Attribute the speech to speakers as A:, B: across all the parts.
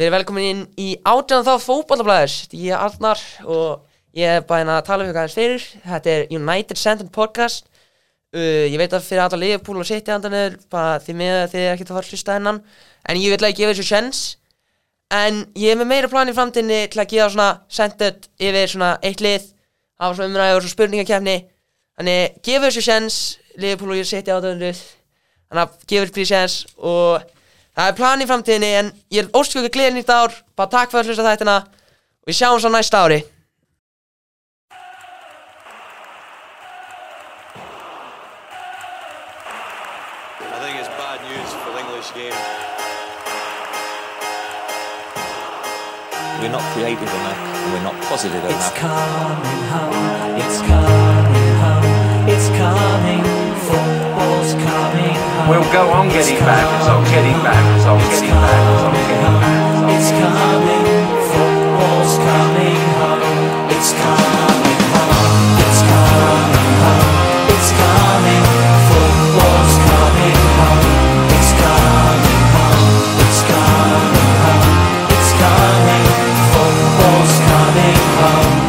A: Við erum velkomin inn í átján þá fótballablaðis Ég er Arnar og ég er bæðin að tala um hvað hans fyrir Þetta er United Sentence Podcast uh, Ég veit að fyrir alltaf Liverpool og City andan er bara því með að þið er ekkert að fara að hlusta hennan En ég vil að gefa þessu sjens En ég er með meira plan í framtíðinni til að gefa svona sendet yfir svona eitt lið hafa svona umræði og svona spurningakefni Þannig gefa þessu sjens Liverpool og ég City andan er Þannig að gefur fyrir séðans og það er plan í framtíðinni en ég er óskjöku gleðin í þetta ár, bara takk fyrir að hlusta þættina og við sjáum svo næsta ári.
B: I think it's bad news for the English game.
C: We're not creative enough, and we're not positive
D: It's
C: enough.
D: coming home, it's coming home, it's coming, football's coming home.
E: We'll go on
D: It's
E: getting back,
D: coming
E: it's on getting back, it's on
D: It's
E: getting back, it's on
D: coming
E: getting back, it's
D: home, it's
E: on
D: coming, football's coming home, it's coming home, it's coming home, it's coming, football's coming home, it's coming home, it's coming home, it's coming, football's coming home.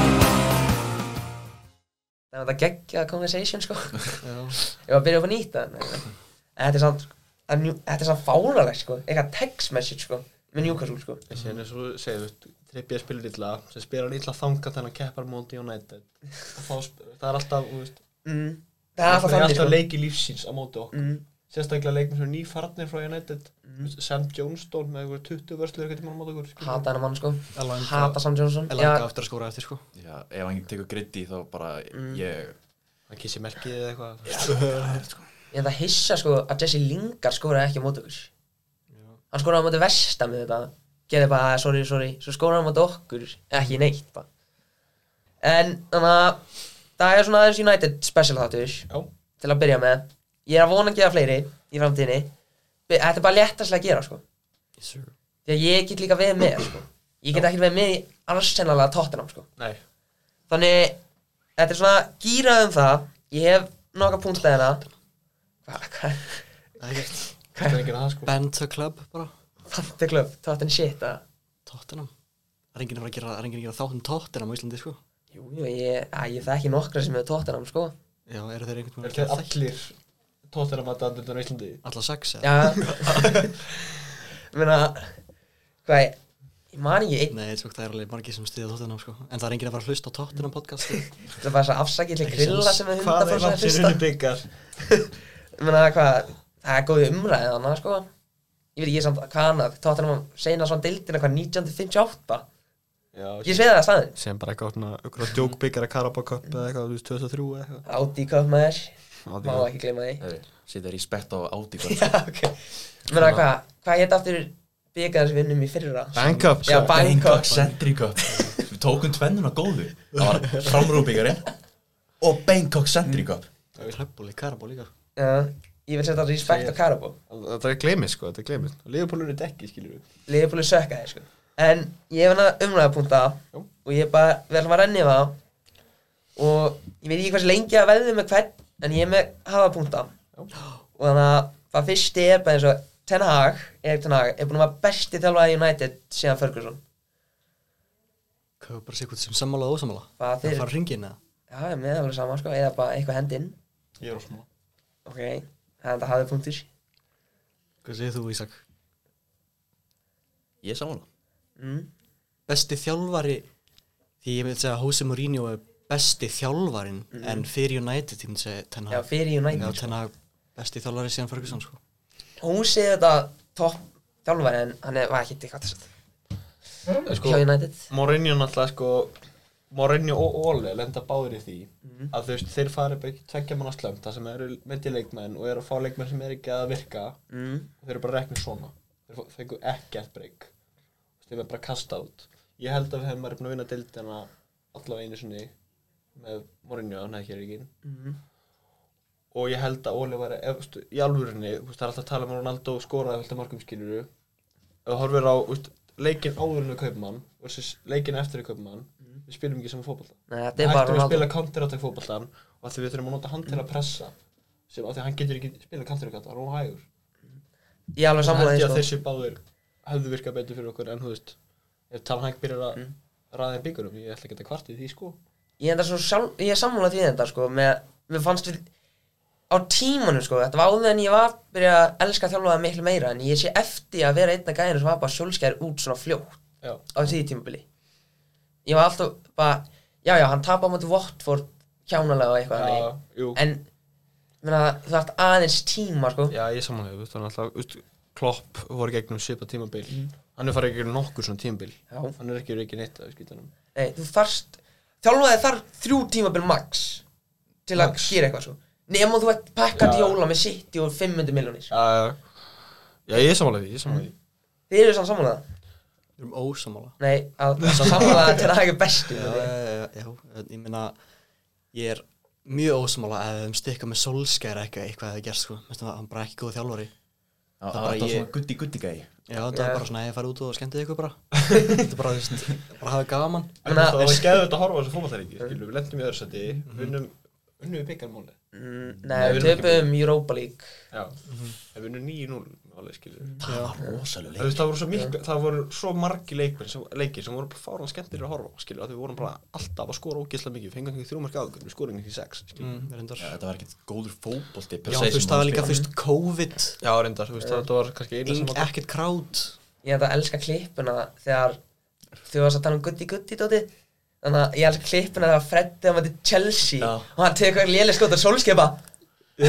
A: Það var þetta geggja conversation sko. ég var að byrja upp að nýta en, en þetta er samt, en njú- þetta er samt fáralegt sko, eitthvað text message sko, með Newcastle sko.
F: En síðan er svo, segir við, Trippier spilur illa, sem spilar illa þanga þannig að keppar móti United. Og þá, sp- það er alltaf, þú veist,
A: Mm. Það er alltaf
F: það er
A: þannig
F: alltaf
A: sko.
F: leiki lífsins á móti okkur.
A: Mm.
F: Sérstaklega leikum sem nýfarnir frá United, Sam Johnstone með einhver 20 vörslur eitthvað tíma á móti okkur. skilur.
A: Hata hennar mann sko,
F: Elanga-
A: hata Sam Johnson.
F: Elanga
A: Já,
F: aftur að skóra eftir, sko.
G: Já, ef hann tekur gritti þá bara ég
F: Hann kissi melkið eða eitthvað.
A: ég ætla að hissa sko að Jesse Lingard skoraði ekki á móti okkur. Hann skoraði á móti vestam með þetta. Gerði bara, sorry, sorry. Svo skoraði hann móti okkur, ekki neitt bara. En þannig að það er svona aðeins United special þáttur
F: Já.
A: til að byrja með. Ég er að vona að gera fleiri í framtíðinni. Be- Þetta er bara léttaslega að gera sko.
F: Yes, sir.
A: Því að ég get líka verið með sko. Ég get ekki verið með í arsennalega tóttinam sko.
F: Nei.
A: Þannig, þetta er svona gírað um það. Ég hef nokka punktæðina. Hvað, hvað?
H: Ekkert.
F: Það er enginn að það, sko.
H: Benta Club bara,
A: Tante Club, Totten Shit að
H: Tottenham Það er enginn að fara að gera, það er enginn að gera þáttum Tottenham á Íslandi sko
A: Jú, jú, ég, að, ég þekki nokkra sem hefur Tottenham, sko
H: Já, eru þeir einhvern tímann
F: Er þeir allir tóttir að mata andundan á Íslandi?
H: Alla sex eða?
A: Já Meina, hvað ég, ég man ekki einn
H: Nei, sko, það er alveg margir sem stiðja Tottenham sko En það er enginn að fara að hlusta á Tottenham podcast sko.
A: Það er bara þess að afsakið til
H: Ekki
A: grilla
H: séns.
A: sem við
F: Hvað er
A: hundafórs að
F: langt sem
A: hlusta
F: unni byggar?
A: Meina, hvað, það er góð umræðið þannig, sko Ég veit ekki samt hvað annað, Tottenham seina svona deildina hvað 1958
F: Já,
A: Ég sveið það að staðin
F: sem bara eitthvað svona, eitthvað djókbyggar að Carabao Cup eða eitthvað, þú veist, 2003 eða eitthvað.
A: Audi Cup maður, má
F: Má
A: ekki gleyma því
C: Setja respekt á Audi hvað
A: Já, ok Meina, hvað, hvað hétt aftur byggar sem við vinnum í fyrra?
F: Bank up
A: Já, Bangkok
G: Sentry Cup Við tókum tvennuna góðu Það var framrúbyggarinn og Bangkok Sentry Cup
H: Klöbbúli, Karabó líka
A: Já, ég vil setja respekt á Karabó
F: Þetta er glemis sko, þetta er glemis Leopold er þetta ekki, skilur við
A: Liverpool er sökka þér sko En ég hef hana umræðapunta
F: Jú.
A: Og ég er bara, við ætlum að renni yfir það Og ég veit ekki hversu lengi að veðið með hvern En ég er með hafapunta Og þannig að það fyrsti er bara eins og Ten Hag, Erik Ten Hag Er búinn að vera besti þjálfari United síðan Ferguson
H: Hvað er bara sér hvort sem sammála og ósammála?
A: Hvað
H: Það
A: þeir,
H: fara að ringja inn eða?
A: já, ég er með alveg sama sko Eða bara eitthvað hendinn
F: Ég er ósmá
A: Ok, það er þetta hafið punktur
H: Hvað segir þú Ísak?
C: Ég saman
A: mm.
H: Besti þjálfari Því ég vil segja að Jose Mourinho er besti þjálfarin En fyrir United, ég myndi segja Ten
A: Já,
H: Hag
A: fyrir
H: Mm. Já,
A: United
H: Ten Hag besti þjálfari síðan Ferguson sko
A: Hún sé þetta topp þjálfari En hann er, var ekki eitthvað
F: sko,
A: Hjá United
F: Mourinho náttúrulega sko Mourinho og Ole lenda báðir í því að þú veist, þeir fari upp ekki tveggja manna slönd það sem eru myndi leikmenn og eru að fá leikmenn sem er ekki að virka
A: mm.
F: þeir eru bara reknir svona þeir fá- fengu ekkert breyk þeir eru bara kastað út ég held að við hefum bara búin að vinna deildina allavega einu sinni með Mourinho, hann hefði ekki reygin
A: Mhm.
F: og ég held að Óli væri ef, stu, í alvörinni, þú veist, það er alltaf að tala um að Ronaldo skoraði fullt af markum skiluru ef þú horfir á úst, leikin áðurinn við kaupmann versus leikin eftir við kaupmann við spilum ekki saman fótbolta
A: Nei, þetta er
F: við
A: bara
F: ættum að
A: Ronaldo
F: spila counter-attack fótboltan og að því við þurfum að nota hann til að pressa sem af því að hann getur ekki spila counter-attack hann er óhægur
A: Ég er alveg
F: Þannig
A: sammála því
F: held ég að
A: sko
F: þessi báðir hefðu virkað betur fyrir okkur en þú veist ef Tal Hank byrjar að mm. ræða í byggurum ég ætla ekki að kvartið því sko
A: ég enda svo sjálf, ég er sammála því þetta sko, með, mér fannst við á tímanum sko, þetta var áður en ég var byrja að elska þjálfaða miklu meira en ég sé eftir að vera einn af gæðinu sem var bara sjálfskæður út svona fljótt
F: Já.
A: á því tímabili ég var alltaf bara, já já, hann tapar á móti Watford kjánalega og eitthvað
F: Já,
A: þannig.
F: jú.
A: en meina, þú þarft aðeins tíma sko
F: Já, ég samanlega, þú veist, hann alltaf, veist, Klopp voru gegnum svipa tímabil Hann er farið að gera nokkur svona tímabil
A: Já.
F: Hann er ekki reikið neitt af skýtanum
A: Nei, þú þarft Þjálfaði þarf þrjú tímabil max Til að
F: Max.
A: gera eitthvað svo Nefnum þú ert pakkandi
F: Já.
A: jóla með City og 500 miljonir
F: Já, já, ég er samanlega því, ég er
A: Mhm.
F: samanlega því
A: Þið eru samt sammálaða
H: Við erum ósamála
A: Nei, að sammálaða til að það er bestu
H: Já, já, já, já, ég meina ég er mjög ósamála ef við höfum stikkað með solskæra eitthvað eitthvað hefði gert sko, Mestu, hann bara ekki góð þjálfari
G: Það
H: bara
G: var
H: ég-
G: svona gutti gutti gæi
H: Já, þetta
A: Já.
H: var bara svona að ég fara út og skemmtið ykkur bara Þetta er bara, þú veist, bara hafa gaman
A: Þannig
F: Það
A: að
F: var skæðu þetta að horfa á þessu fótballtæringi Skilur, við lendum í öðru seti,
H: Mhm.
F: vinnum Unnum við byggarmáli
A: Mm,
F: Nei,
A: Nei,
F: við
A: við
F: erum ekki
A: töpum Europa League
F: Já, það vinnum 9-0 Alveg, skilur
G: Það
H: Ah,
G: var rosalega
F: Mhm. Það, veist, það, voru svo mikil, það voru svo margi leikmenn sem, leikir sem voru bara fáran skemmtir að horfa á, skilur, að við vorum bara alltaf að skora ógeðslega mikið, við fengum ekki þrjúmarki áður, við skorum ekki sex, skilur.
H: mm, reyndar.
G: Já, þetta var ekkert góður fótbolti per
H: Já,
G: se
H: þú
G: sem
H: veist, það var
G: hann
H: líka, þú
G: spilaði.
H: veist, COVID
F: Já, reyndar, þú veist, það, það var kannski eina sem
H: eng,
F: var
H: Ekkert krát
A: Ég ætla að elska klippuna þegar Þau varst að tala um gutti gutti dóti Þannig að ég elska klippuna þegar Freddi að mæti Chelsea
H: Já.
A: Og hann tekur lélega skotar sólskeipa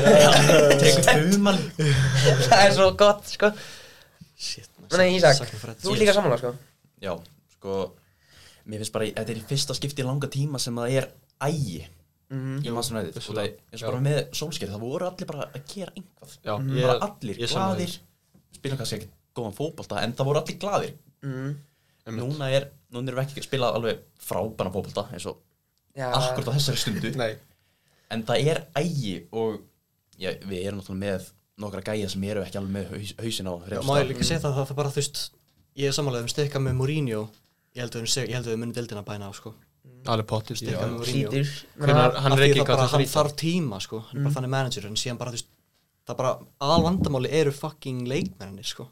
G: Tekur humal
A: Það er svo gott, sko
H: Shit,
A: Nei, Ísak, þú er líka
H: saman
A: sammála, sko
G: Já, sko Mér finnst bara, þetta er í fyrsta skipti í langa tíma sem það er ægi Í mannsum næðið Og það er eins og bara með sólskeið Það voru allir bara að gera einhvað
F: Já,
G: Bara
F: ég-
G: allir
F: ég sammála
G: glaðir Spila kannski ekki góðan fótbolta En það voru allir glaðir
A: mm.
G: Núna er, núna erum við ekki að spila alveg frábæna fótbolta Eins og
A: Já,
G: akkurat á þessari stundu
F: Nei,
G: En það er ægi og já, Við erum náttúrulega með nokkra gæja sem eru ekki alveg með haus, hausin á
H: Já,
G: hreinu
H: má ég
G: stað.
H: líka segja það, það er bara, þú veist Ég er samanlega, við stikkað með Mourinho Ég held að við, ég held að við munum deildina bæna á, sko
F: alveg pottir
H: Stikkað með Mourinho
A: Hlýtur
F: Hvenær- hann
H: Af
F: er
H: því
F: ekki
H: það bara,
F: hvað
H: hann
F: það Mm.
H: þarf tíma, sko Hann er bara þannig manager, en síðan bara, þú veist Það bara, alvandamáli eru fucking leikmennir, sko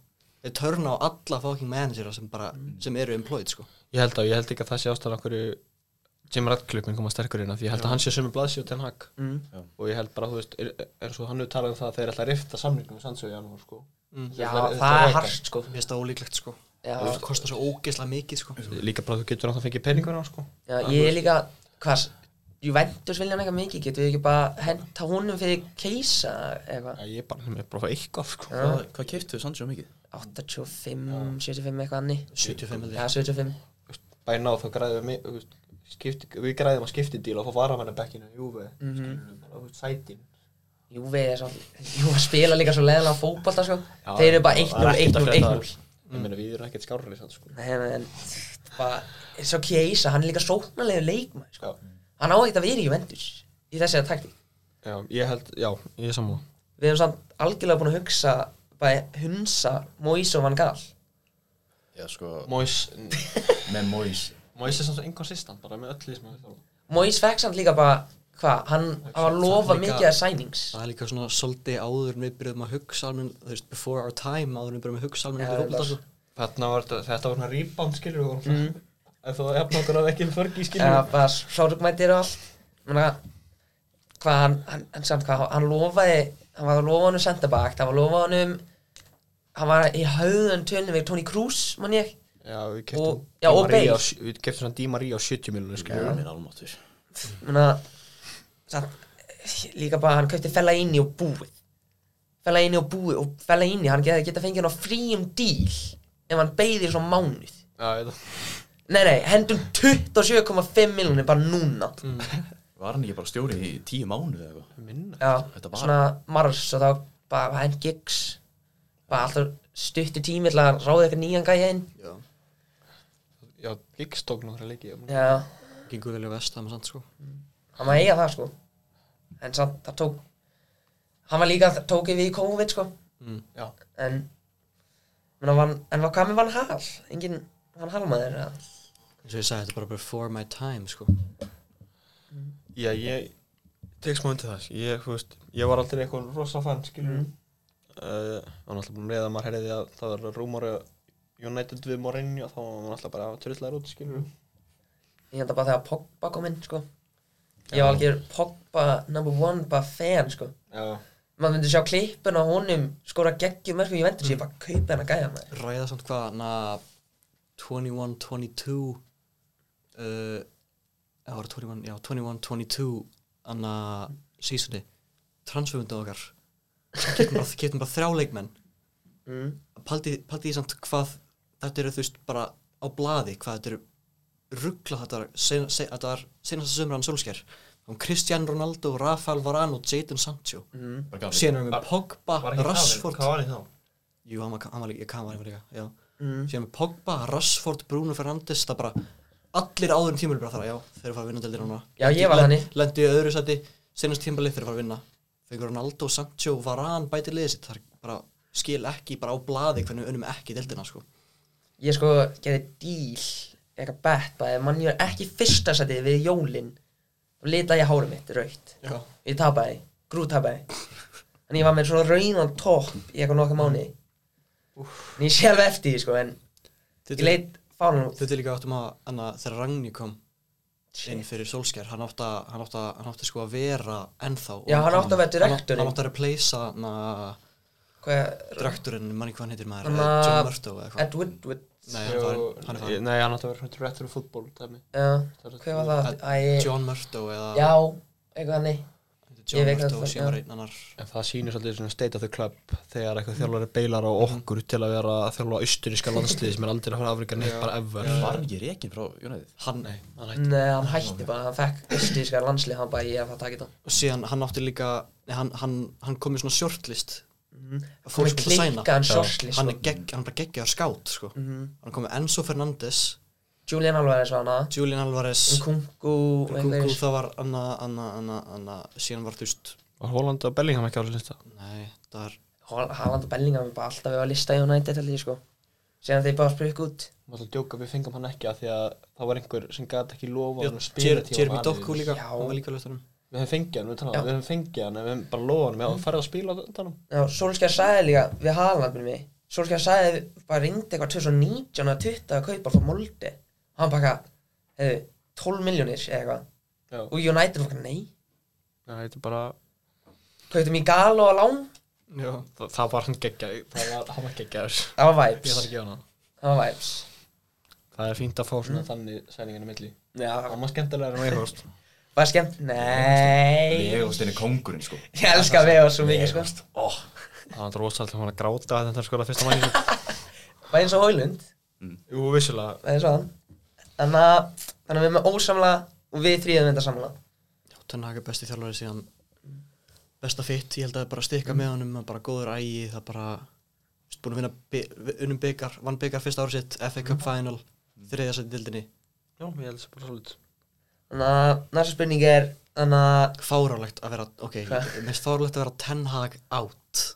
H: Þeir törna á alla fucking managera sem bara, sem eru employed, sko
F: Mm. Ég held að, ég held ekki að það sé ástæðan okkur Jim Radcliffe minn koma sterkur inn af því ég held að hann sé sömu blaðsí og Ten Hag
A: Mm.
G: Já.
F: og ég held bara, þú veist, er, er svo hann hefur talað um það að þeir ætla að rifta samlingum með Sandsjó í janúar, sko
A: Já,
F: Það
A: það
F: er- það
A: er
F: er
A: harst, sko
H: Mér finnst það ólíklegt, sko
A: Já,
H: Það kostar svo ógeðslega mikið, sko
F: Líka bara þú getur átt að fengið peningur á, sko
A: já ég er líka Hvað, Juventus vilja hann eitthvað mikið Getum við ekki bara henta honum fyrir keisa Eitthvað,
F: Já, Ég er bara með bara að fá eitthvað, sko
G: Hvað, hvað keiftu þau sann svo mikið?
A: 85, 75 eitthvað annir
H: 75 held ég.
A: Já, 75
F: Bæna og þá græðum við, þú veist, skipti, við græðum að skipti díl og fá varamann að bekkinu í UV mm -hmm. Sætin
A: Júfi er svo Júfi spila líka svo leðilega fótbolta, sko Þeir eru bara 1-0, 1-0, 1-0
F: Ég meina, við erum ekkert skárrið sann, sko
A: Nei, nei, en Bara, svo keisa, hann er líka sóknarlega leikmað, sko
F: Já,
A: Hann á ekkert að vera í Juventus Í þessi að taktík
F: já ég held, já, ég er sammála
A: við hefum samt algjörlega búin að hugsa bara hunsa Moise og Van Gaal
G: Já, sko,
F: Móis,
G: með Mois
F: Móis er samt svo inconsistent bara með öll í sem hann þarf
A: Moise fekk samt líka bara hvað, hann hann var að lofa
H: samt líka-
A: mikið að sænings
H: Það er líka svona svolítið áður en við byrjuðum að hugsa almenn, þú veist, before our time áður en við byrjuðum að hugsa almenn
A: Já,
H: ja, fólkvölda
A: það-
H: sko.
F: Þarna var þetta, þetta var hann rebound skilur við vorum mm. Ef þú hefði okkur að ekki um förgi skilur
A: eða
F: við
A: bara sorgmættir og allt Menna, hvað hann, hann, hann samt hvað hann lofaði, hann var að lofa honum centerbakt, hann var að lofa honum hann var í höðun tölnum við Toni Kroos mann ég,
F: Já, við
A: Og-
F: keftum
A: já, og Bale.
F: Við keftum svona Díma Rí á 70 miljonir skilur
G: Hann
F: við
G: er almáttur
A: menna samt, líka bara hann kaupti fella inni og búið fella inni og búið og fella inni, hann geta, geta fengið hann á fríum díl ef hann beigði svona mánuð
F: Já, ég veit
A: Nei, nei, hendum 27,5 miljonir bara núna
G: Var hann ekki bara stjóri í tíu mánu eða eitthvað?
F: það Minna
A: Já,
G: Þetta var-
A: svona mars og þá bara hend gigs bara alltaf stuttu tími til að ráða eitthvað nýjan gæja inn
F: Já, Giggs tók nokkra leiki já.
A: Já,
H: Gengur vel í vest, það maður sant sko.
A: hann var eiga það sko en samt, það tók hann var líka, það tók yfir í COVID sko
F: Já,
A: en menn, hann, var- en hvað með Van Hal? Engin Van Halmaður eða?
H: Eins og ég sagði, þetta er bara before my time sko.
F: já ég tek smá undir það Ég, þú veist, ég var aldrei Eh, eitthvað rosa fann skilur við mm. uh, Hann alltaf búin að reyða að maður heyrði að það var rúmari United við Mourinho þá var hann alltaf bara að trullar út skilur
A: Ég held að bara þegar Pogba kom inn, sko Ég var algjör Pogba number one bara fan, sko
F: Já,
A: Maður myndi sjá klippin á honum skora geggjum merkum í vendur Ég bara kaupa hennar gæja maður
H: ræða samt hvað na 21, 22 uh, já, það var 21, já, 21, 22 anna sísunni transferfundu okkar keftum bara, keftum bara þrjá leikmenn
A: mm.
H: paldi, paldi því samt hvað þetta eru þú veist bara á blaði hvað þetta eru ruggla þetta var sen- se- þetta var senasta sömur hann Solskjær um Cristiano Ronaldo, Rafael Varane og Jadon Sancho
G: Bara gaman.
H: síðan erum
F: Var-
H: við Pogba,
F: var ekki
H: Rashford
F: Hvað var hann í þá?
H: Jú, hann var, hann var líka, hann var líka, já Síðan með Pogba, Rashford, Bruno Fernandes Það bara, allir áður en tímur bara þar, já Þeir eru að fara að vinna deildir núna
A: Já, ég var þannig.
H: Lendi í öðru sæti, senast tímbalið þeir eru að fara að vinna Fengur Ronaldo, Sancho, Varane, bæti liðið sitt Það er bara, skil ekki, bara á blaði Hvernig við unnum ekki deildina, sko
A: Ég sko gerði díl eitthvað bett bara ef mann ég er ekki í fyrsta setið við jólin og lita ég hárum mitt raukt
H: Já,
A: Ég tapaði, grútapaði En ég var með svona raunan topp í eitthvað nokkuð mánu En ég sé alveg eftir því sko en ég
H: þetta
A: leit fánum út
H: Þetta er líka áttum að, anna, þegar Ragni kom inn
A: Shit.
H: fyrir Solskjær, hann átti að- hann átti að- hann átti sko að vera ennþá
A: Já, hann átti að vera
H: Hann átti-
A: direktorinn.
H: Hann átti að replacea, na,
A: Hvað
H: Drakturinn, manni hvað hann heitir maður
A: Hann
H: Hanna...
A: að-
H: John Murto eða
A: Ed
H: eitthvað
A: Woodward
H: Nei, hann var, hann var
F: Nei, hann átti að vera hrættur retro fútból dæmi.
A: Já, hvað var það? Æ,
H: John Murto eða
A: já, eitthvað hannig
H: John
A: veit hvað
H: Murto
A: það-
H: og síðan var
A: já.
H: einn annar
F: En það sýnir svolítið svona state of the club þegar eitthvað þjálfari beilar á okkur til að vera að þjálfa austuríska landsliði sem er aldrei að fara Afrika neitt bara ever
G: Var hann ekki rekin frá United?
H: hann,
A: Nei, eh, hann hætti bara, hann fekk östískar landslið, hann bara ég er að fara að taka þetta
H: og síðan hann átti líka nei, hann, hann, hann kom í svona shortlist
A: Hún Mhm. er klikkaðan sjórslið,
H: hann
A: sko Mhm.
H: er gegg, hann er bara geggjaður skát sko. hann kom með Enzo Fernandes
A: Julian Alvarez var hana
H: Julian Alvarez
A: Nkunku,
H: Kungu,
A: einhverjir
H: það var anna, anna, anna, anna síðan var þú veist
F: Var Holland og Bellingham ekki á þessu lista?
H: nei, það var
A: Hol- Haaland og Bellingham er bara alltaf við að lista í United held ég sko Síðan þeir bara sprukk út
F: Má það djóka við fengum hann ekki að því að það var einhver sem gæti ekki lofa hann að spila
H: Jer- Jeremy Doku líka,
A: Já.
H: hann var líka löftunum
F: Við höfum fengið hann, við talaðum,
A: Já.
F: við höfum fengið hann, en við höfum bara lofa hann, við höfum farið að spila á undanum.
A: Já, Solskjær sagði líka við Haaland minni mig Solskjær sagði, bara ringdi eitthvað 2019 eða 20 að kaupa frá Molde Hann bara, hefðu, 12 miljónir eða eitthvað
F: Já.
A: Og United var bara, nei
F: Það heitir bara,
A: Kautum í Galo á lán
H: já,
F: það, það var hann geggjað, það var, hann var geggjaður.
A: Það var
F: Ég
A: vibes
F: þarf ekki á hann.
A: Það var vibes
F: Það er fínt að fá svona þannig sælinginu milli.
A: Já,
F: Það var skemmtilega en veikast.
A: var skemmt Nei
G: Vegost er kongurinn sko
A: Ég elska Vegos svo mikið sko
F: Það var rosalega að hann var að gráta að þetta er skoða fyrsta mæni.
A: Var eins og Hólund
F: Jú, vissulega.
A: Það er svo hann Þannig að Þannig að við erum með ósamla Og við þrýðum þetta samla
H: Tannhag er besti þjálfari síðan besta fitt, ég held að það er bara að stikka með honum hann bara góður ægi, það er bara þú veist, búin að vinna bi- unnum byggar vann byggar fyrsta ár sitt, FA Cup Final þriðja sæti í dildinni,
F: Já, ég held þessi bara svolít.
A: Þannig að Næsta spurning er Þannig að
H: fárálegt að vera ok, mest fárálegt að vera Tannhag out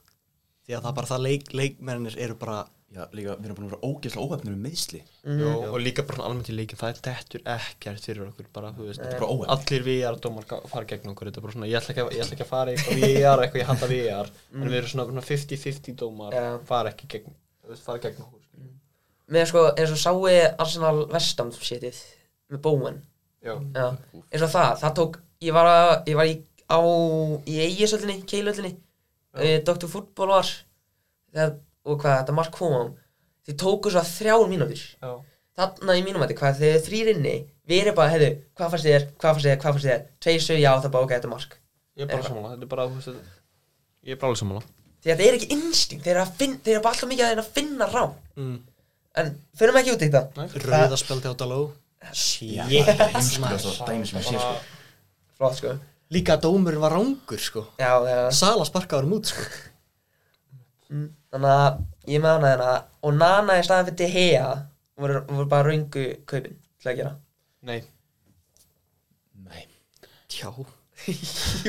H: því að það er bara það leik, leikmennir eru bara
G: Já, líka, við erum búin að vera ógeðslega óhefnir með meðsli
F: Jó, og líka bara svona almennt í leikin, það er dettur ekkert fyrir okkur bara, þú veist,
G: Þetta er bara óhefnir
F: allir VR dómar ga- fara gegn okkur, þetta er bara svona, ég ætla ekki að, ég ætla ekki að fara í eitthvað VR, eitthvað ég hata VR, en
H: Mm.
F: við erum svona svona 50-50 dómar,
A: Já.
F: fara ekki gegn, þú veist, fara gegn okkur. skilur.
A: Með sko Eins og sáu Arsenal Vestam Sétið Með Bowen
F: Já,
A: Já Eins og það Það tók Ég var að Ég var í Á Í eigisöllinni Keilöllinni Dr. Fútbol var þegar, Og hvað þetta mark kom á Þið tóku svo þrjár mínútur
F: já,
A: þarna í mínum hætti, hvað þegar þrýr inni við erum bara, heyrðu, hvað fannst þér, hvað fannst þér, hvað fannst þér tveir sög, já, það er bara ok, þetta er mark
F: ég er bara
A: Eitthvað.
F: sammála, þetta er bara, þú veist, þetta- ég er bara alveg sammála.
A: því að það er ekki instinkt, þeir eru að finna þeir eru bara alltaf mikið að þeir að finna rá
H: mm,
A: en förum ekki út í þetta,
H: rauðaspeldi á Daló
G: Jétt Það er heimskulegast og dæmi sem ég sé sko
A: flott sko
H: líka að dómurinn var rángur sko
A: já, já,
H: Sala sparkaður mút sko
A: þannig að ég með hana þarna og Nana í staðan fyrir Dehea voru, voru bara raungu kaupin til að gera
F: Nei,
G: Nei
H: já,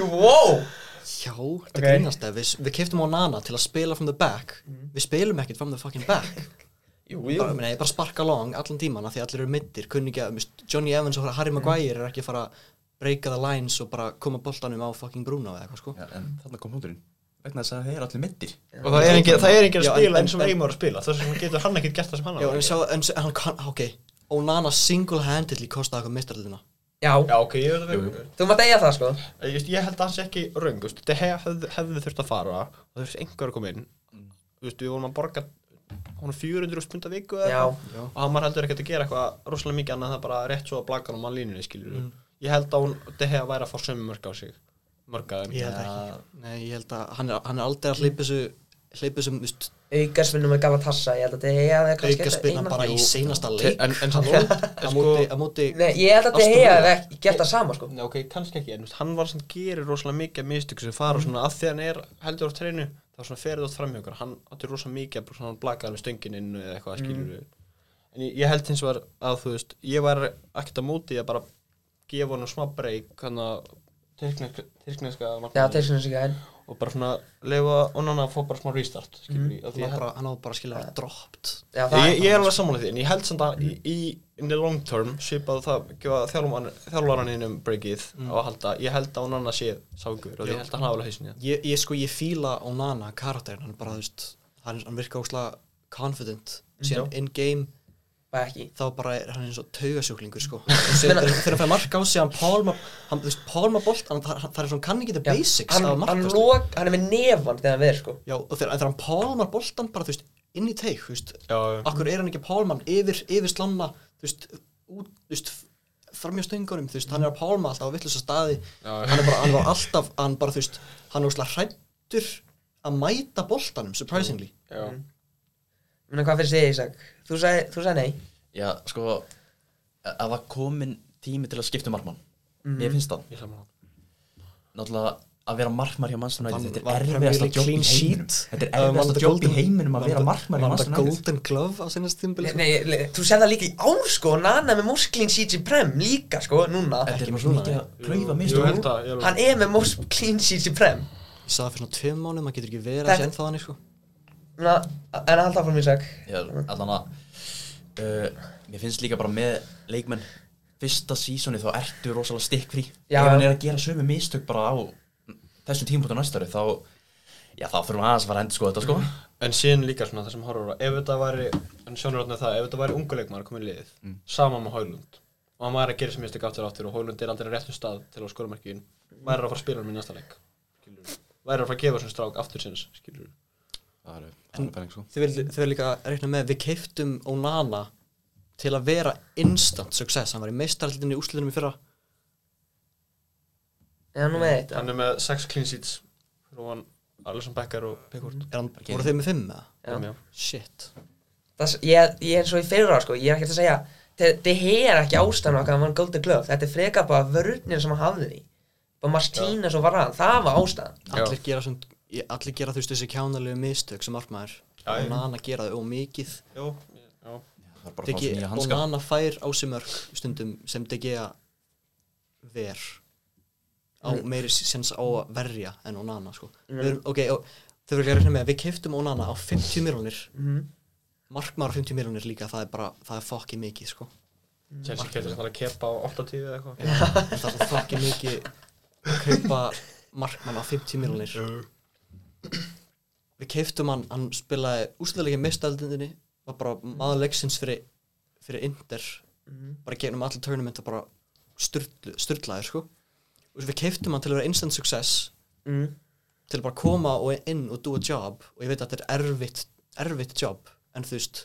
A: wow,
H: já,
A: Ok.
H: þetta okay. grínast eða við, við keftum á Nana til að spila from the back
A: Mhm.
H: við spilum ekkert from the fucking back
A: jú, jú
H: bara, meni, bara sparka long allan tíman af því allir eru middir kunningja, Johnny Evans og Harry
A: Mhm.
H: Maguire er ekki að fara að breaka the lines og bara koma boltanum á fucking Bruno eða eitthvað sko
G: Já, en þarna kom hundurinn vegna þess að þeir eru allir mittir
F: Og það er engin, það er
H: Já,
F: engin að
H: en-
F: spila
H: en-
F: eins og Eymar er að spila Þess vegna getur hann ekkert gert það sem hann á
H: Já,
F: að
H: en
F: gera.
H: sjá, en sjá, hann kann, ok Onana single-handedly kostaði eitthvað mistarlina
A: Já,
F: Já, ok, ég veit að við
A: þú maður deyja það sko
F: Ég, veist, ég held að hans ekki raung veist, De Gea hefði, hefði þurft að fara og það þurfti einhver að koma inn
H: Mm.
F: Þú veist, við vorum að borga honum 400 pund að viku eða
A: Já.
F: eitthvað. og hann var heldur ekkert að gera eitthvað rosalega mikið annað en það bara rétt svo að blaka honum á línunni skilur
H: Mm.
F: ég held að hún, De Gea væri að fá sömu mörg á sig mörg að þeim
H: Ég held ekki Nei, ég held að hann er, hann er aldrei að hleypa þessu hleypa þessu, veist,
A: Aukarspinnum með Galatassa, ég held að deyja það kannski
H: auka spilna
A: eina-
H: bara í seinasta leik
F: en, en samt
H: Að
F: en sko,
H: móti, að móti
A: Nei, ég held að
H: Aston
A: deyja
H: Villa.
A: það ekki gert það sama sko
F: Nei, ok, kannski ekki, en þú veist, hann var sem gerir rosalega mikið mistök sem fara svona að því hann er heldur á treinu, þá svona ferið átt framhjá okkur hann átti rosalega mikið að bara svona blaka hann við stöngin inn eða eitthvað að skilur en ég, ég held hins vegar að þú veist ég var ekkert á móti að bara gefa honum smá breyk hann að tyrkneska, tyrkneska
A: Já,
F: markmanninn
A: teiksunum sig gæðin
F: og bara svona leifa onan að fá bara smá restart skilur mm. ég,
H: hann á
F: ég,
H: bara, hann á bara að skilja að vera droppt
A: Já, það Mm.
F: ég, ég er alveg sammála því, en ég held samt að í, í in the long term, svipað það gefa þjálfvaraninum breakið
A: Mm.
F: á að halda, ég held að hún annars sé ságur og ég held að hann hafa alveg hausin í það
H: ég, ég sko, ég fíla Onana karakterin, hann er bara, þú veist hann, hann virka óslega confident síðan in-game,
A: var ekki
H: þá bara er hann eins og taugasjúklingur, sko Og síðan þegar þegar hann fæði marka á sig, hann pálma hann, þú veist, pálma bolt, hann, það það er svona kann ekki the
A: Já,
H: basics
A: hann,
H: af sko.
A: hann,
H: markast
A: lok, hann er með nefan þegar hann verður sko
H: Já, og þegar, þegar hann pálmar boltan bara, þú veist, inn í teik, þú veist
F: Já, já.
H: Akkur er hann ekki að pálma hann yfir, yfir slanna, þú veist, út, þú veist framjá stöngunum, þú veist, hann er að pálma alltaf á vittlösa staði, hann er bara, hann var alltaf hann bara, þú veist, hann er óslega hrættur að mæta boltanum, surprisingly
A: Menna hvað fyrir sig, Ísak? Þú sagði, þú sagði nei
G: Já, sko að að það komin tími til að skipta um markmann Mér finnst það
F: Mhm. Ég sammála.
G: Náttúrulega að vera markmann hjá Manchester
H: Vann-
G: United Þetta
H: vann
G: er
H: Premier
G: erfiðasta
H: League
G: jobb í
H: clean
G: heiminum
H: sheet.
G: Þetta er
H: Vann
G: erfiðasta
H: þetta
G: jobb í
H: golden-
G: heiminum að
H: vann
G: vera
H: þetta-
G: markmann hjá
H: vann þetta
G: Manchester United
H: golden glove á sinnast tímbili
A: Nei, le- þú segði það líka í ár sko Nana með Mosklin Sheets í Prem líka sko, núna
G: Þetta er
H: Ekki með
G: mjög
H: svona,
G: mikið
H: nei.
G: að klaufa
F: Ég
G: mistur
F: held að, ég
A: Hann
F: held að
A: er með Mosklin Sheets í Prem
H: Ég sagði það fyrir svona tveim mánuðum, maður getur ekki verið
A: Þetta-
H: að senda þannig, sko
A: Menna, en alltaf fór mér Ísak
G: Já, allan að uh, Mér finnst líka bara með leikmenn Fyrsta sísoni þá ertu rosalega stikkfrí Ef
A: Já.
G: hann er að gera sömu mistök bara á Þessum tímpúntu næstari þá Já, þá þurfum við aðeins að fara að enda þetta sko
F: En síðan líka svona það sem horfur á, ef þetta væri en sjónur átnað það, ef þetta væri ungu leikmaður komið liðið,
A: Mm.
F: sama með Hólund og hann maður er að gera sem mistök aftur og aftur og Hólund er aldrei á réttum stað til að skora markiðin maður er að fara að spila hann í næsta leik skilur. væri að fara að gefa svona strák aftur sinns skilur.
G: Það er, það er pæling sko
H: Þau verður þau verður líka að reikna með að við keiftum Onana til að vera instant success, hann var í meistaraldinni úsliðinum í fyrra
A: Já, nú með eitt já.
F: hann er með 6 clean sheets fyrir hann Alisson Becker og
A: Mm.
F: Pickford
H: er hann, voru þeir með fimm eða?
A: Já.
F: Já.
H: Shit
A: Það, ég, ég er eins og í fyrra sko, ég er ekkert að segja þetta er ekki ástæðan okkar að hann vann Golden Glove þetta er freka bara vörnir sem hann hafði því bara Martínez og Varane, það var ástæðan
H: allir gera, svont, ég- allir gera þú veist þessi kjánalegu mistök sem markmaður
F: Já, já.
H: Onana gera þau ómikið
F: Já, já.
G: Það er bara að fá
H: Degi,
G: sér nýja hanska
H: Onana fær á sig mörg stundum sem Degi að ver á
G: Mm.
H: meiri sens á að verja en Onana sko mm. erum, ok, og þau verður ekki að reyna með að við keiftum Onana á 50 miljonir mm. markmaður á 50 miljonir líka það er bara, það er fokkið mikið sko
F: Chelsea getur það að kepa á 80 eða eitthvað
H: En það er svo fokkið mikið að kaupa markmann á 50 miljonir við keiftum hann, hann spilaði úsliðlega mistaldindinni, var bara maður leiksins fyrir, fyrir Inder bara gegnum allir tournament og bara styrlu, styrlaðir sko og við keiftum hann til að vera instant success
A: mm.
H: til að bara koma og inn og do a job og ég veit að þetta er erfitt erfitt job, en þú veist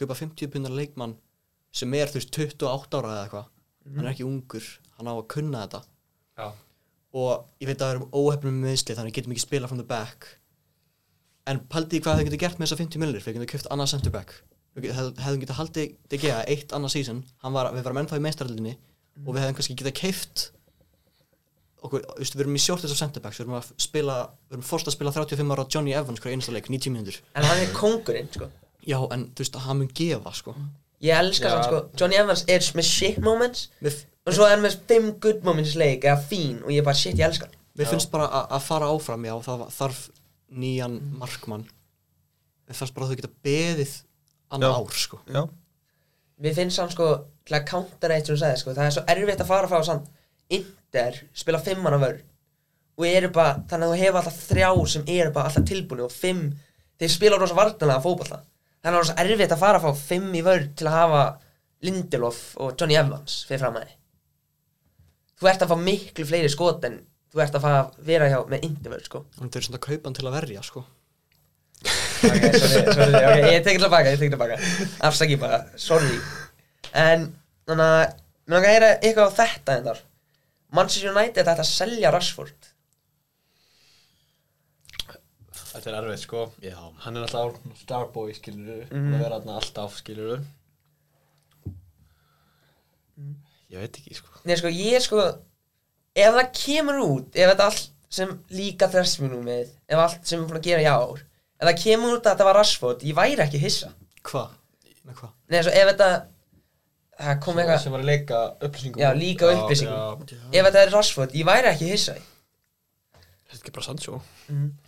H: kaupa 50 pundar leikmann sem er þú veist 28 ára eða eitthvað hann er ekki ungur, hann á að kunna þetta
F: Já.
H: og ég veit að það erum óhefnum með meðsli þannig getum ekki spila from the back en paldi í hvað þau getur gert með þessa 50 millir við getum kjöft annað center back við get- hef- hefðum getað haldið DG eitt annað season Hann var, við varum ennþá í meistaraldinni og við hefðum kannski getað keift okkur, þú veist, við erum í shortest of center backs við erum að spila, við erum forst að spila 35 ára Johnny Evans hverja einasta leik, 90 mínútur
A: en hann er kóngurinn sko.
H: já, en þú veist, hann mun gefa sko
A: ég elska hann sko, Johnny Evans er með shit moments
H: við,
A: og svo er hann með fimm good moments í leik eða fín og ég bara shit, ég elska hann
H: við finnst bara að- að fara áfram já, það var- þarf nýjan markmann við fannst bara að þau geta beðið annað ár sko
F: Já,
A: Mér finnst hann sko til að countera eitt sem hún sagði sko, það er svo erfitt að fara frá sann Inder, spila fimmana vörn og eru bara, þannig að þú hefur alltaf þrjá sem eru bara alltaf tilbúinu og fimm þeir spila rosa vartanlega fótballa þannig að það er rosa erfitt að fara að fá fimm í vörð til að hafa Lindelof og Johnny Evans fyrir fram að þið þú ert að fá miklu fleiri skot en þú ert að fara að vera hjá með Indivörð sko
H: En þeir eru svona að kaupa hann til að verja, sko
A: ok, sorry, sorry, ok, ég tekið tilbaka, ég tekið tilbaka afsaki bara, sorry en, þannig að mér langar að heyra eitthvað á þetta en þar Manchester United ætti að selja Rashford
F: Þetta er erfið sko
G: Já.
F: Hann er alltaf orðinn starboy skilur mm. Það verður alltaf alltaf skilur Ég veit ekki sko
A: Nei, sko, ég er sko Ef það kemur út Ef þetta allt sem líka þressmunum með Ef allt sem við erum búin að gera í ár Ef það kemur út að þetta var Rashford Ég væri ekki hissa
H: Hva? Með hva?
A: Nei, svo ef þetta Það kom eitthvað
F: Sem var að leika upplýsingum
A: Já, líka
F: Já,
A: upplýsingum.
F: já.
A: Ef þetta er Rashford, ég væri ekki hissa
H: Þetta er ekki bara Sancho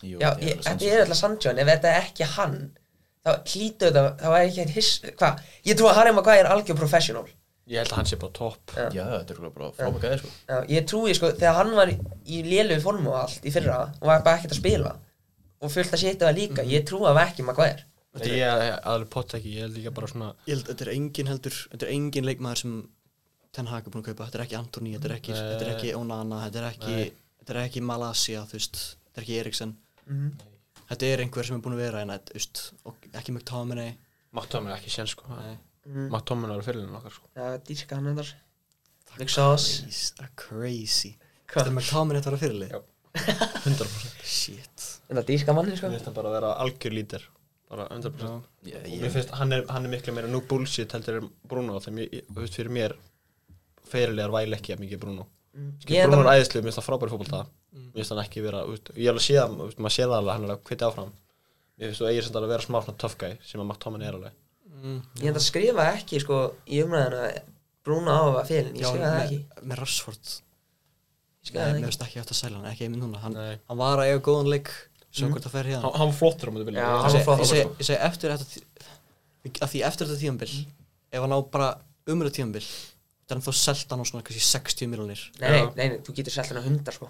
G: Jú,
A: Já,
G: þetta
A: ég,
G: alveg
A: þetta
G: sannsögn.
A: er alltaf Sancho En ef þetta er ekki hann Þá hlýtu þetta, þá er ekki hann hiss Hva? Ég trú að Harry Maguire er algjör professional
F: Ég held að hann sé bara topp
A: Já.
G: Já, þetta er örugglega bara frábæk aðeins sko.
A: Já, ég trúi sko, þegar hann var í lélugu formu og allt í fyrra og var bara ekkert að spila og fullt að setja það
F: Mhm.
A: líka, ég trúi að það ekki Maguire
F: Þetta er ég aðlega pott ekki Ég held líka bara svona
H: Ég held, þetta er engin heldur, þetta er engin leikmaður sem Ten Hag er búin að kaupa, þetta er ekki Antoni, þetta er ekki, þetta er ekki Onana, þetta er ekki, þetta er ekki Malasia, þú veist, þetta er ekki Eriksson.
F: Mhm.
H: Þetta er einhver sem er búin að vera hérna, þú veist, og ekki McTominay.
F: Matt Tomlin er ekki sén sko
H: Nei.
F: Matt Tomlin er fyrirlinn okkar sko
A: Já, dýrka hann endar Luxos
H: Jeez, það er crazy.
A: Hva?
H: Þetta er McTominay þetta var að fyrirlið?
F: Já.
H: 100%. Shit.
A: Þetta dýrka manni sko
F: Mér finnst það bara að vera algjör lítir Bara 100%
G: Ég-
F: Og
G: ég-
F: mér finnst hann er, hann er miklu meira nú bullshit heldur en Bruno Þegar ég, þú veist, fyrir mér Fyrirlegar væl ekki að mikið Bruno Skil,
A: Ég
F: Bruno er
A: enda-
F: æðislu, mér finnst það frábæri fótbolta Mér finnst hann ekki vera, þú veist, ég alveg sé það þú veist, Maður sé það alveg, hann er alveg hviti áfram Mér finnst þú eigir samt alveg að vera smá svona tough guy Sem að Matt Tomlin er alveg
H: Mm.
A: ég enda að skrifa ekki sko í umræðina Brúna á að var félinn, ég skrifa það
H: með,
A: ekki
H: með Rashford.
A: Ég
H: Nei,
A: skrifa það
H: mér
A: ekki
H: finnst ekki eftir að sæla hann, ekki einmitt núna. Hann,
F: Nei. Mhm.
H: hann var að eiga góðan leik, sjá hvort það fer hérna.
F: Hann hann var flottur á mjög
A: Já,
F: vilja
A: hann
H: Ég
A: var
H: seg-
A: flott
H: ég seg-
A: sko.
H: ég segi eftir þetta tí- að því eftir þetta tíðanbill
A: Mhm.
H: ef hann á bara umröð tíðanbill þannig að þá selta hann á svona kannski 60 miljonir
A: Nei, nei, nei, nei, þú getur selt hann að hundar sko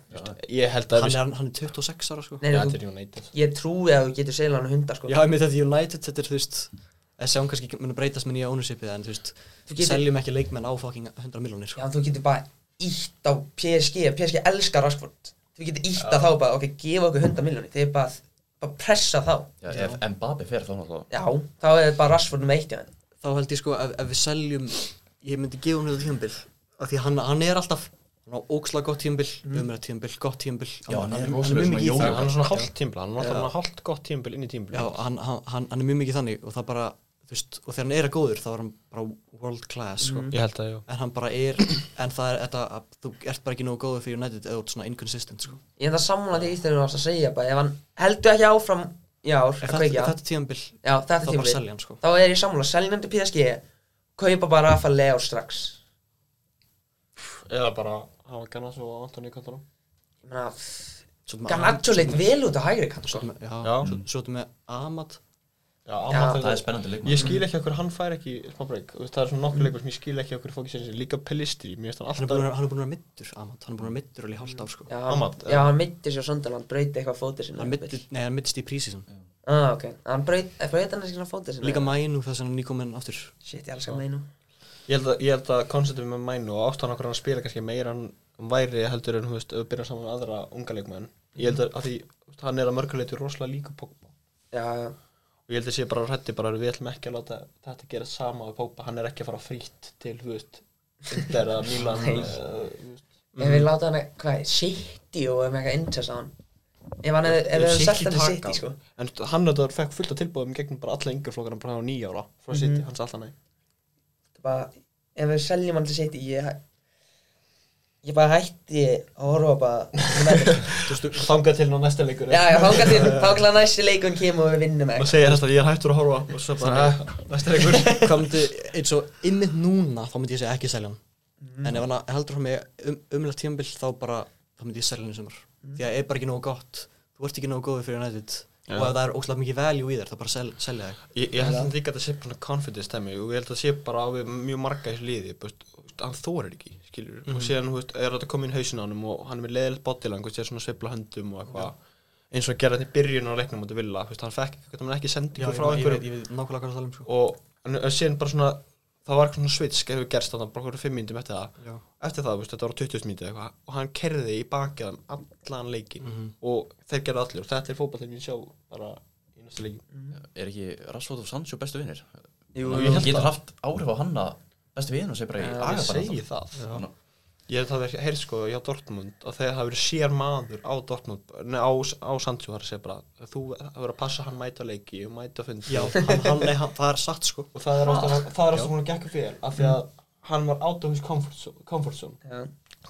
F: Ég held að
H: hann,
F: við-
H: er- hann er 26 ára sko
A: Nei,
F: Já,
A: nei,
F: þetta
A: þú,
F: er United
A: ég trúi að þú getur selt hann að hundar sko
H: já, ég með þetta United, þetta er þú veist það sé hann kannski ekki- mun að breytast með nýja ownershipið en þú veist,
A: Þú getur-
H: seljum ekki leikmenn á fucking 100 miljonir
A: Já,
H: sko.
A: þú getur bara ítt á PSG PSG elskar Rashford Þú getur ítt að þá bara, ok, gefa okkur 100 miljóni Þið er bara, bara pressa þá
G: Já, Ef Mbappe fer þá náttúrulega
A: Já, þá er bara Rashford með eitt í hann
H: þá held ég sko, ef, ef við seljum ég myndi gefa hann þetta tíðanbill af því hann, hann er alltaf hann á óksla gott tíðanbill, umröð tíðanbill, gott tíðanbill
G: Já, hann er
H: hann mjög
G: rosalega svona
H: mikið í
G: jóga.
H: það.
F: Hann er svona hálft tímbil, hann var alltaf hálft gott tímbil inn í tímbil
H: Já, hann, hann, hann hann er mjög mikið þannig og það bara, þú veist, og þegar hann er að góður þá er hann bara world class, sko
F: Ég held að, já
H: en hann bara er, en það er þetta að þú ert bara ekki nógu góður fyrir United eða þú ert svona inconsistent, sko
A: Ég enda sammála því þegar þú varst að segja bara Ef hann heldur ekki áfram í ár
H: Ef
A: að
H: þetta,
A: kveikja
H: þetta tíðanbill,
A: Já, þetta
H: þá
A: tímabil.
H: bara selja hann, sko
A: Þá er ég sammála, seljandi PSG Kaupa bara Rafa Leo strax
F: Eða bara, hann var gana svo Antoni Kantara
A: Ég meina,
H: Svo ertu með Am-
A: Garnaccio leit vel út á hægri kann
H: svo
A: sko
H: ertu með- Já,
F: Já.
H: svo- svo ertu með Amad
F: Já, Amad-
G: Það er spennandi leikmann
F: Ég skil ekki okkur, hann fær ekki smá break Þú veist, Það er svona nokkur leikur sem ég skil ekki okkur fókisins Líka Pelistri, mér finnst hann
H: hann er búin
F: alltaf
H: að vera- hann er búin að vera middur, Amad hann er búin að vera middur alveg í hálft ár, sko
A: Já,
F: Amad,
A: já, hann mitti sér Sunderland, brauti eitthvað fótið sinna
H: hann middur, nei, hann middist í prísi
A: ah, ok, hann braut, eh, braut hann eitthvað fótið sinna
H: líka mænu þess að hann er nýkominn aftur
A: Shit, ég elskar meinu
F: Ég held að, ég held að konceptum með mænu og ástæðan okkur hann spila kannski meira en hann væri heldur en, þú veist, ef við byrja saman við aðra unga leikmenn Ég held að, að því, þú veist, hann er að mörguleiti rosalega líka Pogba
A: Já, já,
F: Og ég held að sé bara hrætti bara við ætlum ekki að láta þetta gera sama við Pogba Hann er ekki að fara frítt til, þú veist, Inter að Milan
A: Nei.
F: eh, þú veist.
A: ef við láta hann, hvað, City og um eitthvað interest á hann Ef hann, hefði- ef við hefum selt hann til City sko
F: En þú veist, hann þetta fekk fullt af tilbúðum gegnum bara alla yngjaflokkar hann bara á nýja ára frá City,
A: Mhm.
F: hann sagði alltaf nei
A: bara, ef við seljum hann til City ég, ég bara hætti að horfa bara United.
F: Þangað til ná næsta leikur
A: já, já, þángar til, þángar næsti leikun kemur og við vinnum
F: og
A: ekki
F: segja þess að ég er hættur að horfa og svo bara, eh, næsta leikur
H: hvað myndi, eins og ymmið núna þá myndi ég segja ekki selja hann en ef hann heldur hann með um, umlega tímabil þá bara, þá myndi ég selja hann í sumar því að það er bara ekki nógu gott, þú ert ekki nógu góður fyrir United og ef það er óslega mikið value í þér þá bara sel, selja þig
F: ég, ég held að líka að þetta sé bara svona confidence stæmi og ég held að það sé bara á við mjög marga í þessu liði búst, hann þórir ekki, skilur og
H: Mhm.
F: síðan, þú veist, er þetta komið inn hausin á hann og hann er með leðilegt bóttilang, þú veist, er svona sveifla höndum og eitthvað, eins og að gera þetta í byrjun á leiknum á þetta vilja, þú veist, hann fekk eitthvað, hann ekki
H: Já,
F: sendingu
H: ég,
F: frá
H: ég, veit,
F: einhverju
H: ég veit nákvæmlega hvað það tala um sko.
F: og en, en síðan bara svona, það var eitthvað svona svitsk ef við gerst þarna, bara hverju fimm mínutum eftir það
H: Já.
F: eftir það, þú veist, þetta var á 20 mínutum eitthvað og hann kerði í bakiðan allan leikin
H: Mhm.
F: og þeir gerði allir og þetta er fótballin mín sjá bara í næsta leikin
H: Mhm.
G: Er ekki Rashford og Sancho bestu vinnir?
A: Jú,
F: ég held
G: Getur
F: það.
G: haft áhrif á hanna bestu vinnir og segir bara í
F: ég
G: aga
F: segi það
G: Þannig að-
F: Ég held að það er sko hjá Dortmund að þegar það verið sér maður á Dortmund nei, á, á Sancho þar að segja bara að þú það verið að passa hann mæta á leiki og mæta fundi
H: Já, hann, hann, nei, hann, það er satt sko
F: og það er alltaf það er alltaf hún að gekka fyrir af því að hann var out of his comfort zone, comfort zone.
A: Já.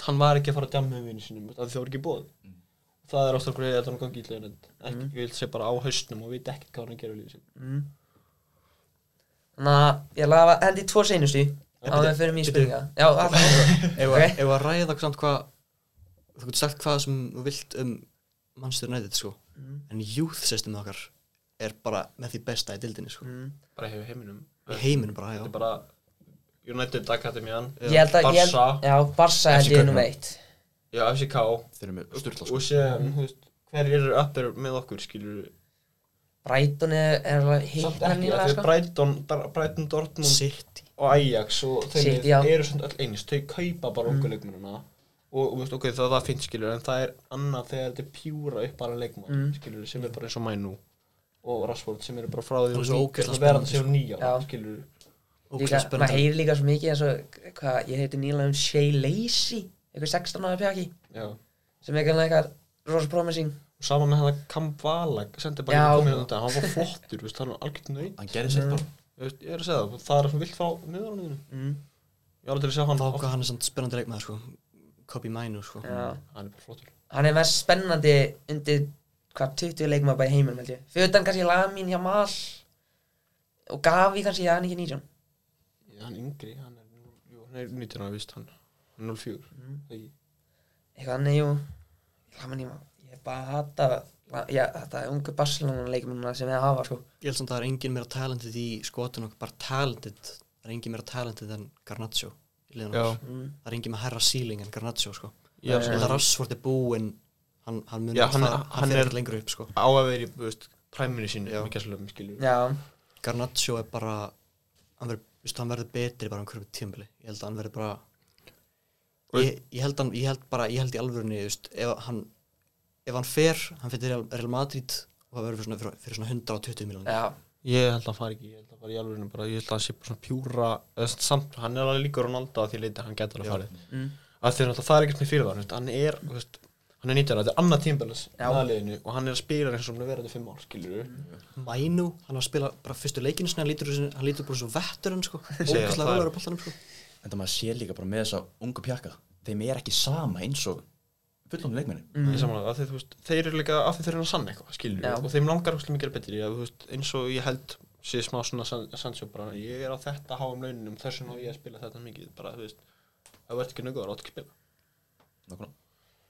F: hann var ekki að fara að djamma með vinnu sinum af því það voru ekki bóð mm. það er alltaf hverju að hann gangi ítlaðin ekki mm. vil segja bara á hausnum og veit ekki hvað hann gerir í lífið sinum
A: Þannig að ég lafa hendi í tvo seinustu á
F: bíddu,
A: við fyrir mér
H: bíddu.
A: spurninga Já, alltaf
H: Ef
A: Ok.
H: okay. að ræða samt hvað þú getur sagt hvað sem þú vilt um Manchester United sko en youth systemið okkar er bara með því besta í dildinni sko
F: bara hefur heiminum
H: í heiminum bara, já
F: þetta er bara United Academy hann
A: Ég held að ég held-
F: Barca.
A: Já, Barsa held
G: FC
A: ég nú
G: Kaupmann.
A: veitt
F: já FCK
G: Þeir eru með styrla sko
F: og séðan, þú veist, hverjir eru uppir með okkur, skilur
A: Brighton er, er alveg
F: samt
A: hitt
F: ekki, af því að Brighton, Bar- Brighton Dortmund
H: City
F: og Ajax og þeir
A: City,
F: Sitt,
A: já. Mm.
F: eru svona öll einist, þau kaupa bara ungu leikmennina og, og veist, ok, það, það finnst skilur en það er annað þegar þetta er pjúra upp bara leikmann,
A: Mm.
F: skilur, sem er bara eins og Mænu og Rashford sem eru bara frá því
H: Og
F: og
H: svo
F: nýja-
H: ógeðslega
F: og verða sem
A: Já.
F: nýja, skilur
A: Líka,
H: Ógeðslega
A: maður
H: spennandi.
A: heyri líka svo mikið eins og, hvað, ég heiti nýlega um Shay Lacey eitthvað 16 ára pjaki
F: já.
A: sem er kannski eitthvað rosa promising
F: og sama með hann að Kamvala sendi bara
A: Já.
F: ekki komin þetta, hérna, hann var flottur veist, hann var algjörn nöyt,
G: Hann gerði
H: Mm.
G: sitt bara
F: ég er að segja það það er svona vilt frá miðurunniðinu mm. ég var aldrei að sjá hann
H: þá hvað hann er samt spennandi leikmaður sko copy mine sko
A: Já.
F: hann er bara flottur
A: hann er mest spennandi undir hvað 20 leikum að bæja heiminum held ég fyrir utan kannski laga mín hjá Mal og Gavi kannski að hann ekki 19
F: Já, hann er yngri, hann er, nú- jú, hann er 19 ára, víst, hann, hann er 04. Mm. Ég,
A: eitthvað annað, jú laga mín hjá Mal ég er bara að hata la- já, þetta ungu Barcelona leikmennuna sem ég hafa sko
H: ég held samt að það er engin meira talented í skotun okkar bara talented það er engin meira talented en Garnaccio í liðinu
F: Já.
H: okkar.
A: Mm.
H: það er engin með herra ceiling en Garnaccio sko
F: Já,
H: ég held að Rashford er búinn hann, hann mun
F: Já,
H: ekki
F: hann-
H: fara-
F: hann
H: hann fer
F: er-
H: ekki lengur upp sko
F: á að vera í, þú veist, præminu sínu, já, ekki að slöfum, skilur.
A: já,
H: Garnaccio er bara hann verður, veist, hann verður betri bara um hverju tímbili ég held að hann verður bara ég, ég, held hann, ég held bara, ég held í alvörunni veist, ef hann ef hann fer, hann fer til Real, Real Madrid og það verður fyrir svona, fyrir, fyrir svona 120 miljón
A: já,
F: Ég held að hann fari ekki, ég held að hann fari í alveg bara, ég held að hann sé bara svona pjúra, eða svona samt, hann er alveg líka Ronaldo að því leiti að hann gæti alveg farið. Mm. Af því að náttúrulega það er ekkert með fyrir það, veist, hann er, þú veist, hann er 19 ára, þetta er annað tímbelis
A: Já.
F: aðliðinu og hann er að spila eins og hann er verið þetta 5 ár, skilur.
H: Mænu, hann var að spila bara fyrstu leikinu sinni, hann lítur, þessu- hann lítur bara svo vettur hann sko,
F: það,
H: ógæslega
F: það er-
H: vel að bóltanum sko
G: En það maður sé líka bara með þessa ungu pjakka Þeim er ekki sama eins og fullónu leikmenni
F: Ég samanlega, af því þú veist, þeir eru líka, af því þeir eru að sanna eitthvað, skilur
A: Mm. Já.
F: og þeim langar óslega mikið að betri, að, þú veist, eins og ég held sé smá svona san- Sancho bara, ég er á þetta háum launum, þess vegna á ég að spila þetta mikið, bara, þú veist, ef þú ert ekki nöggur, átt ekki að spila.
G: Nákvæmlega.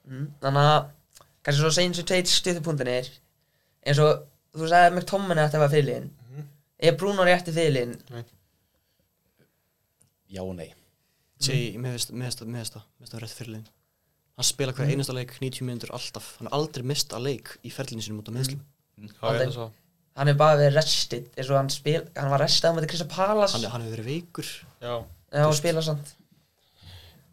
A: mm. þannig að kannski svo segjum sem teit stuðupúndinir eins og þú sagði með Tommin að þetta var fyrirliðin
H: Mhm.
A: er Bruno rétti fyrirliðin
G: Já og nei
H: Jay, mér finnst mér finnst það, mér finnst það, mér finnst það rétt fyrirlegin hann spila hver einasta leik 90 minnundur alltaf, hann er aldrei mist að leik í ferlinu sínum út af meðslum
F: Já,
A: Aldrei.
F: ég, svo,
A: hann er bara verið restið eins og hann spil, hann var restað með Krista Palas
H: hann, hann hefur verið veikur
F: já,
A: já, og spila samt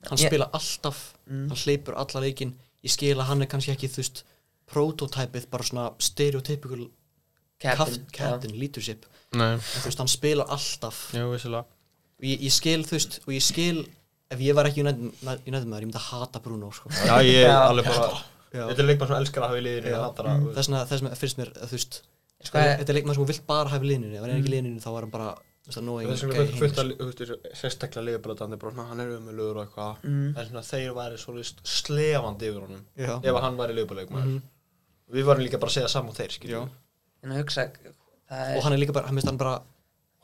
H: hann
A: Ég-
H: spila alltaf, hann hleypur alla leikin ég skil að hann er kannski ekki þú veist prototypið, bara svona stereotypical
A: Captain,
H: captain, captain leadership
F: nei,
H: en þú veist, hann spila alltaf
F: já, vissilega.
H: og ég, ég skil þú veist, og ég skil ef ég var ekki United maður, ég myndi að hata Bruno sko.
F: Já, ég
A: Já.
F: er alveg bara, þetta er leikmann sem elskar að hafa í liðinu, og hattar að, þú veist,
H: þess vegna þess vegna finnst mér, að, þú veist
A: Sko, ég-
H: þetta er leikmann sem hún vilt bara hafa í linunni ef hann er ekki í linunni þá er hann bara þú veist, annoying
F: þess
H: gæi
F: vegna
H: í
F: fullt-
H: heimi,
F: fullt að, þú veist, þessu sérstaklega liðbröðandi, bara, svona, hann er umulugur og eitthvað,
A: Mm.
F: en svona, þeir væri svolítið slefandi yfir honum,
H: Já.
F: ef að hann væri liðbröðleikmaður. Við varum líka bara að segja saman þeir, skiljum.
A: en að hugsa það
H: sko. og
A: er,
H: hann er líka bara, hann finnst hann bara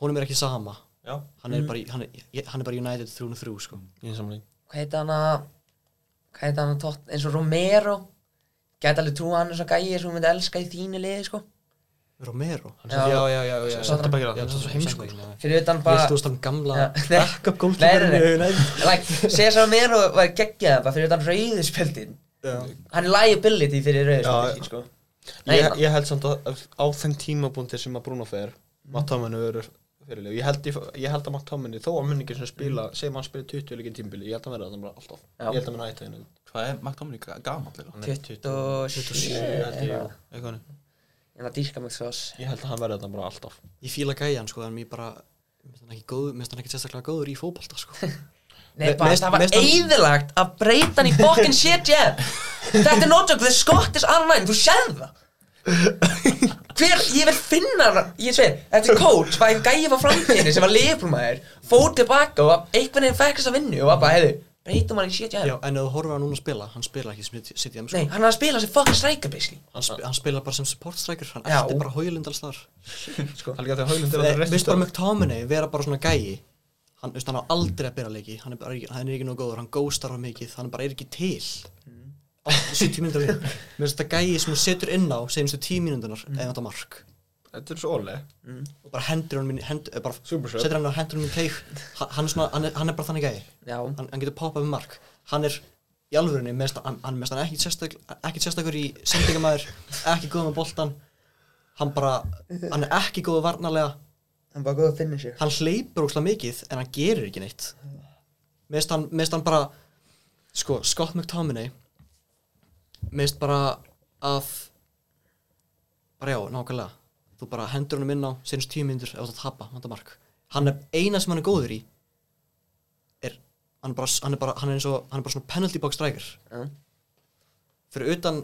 H: honum er ekki sama
F: Já,
H: hann er, bara, í- hann er, ég- hann er bara United 303 sko.
F: ég er samanlega.
A: hvað heit hann að hvað heit hann að tótt, eins og Romero gæti alveg trúa hann eins og gæi sem hún myndi elska í þínu liði sko
H: Romero
F: Hann sem- já, já, já, já Santa Bækir
H: Já,
F: hann
H: það er
F: sem
H: svo sko. heimsko Viltu
A: Fyrir utan bara
H: veist hann gamla
A: Ja, nei.
H: backup goalkeeperinn í
A: Nei,
H: United?
A: like, Cesar Romero var geggjað bara fyrir utan rauðu spjöldin hann er liability fyrir rauðu
F: Já,
A: spjöldin sko. Nei,
F: ég, ég held samt að á þeim tímabúndi sem að Bruno fer Mattáminu verður fyrirlið ég held, ég, ég held að Mattáminu þó að munningi sem spila segjum hann spila 20 leikinn tímbili ég held að hann verða þannig bara alltaf
A: Já.
F: ég held að hann hætti henni
G: Hvað er Mark Dominic gaman til?
F: Hann er
A: 27
F: held ég,
A: eitthvað.
F: eitthvað þannig.
A: en það dýrka mig svo
F: ég held að hann verði þannig bara alltaf
H: Ég fíla gæjan sko, en mér bara Mér finnst hann ekki góður, mér finnst hann ekki sérstaklega góður í fótbolta sko
A: Nei,
F: Me-
A: bara,
F: mest-
A: það var
F: mest hann-
A: eðilagt að breyta hann í fokkin shit jam Þetta er notjök, the Scottish online, þú séð það Hver, ég vil finna hann, ég sveir, þetta er coach, var eitthvað gæði frá framtíðinni sem var liðbrúmaður Fór tilbaka og var- einhvern veginn fekk þess að vinnu og var bara, heiðu, breytum hann í shit jam
H: Já, en ef þú horfir á hann núna að spila, hann spila ekki sem sitt í þeim
A: Nei,
H: sko
A: hann er að spila sem fokkin striker, basically
H: hann, sp hann spila bara sem support striker, hann
A: Já.
H: eftir bara hójulindals þar
F: það er líka þegar Haulund er alltaf
H: Mér finnst Eh, bara
F: restið
H: McTominay vera bara svona gæi Hann, veist, hann á aldrei að byrja leiki, hann er, bara, ekki- hann er ekki nóg góður, hann góstar á mikið, hann bara er ekki til á 70 minnundar við Mér finnst þetta gæi sem hún setur inn á seinustu 10 minnundunar mm. eða þetta mark
F: þetta er svo ólega
H: og bara hendur hann minn, hend, eh, bara
F: Super shot.
H: setur hann á hendur hann minn teik Ha- hann er, svona, hann, er, hann er bara þannig gæi
A: Já,
H: hann, hann getur poppað með mark hann er í alvörunni mest, hann, hann mest hann ekki sérstak, ekki sérstakur í sendingamæður ekki góð með boltan hann bara, hann er ekki góð varnarlega
A: hann bara góð að finna sér
H: hann hleypur ógslag mikið en hann gerir ekki neitt mest hann, mest hann bara sko, Scott McTominay mest bara að bara já, nákvæmlega þú bara hendur hann inn á senst tíu myndur ef þú ert að tapa, hann er mark hann er eina sem hann er góður í er, hann er bara, hann er bara, hann er eins og hann er bara svona penalty box striker
A: Mm.
H: fyrir utan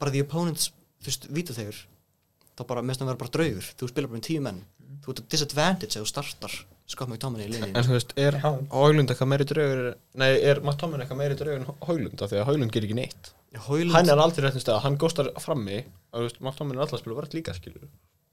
H: bara the opponents, þú veist, vítu þegar þá bara, mest hann verður bara draugur þú spilar bara með tíu menn, þú ert að disadvantage ef þú startar Scott McTominay í linni
F: en þú veist er Haulund eitthvað meiri draugur nei er Mattáminu eitthvað meiri draugur en Haulund af því að Haulund gerir ekki neitt hann er aldrei réttum stað hann góstar frammi og Mattáminu er alltaf að spila verð líka skilur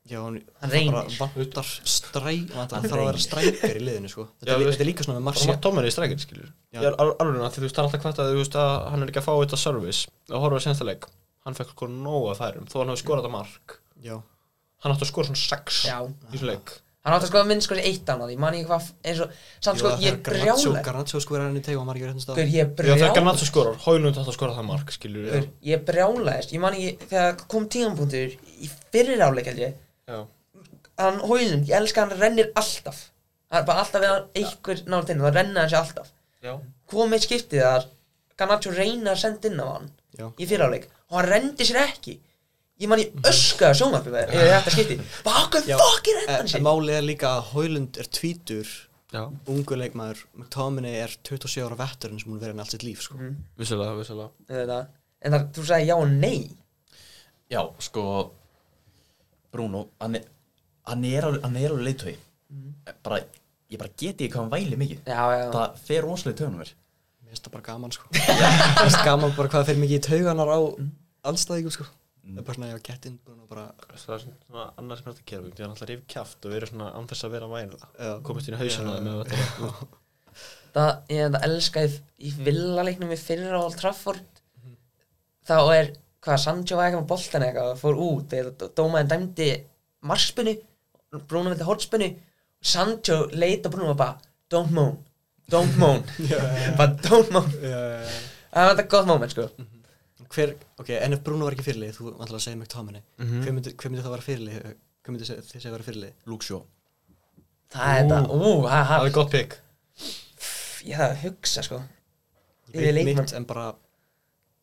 H: Já, hann,
A: Hann
H: hann bara
A: reynir.
H: vantar stræ hann þarf að vera strækir í liðinu sko. þetta,
F: Já,
H: er,
F: þú
H: lí-
F: veist-
H: þetta er líka svona með
F: bara
H: Marcia
F: maður tómur í strækir skilur
H: Já.
F: ég er alveg að því þú veist það er alltaf hvert að þú veist að hann er ekki að fá þetta service og horfa á sensta leik hann fekk sko nóg að færum þó hann hafi skorað að mark
H: Já,
F: hann átti að skora svona 6
A: Já.
F: í þessum leik
A: Hann átti að skoða minn sko í eitt annað, ég man ekki hvað, eins og, samt sko, ég er brjálæður
H: Garnatsjó sko er hann í tegu og maður ekki verið
A: Gaur,
H: hérna
A: Ég er
F: Já, þegar
A: brjálæður
F: Garnatso skorar, Hólund átti að skora það mark skilur
A: Gaur, ég brjálaðist, ég man ekki þegar kom tíðanbúndur í fyrir áleik held ég
F: Já.
A: hann hóðum, ég elska hann rennir alltaf hann er bara alltaf við hann einhver nátt inn og það renna hann sér alltaf
F: Já.
A: kom eitt skiptið þar Garnaccio reyna að senda inn á hann
H: Já.
A: í fyrir áleik og hann rendi sér ekki ég man ég öskaði sjónvarpið með yfir þetta skipti bara okkur fokkin renda hann sér
H: Málið er líka að Hólund er tvítur
F: Já.
H: ungu leikmaður McTominay er 27 ára vetturinn sem hún verið hann allt sitt líf sko.
F: vissulega, vissulega
A: Þetta. en það, þú sagði já og nei
G: Já, sko Bruno, hann er hann er alveg, hann er alveg leiðtögi bara, ég bara geti ekki hvað hann væli mikið
A: já, já, já.
G: það fer rosalega í taugunum mér
H: Mér finnst það bara gaman sko. Mér finnst gaman bara hvað það fer mikið í tauganar á anstæðingum sko.
F: Mhm.
H: Það er bara svona já, get in Bruno, bara,
F: Það er svona annað sem er hægt að gera því hann alltaf rifið kjaft og verið svona án þess að vera
H: Já.
F: væla komist inn í hausana með þetta
A: það, ég þetta elskaði í villaleiknum í fyrra á Old Trafford þá er hvað Sancho var eitthvað með boltan eitthvað og fór út eða dómaðin dæmdi marspinu, Bruno vildi hortspinu Sancho leit á Bruno og bara don't moan, don't moan bara don't moan það var þetta gott moment sko
H: hver, ok, en ef Bruno var ekki fyrirlið þú ætlaði að segja McTominay
F: Mhm.
H: hver, myndi, hver myndi það vera fyrirlið hver myndi þið segja vera fyrirlið
G: Luke Shaw
A: það er þetta, ú, það er
F: það
A: hart
F: er gott pick
A: ég það að hugsa sko
H: ég
A: Yfir
H: veit
A: leikmann.
H: mitt en bara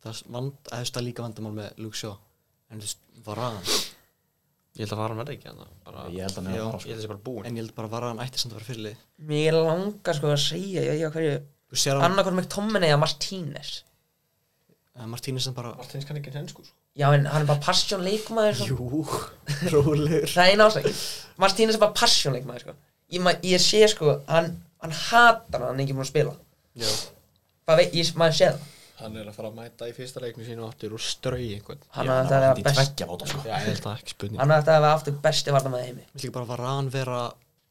H: það vand, að það er líka vandamál með Luke Shaw en þú veist, Varan
F: ég held að fara með ekki hann bara
G: Ég held að hann er
H: Já.
G: að fara
F: ég held að sé bara búinn
H: en ég held bara að Varan ætti samt að vera fyrirlið
A: mér langar sko að segja, ég veit ekki á hverju
H: þú sér hann,
A: annarkvæmur með Tomminei eða Martínez
H: hann Martínez sem bara
F: Martins kann ekki hensku sko
A: já en hann er bara passion leikmaður sko.
H: jú, rólegur
A: Það er eina ástæð Martínez er bara passjónleik maður sko Ég, ma, ég sé sko, hann, hann hatar hann hann er ekki múin að spila
H: já,
A: Bara veit, ég, maður sé það
F: hann er að fara að mæta í fyrsta leikni sínu áttir og ströi einhvern
A: Hann hafði þetta að vera best
G: tveggja fóta sko
F: Já, ég held að ekki spurning
A: Hann hafði þetta að vera aftur besti varna með heimi
H: mér líka bara Varan vera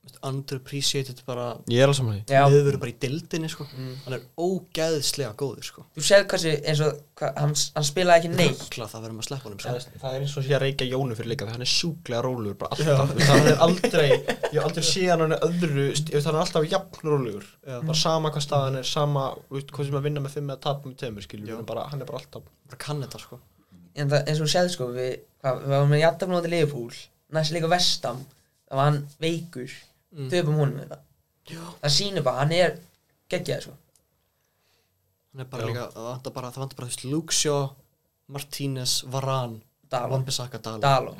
H: veist, underappreciated bara
F: Ég er alveg saman því
A: Já,
H: meðveru bara í dildinni sko. hann er ógæðslega góður sko.
A: þú séð hversu eins og hva, hann, hann spilaði ekki neitt
H: Kla, það verðum að sleppa honum
F: Það
H: sko.
F: er- það er eins og sé að reykja Jónu fyrir líka hann er sjúklega rólugur bara alltaf það er aldrei, ég hef aldrei séð hann hann öðru, st- ég veist, hann er alltaf jafn rólugur bara sama hvað staðan er, sama þú veist, hvað sem að vinna með fimm eða tapa með tveimur skilur, hann, er bara, hann er bara alltaf
H: bara kann þetta sko.
A: en það, eins og þú séð sko við, hvað, við varum með jættafnóti Leifupúl næst líka Vestam það var hann veikur mm. töfum honum þetta það sýnir bara hann er geggjaði sko
H: hann er bara líka, það vantar bara, það vantar bara þú veist, Luxio, Martínez, Varan
A: Daló
H: Wan-Bissaka, Dalo
A: Daló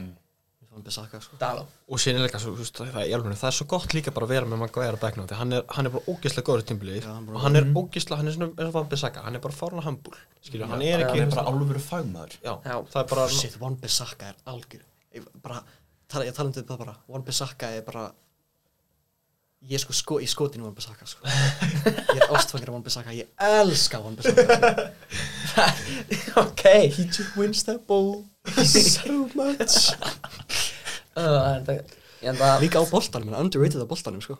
H: Wan-Bissaka sko.
A: Daló
F: og síðan er líka svo, þú veist, það, er, alveg, það er svo gott líka bara að vera með Maguire á bekknum því hann er, hann er bara ógeðslega góður tímbili
H: Já, hann bara-
F: og hann er ógeðslega, hann er svona eins og Van Bissaka hann er bara fórna hambúl, skilur, hann er ekki
G: Hann er bara alvöru fagmaður
F: já,
A: Já.
F: það er bara
H: Oh, shit, Wan-Bissaka er algjör ég bara, tala, ég tala um þetta bara Wan-Bissaka er bara ég er sko, sko í skotinu Wan-Bissaka sko. ég er ástfangir Wan-Bissaka ég elska Wan-Bissaka sko.
A: ok
G: He just wins that ball so much
A: Uh, þetta- ég held að
H: líka á boltanum, hann er underrated á boltanum sko.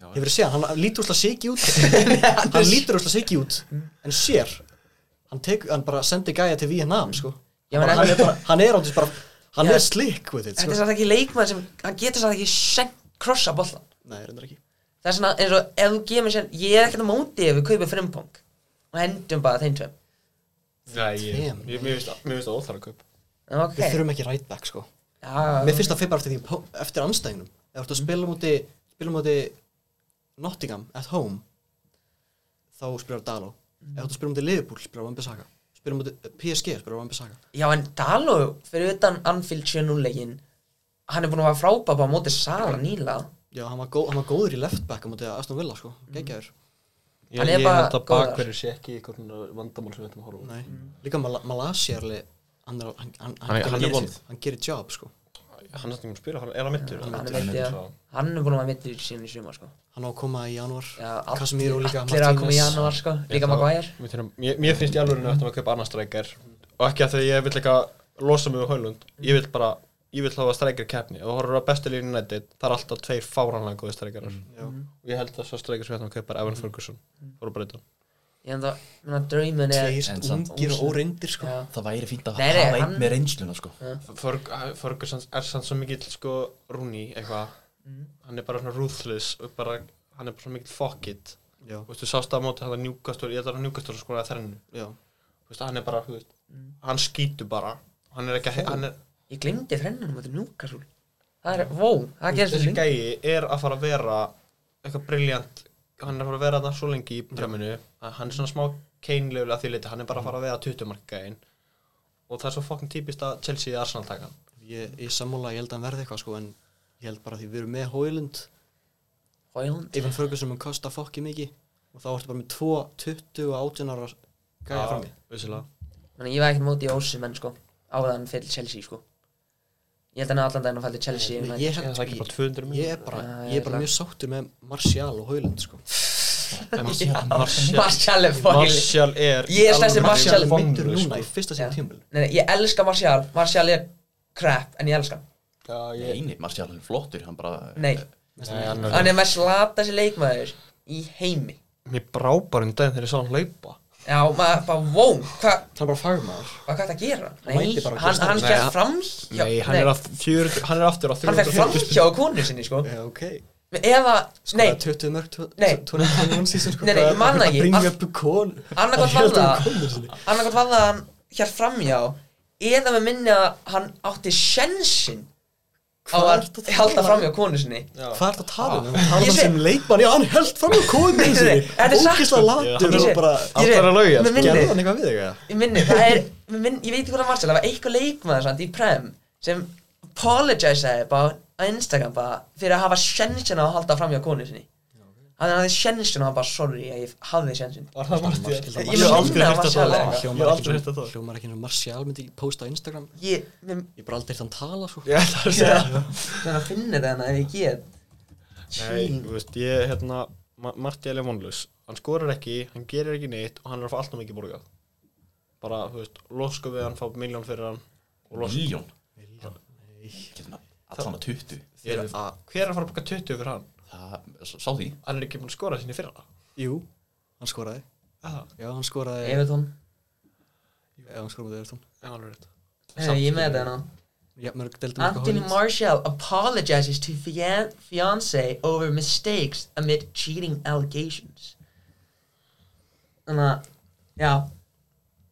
G: Já.
H: ég verið að segja, hann hann lítur úslega siki út hann lítur úslega siki út en sér, hann, tek, hann bara sendi gæja til Vietnam
F: Mm.
H: sko.
A: Já,
H: bara,
A: en-
H: hann er bara, hann er áttist bara hann
A: Já.
H: er slick with it
A: þetta
H: sko.
A: er satt ekki leikmann sem hann getur satt ekki sent krossa bollan
H: nei, reyndar ekki
A: það er svona eins og ef þú gefur mér sér ég er ekkert á móti ef við kaupum frimpong og hendum bara þeim tveim
F: Nei, ég, ég,
H: Damn.
F: mér finnst það- mér finnst það óþara kaup
A: En ok
H: við þurfum ekki right back sko.
A: Já,
H: mér finnst það fyrir bara eftir, því, pó- eftir anstæðingnum ef
F: Mm.
H: þú ert að spila múti spila múti Nottingham at home þá spilar Daló ef þú ert að spila múti Liverpool spilar Wan-Bissaka spila múti PSG spilar Wan-Bissaka
A: já en Daló fyrir utan Anfield 7-0 leikinn hann er búin að vera frábæð bara á móti Sala nýla
H: já, hann var, góð, hann var góður í left back á múti Aston Villa sko, geggjaður
F: Ég,
A: Hann er
F: ég
A: bara
F: held að
A: góður.
F: bakverður sé ekki eitthvað svona vandamál sem við ætlum að horfa á.
H: Nei. Mm. líka Mal Malaysia er alveg hann, er- hann, hann,
F: Hann er- hann er
H: gerir-
F: vond.
H: hann gerir job sko
F: Hann er næstum að spila, hann er að mittur
A: hann er veitt ég hann er búin að vera mittur síðan í suma sko
H: hann á að koma í janúar
A: Já, all-
H: Casemiro líka,
A: allir eru að koma í
H: Martínez.
A: januar sko líka Maguire
F: Mér mér finnst í alveg að maður kaupa annar streikar og ekki að því að ég vil eitthvað losa mig við Hólund ég vil bara, ég vil hafa streikar keppni og horfður á bestu línu nættið það er alltaf tveir fáránlega góði streikarar
H: Mm.
F: og ég held að svo streikar sem við ætlum að kaupa er Evan Ferguson fór að breyta
A: ég held að minna draumin er
H: þeir
G: En samt-
H: ungir og óreyndir sko
A: Já.
G: Það væri fínt að
A: Nei, nei,
G: hafa einn
A: hann-
G: með reynsluna sko
F: Ferguson ah, er sann svo mikill sko Rooney eitthvað
H: Mm.
F: hann er bara svona ruthless og bara, hann er bara svona mikill fuck it
H: Já.
F: og þú sást að móti þetta njúkastur ég ætlar að njúkastur sko að þrennu
H: Já.
F: Þú veist, hann er bara, þú veist,
H: Mm.
F: hann skýtur bara hann er ekki, að- hann er
A: ég glemdi þrennunum þetta núkasúl það er vó það gerst
F: þessi
A: svo lengi
F: gæi er að fara að vera eitthvað briljant hann er að fara að vera þarna svo lengi í breminu að hann er svona smá keinlegulega því leiti hann er bara að fara að vera 20 marka gæin og það er svo fokkin típist að Chelsea eða Arsenal taka hann
H: ég, ég sammála, ég held að hann verði eitthvað sko en ég held bara að því við erum með Hoylund
A: Hoyland
H: Evan Ferguson mun kosta fokki mikið og þá ertu bara með 2, 20 og 18 ára gæja frammi
F: vissulega
A: Þannig að ég var ekkert móti í ósi menn sko áðan fyrir Chelsea sko ég held að hann allan daginn að falla Chelsea
H: Nei,
A: United.
H: ég,
F: það
H: held,
F: er ekki bara
H: ég,
F: 200
H: ég er
F: miljonar
H: bara,
A: Já,
H: ég er bara
A: ég-
H: mjög sáttur með Martial og Hoylund sko.
G: Martial
A: Martial er fucking
F: Martial er
A: Ég er stærsti Martial
F: alveg
H: Martial er
F: vonlaus,
H: myndur núna í
F: sko.
H: fyrsta sem
A: Já.
H: tímul
A: Nei, nei, ég elska Martial Martial er crap en ég elska hann
F: Já, ég-
G: Eini, Martial er flottur Hann bara
A: Nei,
F: Nei, hann er-
A: hann er með slata sér leikmaður í heimi
F: mér brá bara um daginn þegar ég sá hann hlaupa
A: Já, maður bara, wow, hvað
H: hann er bara fagmaður
A: hva, hvað það gera?
H: Hann
A: Nei,
H: mætir bara á
A: hann,
H: kjörstað.
A: hann
F: Nei,
A: fer
F: hann-
A: fram
F: nei, hann er, að 40, hann er aftur á
A: Hann fer
F: 350
A: fram hjá konu sinni, sko
H: Já, ok
A: Eða, nei,
H: Skoraði 20 mörg
A: Nei.
H: 2021 síðan sko
A: Nei, nei, ég man það ekki.
H: bringi
A: Allt-
H: upp kon
A: annarkvæmt var það Annarkvæmt var það hann hér fram hjá Eða með minni að hann átti sjensin á
H: Hvað
A: að
H: ertu að tala
A: halda
H: um?
A: fram hjá konu sinni
H: Hvað er það að tala um? Hann tala
A: Ég
H: um
A: sé-
H: sem leikmann, já hann held fram á kóðinu
A: Nei,
H: sinni
A: nei, þetta er satt. sko.
H: Ógislega latur
A: Ég sé-
H: og bara
A: ég sé-
F: Allt var að lauga,
A: með
F: sko.
A: minni-
H: Gerði hann eitthvað við þig? eða?
A: Ég minni, það er, mig minn, ég veit ekki hvað það var það var eitthvað leikmaður samt í Prem sem apologizeaði bara á Instagram bara fyrir að hafa sjensin á að halda fram hjá konu sinni hann hafði sjensin og hann bara sorry að ég hafði sjensin
F: var það Martial
A: Ég
F: ég hef aldrei
A: minna að
F: hýrt að
A: Martial
F: tala
A: er-
F: ég
H: Hljómar ekki
F: hef aldrei hýrt
H: svona-
F: að tala
H: Hljómar ekki hennar Martial myndi posta á Instagram
A: ég, mér,
H: Ég bara aldrei hitt hann tala sko
F: ég ætla að segja það
A: þannig að finna þetta hann ef ég get
F: Nei, þú veist, ég, hérna, Ma- Martial er vonlaus Hann skorar ekki, hann gerir ekki neitt og hann er að fá alltaf mikið borgað Bara, þú veist, losku við hann, fá miljón fyrir hann og los
G: Miljón Allan að 20
F: Ég er- Hver er að fara að baka 20 fyrir hann?
G: það, s- sá því
F: Hann er ekki búin að skora sinni fyrra
H: Jú, hann skoraði
F: Aha.
H: Já, hann skoraði
A: Evertón
H: Já, hann skoraði með Evertón
F: Já, alveg rétt
A: Hey, Ég er með þetta hérna
H: Já, mörg deildum
A: Anthony Marshall apologizes to fian fiance over mistakes amid cheating allegations Þannig að, já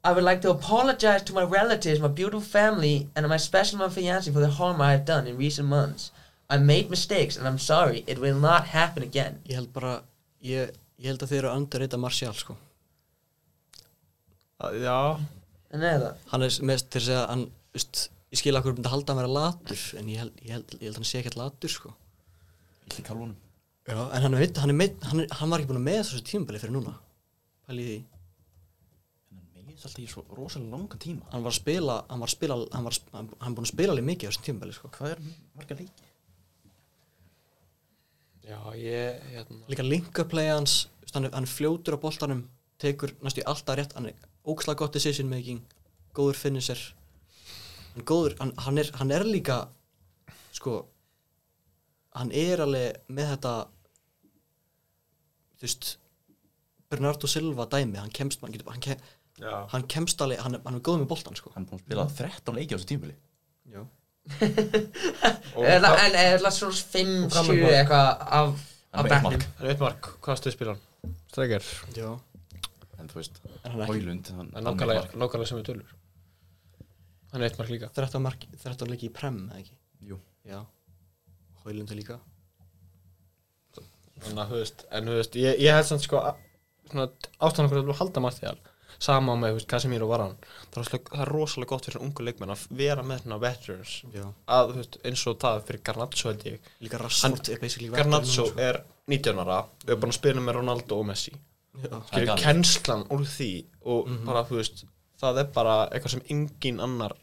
A: I would like to apologize to my relatives, my beautiful family and my special my fiance for the harm I have done in recent months I made mistakes and I'm sorry, it will not happen again
H: Ég held bara Ég, ég held að þeir eru andur reyta Martial sko
F: Ah, Já,
A: En er það?
H: Hann er mest til að segja hann, veist, Ég skil að hverju myndi halda að vera latur En ég held, ég held, ég held að hann sé ekkert latur sko
G: Illi kálunum
H: Já, en hann, veit, hann, er meitt, hann, er, hann var ekki búin að með þessu tímabili fyrir núna Pæli því
G: En hann meðist alltaf í svo rosalega langan tíma
H: Hann var að spila Hann var að spila Hann var, að sp- hann hann búin að spila alveg mikið á þessum tímabili sko
G: Hvað er marga leiki?
F: já, ég, hérna
H: Líka linkaplay hans veist, hann er, hann er fljótur á boltanum Tekur næstu í alltaf rétt Hann er óksla gott decision making Góður finisher Hann, er góður, hann, hann, er, hann er líka Sko Hann er alveg með þetta Þú veist Bernardo Silva dæmi Hann kemst, hann getur, hann kem,
F: Já.
H: hann kemst alveg hann, er- hann er góð með boltan sko
G: Hann er búin að spila 13 leiki á þessu tímabili
H: Já.
F: Og
A: En
F: hvað-
A: en er það svona 5,
F: Og fram-
A: 7 eitthvað af,
G: Hann
A: af
G: er með eitt
A: bekknum
F: Hann er eitt mark, hvað stuð spila hann? Strækjar
H: Já.
G: En þú veist,
H: En hann er ekki
G: Hólund Hann
F: Það er
G: hann er
F: nákvæmlega,
G: mark.
F: nákvæmlega sem við tölur Hann er eitt mark líka
H: 13, mark, 13 leiki í prem eða ekki
G: Jú.
H: Já Hólunda líka
F: Þannig að, þú veist, en þú veist, ég, ég held samt sko að- svona ástæðan okkur að þú halda Martial sama með, þú veist, Casemiro var hann það er, rosalega, það er rosalega gott fyrir ungu leikmenn að vera með svona veterans
H: Já.
F: að, þú veist, eins og það fyrir Garnaccio held ég
H: Líka Rashford er basically
F: Garnaccio
H: veteran, sko.
F: er 19 ára við erum búin að spila með Ronaldo og Messi
H: Já.
G: Það er
F: Skilur,
G: galið.
F: kennslan úr því og bara, þú veist, það er bara eitthvað sem engin annar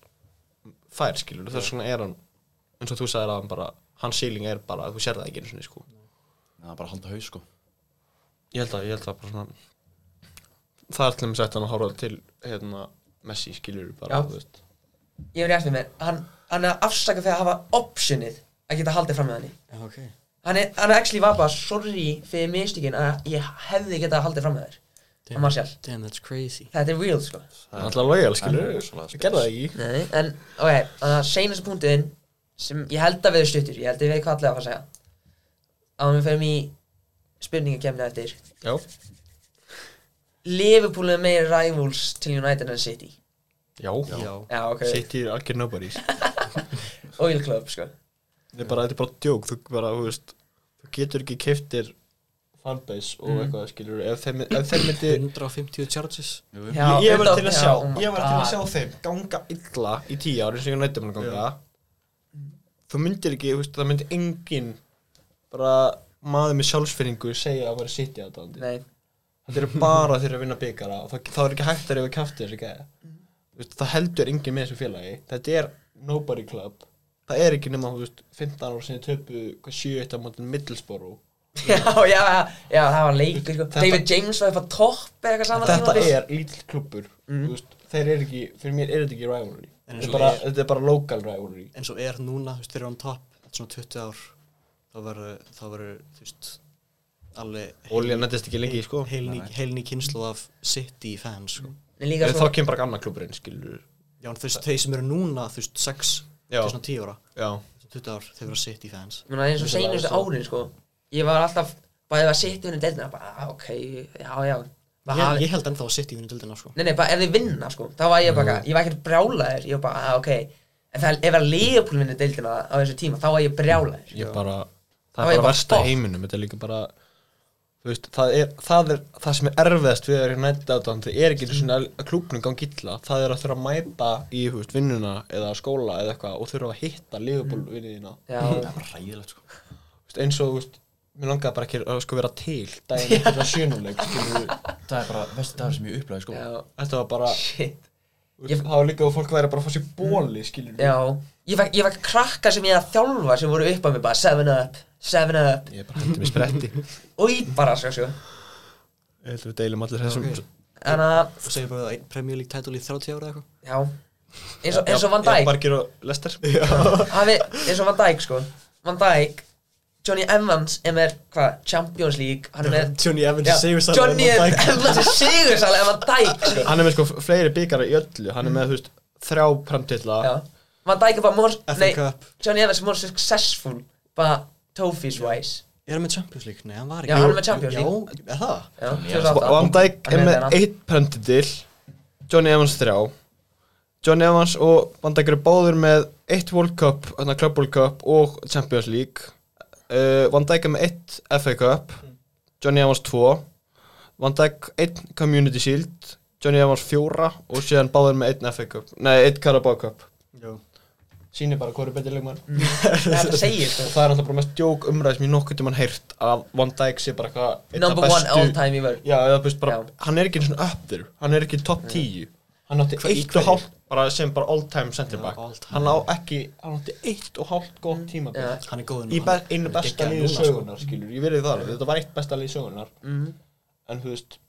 F: fær, skilur, þess vegna er hann eins og þú sagðir að hann bara, hans síling er bara, þú sér það ekki einu sinni, sko
G: Það er bara að halda haus sko
F: Ég held að, ég held að bara svona Það er til að setja hann að horfa til hérna, Messi skilur bara
A: Já.
F: þú veist.
A: Ég hef rétt með mér, hann, hann er að afsaka fyrir að hafa optionið að geta haldið fram með henni
H: Já, ok
A: hann er, hann er actually var bara sorry fyrir mistökin að ég hefði getað haldið fram með þér
H: Damn,
A: að Martial,
H: Damn, that's crazy
A: þetta er real sko
F: Það er alltaf lojal
G: Það
F: skilur
G: er rosalega
F: Það gerða það ekki
A: Nei, en ok, þannig að seinast punktin sem ég held að við erum stuttur, ég held að við hvað allir að fara að segja að við ferum í spurningakemni eftir
F: Já,
A: Liverpool er meiri rivals til United en City
F: já,
H: Já
A: Já, ok,
F: City er algjör nobody's
A: oil club sko
F: Þetta er bara, þetta er bara djók Þú, bara, þú, veist, þú getur ekki keftir fanbase og
A: Mm.
F: eitthvað skilur ef þeim, ef þeim myndi
H: 150 charges
A: Já,
F: Ég, ég var
A: auðvitað-
F: til að
A: já,
F: sjá,
A: oh my
F: ég var til að
A: god.
F: sjá þeim ganga illa í tíu ári sem ég nætti mér að ganga Þú myndir ekki, þú veist, það myndi engin bara maður með sjálfsfinningu segja að vera City aðdáðandi
A: Nei,
F: Þetta eru bara þeir að vinna byggara og það, það er ekki hægt að reyfa kæfti þessu gæði mm. Það heldur engin með þessu félagi Þetta er nobody club Það er ekki nema, þú veist, 15 ára sinni töpu 7-1 á mótin Middlesborough
A: já, já, já, já, það var leikur sko
F: Þetta-
A: David James var eitthvað topp eða eitthvað saman
F: Þetta er lítill klubbur mm. veist, Þeir eru ekki, fyrir mér er þetta ekki rivalry
H: En
F: Þetta
H: eins
F: er
H: og
F: bara,
H: er.
F: þetta er bara local rivalry
H: En svo er núna, þú veist, þeir eru án topp Þetta er svona 20 ár Þá verður, þá verður, þú veist Alveg
F: Olja nættist ekki lengi, sko
H: heilni, heilni kynslu af City fans sko.
A: En líka
F: En Þá
A: svo,
F: kemur bara annar klubburinn, skilur
H: Já, en þú veist, þeir sem eru núna, þú veist, 6
F: Já.
H: Til svona 10 ára
F: Já,
H: 20 ár, þeir verða City fans
A: ég meina eins og seinustu árin sko Ég var alltaf, bara ef að sittu henni deildina bara, ah, ok, já, já Bara
H: ég,
A: hafi-
H: ég held ennþá að City vinni dildina sko.
A: Nei, nei, bara ef þið vinna sko, þá var ég bara, ég var ekkert brjálaður, ég var bara, ah, ok En það, ef að Leopold vinna deildina á þessu tíma, þá var ég brjálaður
F: ég bara
A: Það er
F: Það er bara
A: bara
F: versta
A: stopp.
F: heiminum, þetta er líka bara Þú veist, það er, það er það sem er erfiðast við er nætti átan Það er ekki einu sinni að að klúbnum gangi illa Það er að þurfa að mæta í þú veist, vinnuna eða skóla eða eitthvað og þurfa að hitta liðbólvinni þína
A: Já,
G: Það er bara ræðilegt sko
F: Þú veist, eins og, þú veist, mér langaði bara ekki að sko vera til daginn eftir það sjönuleik skilurðu.
G: Það er bara vesti dagur sem ég upplæði sko
A: já,
F: Þetta var bara,
A: shit
F: þú veist, það var líka að fólk væri bara að fá sér bóli, skilur
A: Já, ég fekk, ég fekk krakka sem ég að þjálfa sem voru upp á mig bara, seven up, seven up
F: Ég bara hætti mig spretti
A: Og ég bara, sko, sko
F: Ég held að við deilum allir þessum
A: En að,
H: Og segir bara að einn Premier League title í 30 ára eða eitthvað
A: já, eins og, eins og Van
F: Já,
A: Dijk
F: Bargir og Lester Já
A: hafi, eins og Van Dijk sko Van Dijk, Johnny Evans er með, hvað, Champions League hann er með
I: Johnny Evans
A: Já,
I: Sigurðsson
A: Johnny Evans er sigursal ef hann dæk sko.
F: Hann er með sko fleiri byggara í öllu Hann er með, þú veist, þrjá premtilla
A: Já. Van Dijk er bara more,
H: FA
A: nei,
H: Cup
A: Johnny Evans er more successful bara trophies wise
H: Er hann með Champions League? Nei, hann var
A: Já,
H: ekki
A: hann er með Champions League
H: Já, er það?
A: Já,
F: Og
A: 2008.
F: Van Dijk
A: Hann
F: er
A: þennan.
F: með eitt premtill Johnny Evans þrjá Johnny Evans og Van Dijk eru báður með eitt World Cup, þarna Club World Cup og Champions League uh, Van Dijk er með eitt FA Cup Johnny Evans 2 Van Dijk 1 Community Shield Johnny Evans 4 og síðan báður með 1 FA Cup Nei, 1 Carabao Cup Sýnir bara hvað eru betri leikmann
A: þetta segir sko.
F: og það er alltaf bara mest djók umræð sem ég nokkuð tímann heyrt að Van Dijk sé bara eitthvað einn af
A: number one all time í vörn
F: Já, eða þú veist bara,
A: Já.
F: hann er ekki einu svona up there, hann er ekki top 10 Hann átti eitt og hálft, bara sem bara all time center back
H: all time.
F: Hann á ekki, hann átti eitt og hálft gott tímabil
A: Mm, Já.
H: Hann er góður
F: Í
H: núna.
F: be einu besta
H: geggjaður
F: liði
H: núna, sko.
F: sögunar, skilur, ég verið það Þetta var eitt besta liði sögunar
A: Mm.
F: En þú veist,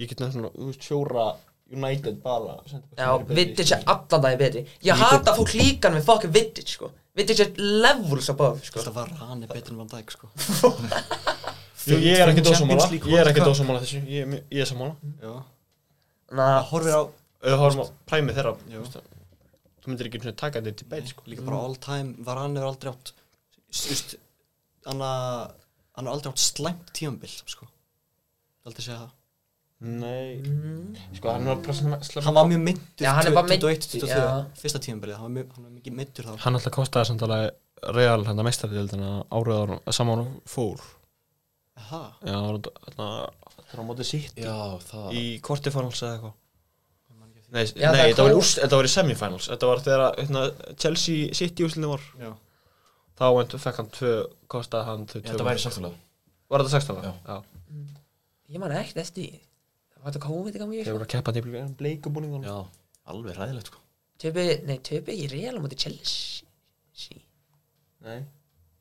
F: ég get nefnt svona, þú veist, fjóra United bara center back
A: Já,
F: sem eru betri,
A: Vidic er
F: skilur.
A: allan daginn betri Ég hata fólk líkan með fokkin Vidic sko Vidic er levels above sko
H: Það var hann er betur en Van Dijk sko
F: Jú, Ég er ekki
G: Champions
F: dósamála,
G: League
F: ég er
G: World
F: ekki
G: Cup.
F: dósamála þessu, ég er mjög- ég er samála
H: Já
A: Na,
H: Horfir á
F: eða horfum á præmið þeirra þú
H: Já.
F: veist það. þú myndir ekki einu sinni taka þetta til beil sko.
H: Líka
A: Mm.
H: bara all time Var hann hefur aldrei átt Sýst Hann að- hann hefur aldrei átt slæmt tíambil sko Aldrei segja það
F: nei sko hann var pressa
H: Hann var mjög myndur
A: Já, hann er bara meiddur,
H: 21-22 Fyrsta tíambilið Hann var mjög- hann var mikið myndur þá
F: hann alltaf kostaði samt alveg real hérna meistarðildina áriðarum saman og fór
H: Aha
F: já það var á móti sitt
G: Já, það
F: hérna, í kvartifinals eða eitthvað Nei,
A: Já, það
F: nei
A: er
F: þetta, var í
A: klár.
F: úst, þetta var í semifinals Þetta var þegar að, hérna, Chelsea City úrslinni var
H: Já.
F: Þá endur, fekk hann tvö, kostaði hann þau tvö
G: Þetta
F: mörk.
G: væri samfélag
F: Var þetta 16?
G: Já.
F: Já.
A: ég man ekkert eftir því. Var þetta COVID í gangi?
F: Þeir voru að keppa til bleikubúningunum
G: Já, alveg ræðilegt sko
A: Töpi, nei, töpi ekki real á móti Chelsea Sí.
F: Nei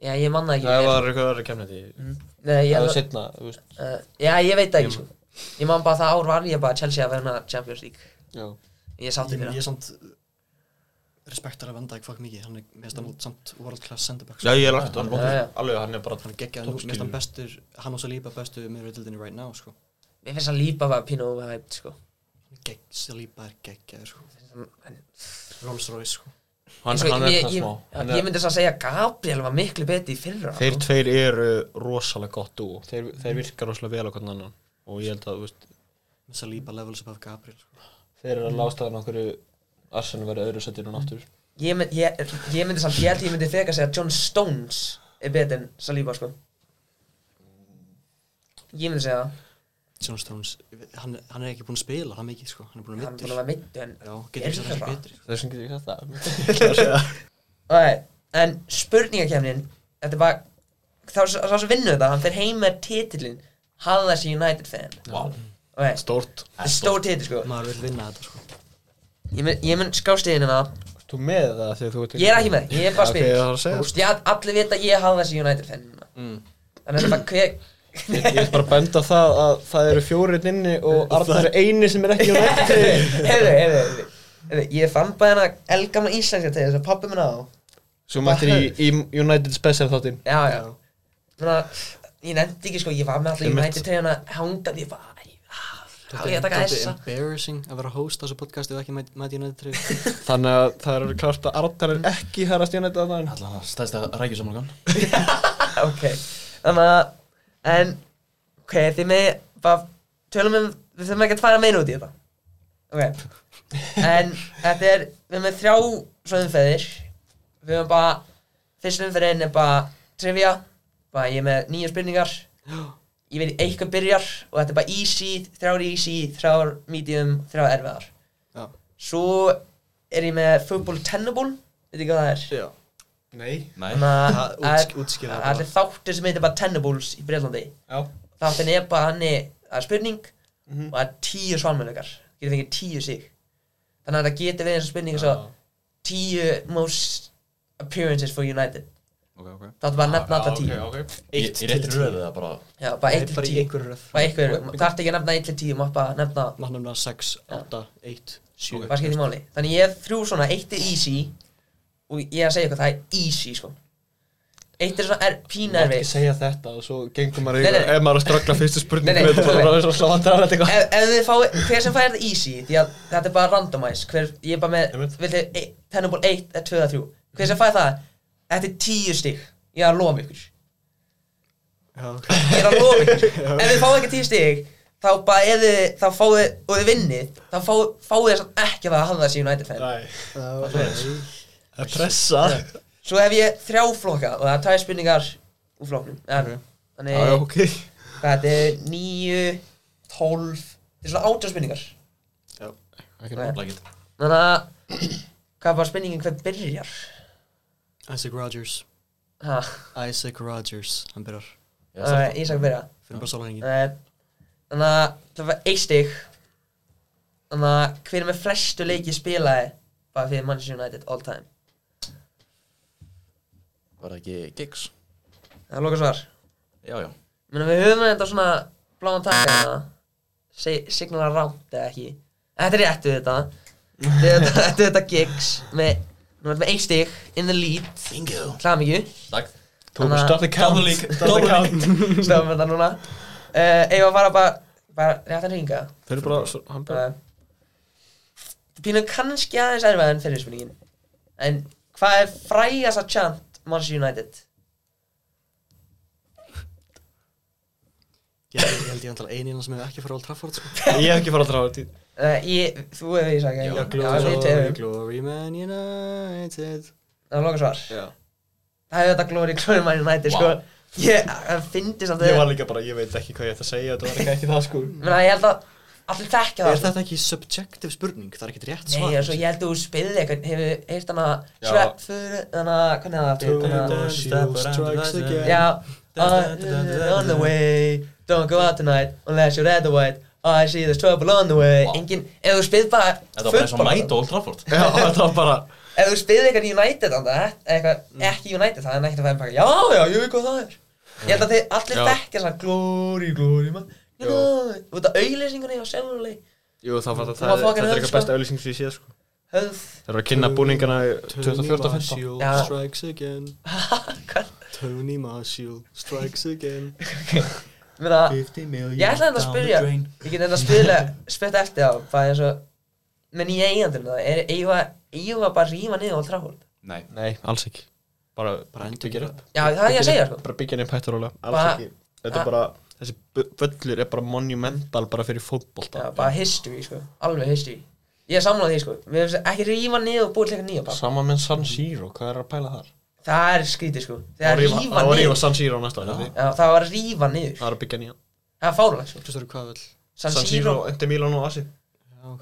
A: Já, ég man það ekki
F: Það
A: vel.
F: var eitthvað aðra kemnið í
A: Nei, ég,
F: Það var
A: uh,
F: setna, þú veist
A: já, ég veit það ekki sko Ég man bara það ár var ég bara Chelsea að verna Champions League
F: Já.
A: Ég sátti
H: Ég
A: fyrir
H: ég
A: það
H: er samt eh, Respektar að Van Dijk fokk mikið Hann er Mér finnst hann samt World class center back sko.
F: Já, ég er lagt á hann
A: Já, já.
F: Alveg, hann er bara
H: Hann er geggjað nú,
F: Topp
H: mér finnst hann
F: skilur.
H: bestur, hann og Saliba bestu með reyldinni right now, sko.
A: Mér finnst að lípa var pínu overhyped sko
H: Gegg, Saliba er geggjaður, sko. Rolls Royce, sko.
A: Eins
F: Hann,
A: og
F: hann er
A: ég-
F: það
A: ég-
F: smá Hann
A: já, Ég
F: er-
A: myndi svo að segja að Gabriel var miklu beti í fyrra
F: Þeir
A: sko.
F: tveir eru rosalega gott dú Þeir, þeir virka rosalega vel á hvernig annan Og ég held að, þú veist
H: Með Saliba levels above Gabriel, sko.
F: Þeir eru að lástaðan okkur Arsene verið öðru settir núna aftur
A: ég, mynd- ég, ég myndi samt, ég held ég myndi frekar segja að John Stones er beti en Saliba sko Ég myndi segja það
H: John Stones, hann, hann er ekki búinn að spila, hann mikið, sko. Hann er búinn að
A: Hann er
H: mittur.
A: búin að vera mittu en
H: Já, getur þess að
A: Er
H: það
A: það?
H: betri. sko.
F: Þessum getur ég þetta
A: Nei, en spurningakefnin Þetta er bara Þá sá sem vinnur þetta, hann fer heim með titilin Halla þessi United fan
G: Vá.
A: okay.
F: Stórt
A: Þetta er stór titil sko
H: Maður vil vinna þetta, sko.
A: Ég mun, ég mun skástiðin en það
F: Þú með það þegar þú ert
A: Ég er ekki með, ég er bara
F: Ok,
A: spyrir
F: það er að segja.
A: Þú veist, ég- Allir vita að ég halla þessi United fan mm. Þannig að þetta er bara hver
F: Ég ég vil bara benda á það að það eru fjórið inni og Arnar er eini sem er ekki á nætti
A: Heyrðu, heyrðu, heyrðu Heyrðu, Ég fann bara hérna elgamla íslenska til þess að pappi minna á
F: Svo mættir í, í United Special þáttinn
A: Já, já Þannig að ég nefndi ekki sko, ég var með allir
F: Einmitt.
A: United til hérna Hangað, ég bara æ, ah, Á ég að taka
H: Þetta er
A: þessa
H: embarrassing að vera host á þessu podcast ef ekki mæti United 3.
F: Þannig að það eru klart að Arnar er ekki herrast United að það
G: Allan að stæðst að rækjusamlokan
A: ok þannig að en ok, þið með bara tölum við, við þurfum ekki að fara meina út í þetta ok en þetta er, við erum með þrjá svona umferðir við erum bara fyrst umferðin er bara trivia bara ég er með nýja spurningar ég veit eitthvað byrjar og þetta er bara easy, þrjár easy þrjár medium, þrjár erfiðar
H: Já.
A: svo er ég með football tenable veit ekki hvað það er
H: Já.
F: Nei
G: Nei,
A: Þannig
H: Það
A: að-
H: útsk- útskýra það bara.
A: Það er þáttur sem heitir bara Tennables í Breitlandi
F: Já.
A: Þáttin er bara hann er- það er spurning og það er tíu svarmöðleikar Getur fengið tíu sig Þannig að það getur verið eins og spurning svo Tíu most appearances for United
G: ok, ok
A: Það er bara að nefna alla tíu
G: Eitt til tíu Ég það bara
A: Já, bara eitt
H: Nei,
A: til
H: Bara í
A: tíu
H: einhverju röð.
A: Bara einhver, það ert ekki að nefna eitt til tíu Mátt bara nefna
H: Má nefna 6, 8, 1, 7.
A: Hvað skiptir máli? Þannig ég hef þrjú svona, eitt er easy og ég er að segja ykkur það er easy sko Eitt er svona er, pína
F: Mátt ekki
A: erfitt
F: segja þetta og svo gengum maður
A: Nei,
F: yfir
A: nei.
F: Ef maður er að ströggla fyrstu
A: Nei,
F: spurningu
A: nei,
F: með þetta
A: nei.
F: Það er svo sláðandrar þetta eitthvað
A: ef, ef þið fáið, hver sem fær þetta easy Því að þetta er bara randomize hver, Ég er bara með,
F: Einmitt.
A: vil þið e- Pennable 1 eða 2 eða 3 Hver sem fær það, þetta er 10 stig Ég er að lofa ykkur Ég er að lofa ykkur Ef þið fáið ekki 10 stig Þá bara ef þið, þá fáið Og þið vinnið, þá fáið, fáið þið samt ekki það að hafa það síðan United fan
F: Nei,
G: Það er pressa
A: Svo hef ég þrjá flokka og það er tvær spurningar úr flokknum en, Þannig,
F: já, já, ok
A: hvað þetta er, níu, tólf Þetta er svona átján spurningar
G: Lagið.
A: Þannig að, hvað er bara spurningin hver byrjar?
H: Isaac Rodgers
A: Ha,
H: Isaac Rodgers, hann byrjar
A: uh, ég sagði byrja
H: fyrir bara sólarhengin
A: Eh, Þannig að, það var eitt stig Þannig að, hver er með flestu leiki spilaði bara fyrir Manchester United all time?
G: Var það ekki gigs?
A: Það er loka svar
G: Já, já
A: Menni við höfum þetta svona bláan takka hérna Signala rámt eða ekki Þetta er réttu þetta Þetta er þetta- þetta er þetta gigs með, Nú erum við eitt stig in the lead
G: Bingo
A: Klæðum ekki
G: Takk
A: Þannig að-
F: Start the count Start the count
A: Stöðum þetta núna uh, Eigum við að fara bara Bara rétt að ringa
F: Þeir eru bara, svo- hann bara
A: uh, Pínum kannski aðeins erfið en fyrir spurningin En hvað er frægast að chant Manchester United?
H: Ég ég held ég antal einin sem hefur ekki farið á Old Trafford sko.
F: Ég hef ekki farað að draga þetta í-
A: Uh, ég, þú hefur ég sagt ekki?
F: Já,
A: Já, við tegum
H: Glory Man United
A: Það er loka svar
F: Já.
A: Það hefur þetta Glory Glory Man United sko Ég fyndi samt
F: Ég
A: að
F: var líka bara, ég veit ekki hvað ég ætti að segja Þetta var ekki, ekki það sko
A: Menna ég held að allir þekkja það
H: Er þetta ekki subjective spurning? Það er ekkert rétt
A: Nei,
H: svar
A: og svo ég held að þú spilði eitthvað Hefur heyrt hana
F: Já.
A: Svepp fyrir Þannig að hvernig er það aftur? Hana- Já uh, On the way Don't go out tonight Unless you're red or white I see there's trouble on the way
G: Vá.
A: Engin Ef þú spilð bara
G: Þetta var bara eins og
A: fútbol-
G: mæta Old Trafford
F: Já, þetta var bara
A: Ef þú spilði eitthvað United anda, eitthvað,
F: Mm.
A: Ekki United Það er nægt að fæða bara Já, já, ég veit hvað það er Ég held að þið allir
F: Já.
A: þekkja svona Glory, glory man
F: Já.
A: You know Þú veit að auðlýsingunni á Sjöfnulegi
F: Jú, það var þetta
A: var fucking
F: Þetta er
A: hell,
F: eitthvað
A: sko.
F: besta auðlýsing sem ég séð sko
A: Höfð
F: Þeir eru að kynna búningana í 2014-15
H: Marshall
A: Já.
H: strikes again
A: Hvað?
H: Tony Marshall strikes again
A: Meina,
G: 50 million
A: Ég ætlaði þetta að spyrja Ég get þetta að spila Spetta eftir á Hvað er svo Menn ég eigandur með það Er eiga Eiga bara að rífa niður Old Trafford
G: Nei
F: Nei, alls ekki Bara,
H: Bara endur
F: byggja
H: bara.
F: upp
A: Já, það er ég að segja sko
F: Bara byggja nefn hættur rólega
A: Bara-
F: Alls ekki Þetta
A: Ah.
F: er bara Þessi bu- völlur er bara monumental bara fyrir fótbolta
A: Já, bara history sko Alveg history Ég er samlað því sko Við hefum ekki rífa niður og búið til eitthvað nýja bara
F: Saman með San Siro, hvað er að pæla þar?
A: Það er skrítið sko Það
F: Á
A: er
F: rífa-
A: rífa
F: á rífa
A: niður
F: San Siro næsta ári því.
A: Já, það var að rífa niður
F: Það er að byggja nýjan
A: Það er fárlega sko
H: Þú veist hvað vel
A: San
F: San
A: Siro
F: Siro, Ente Milan og Asi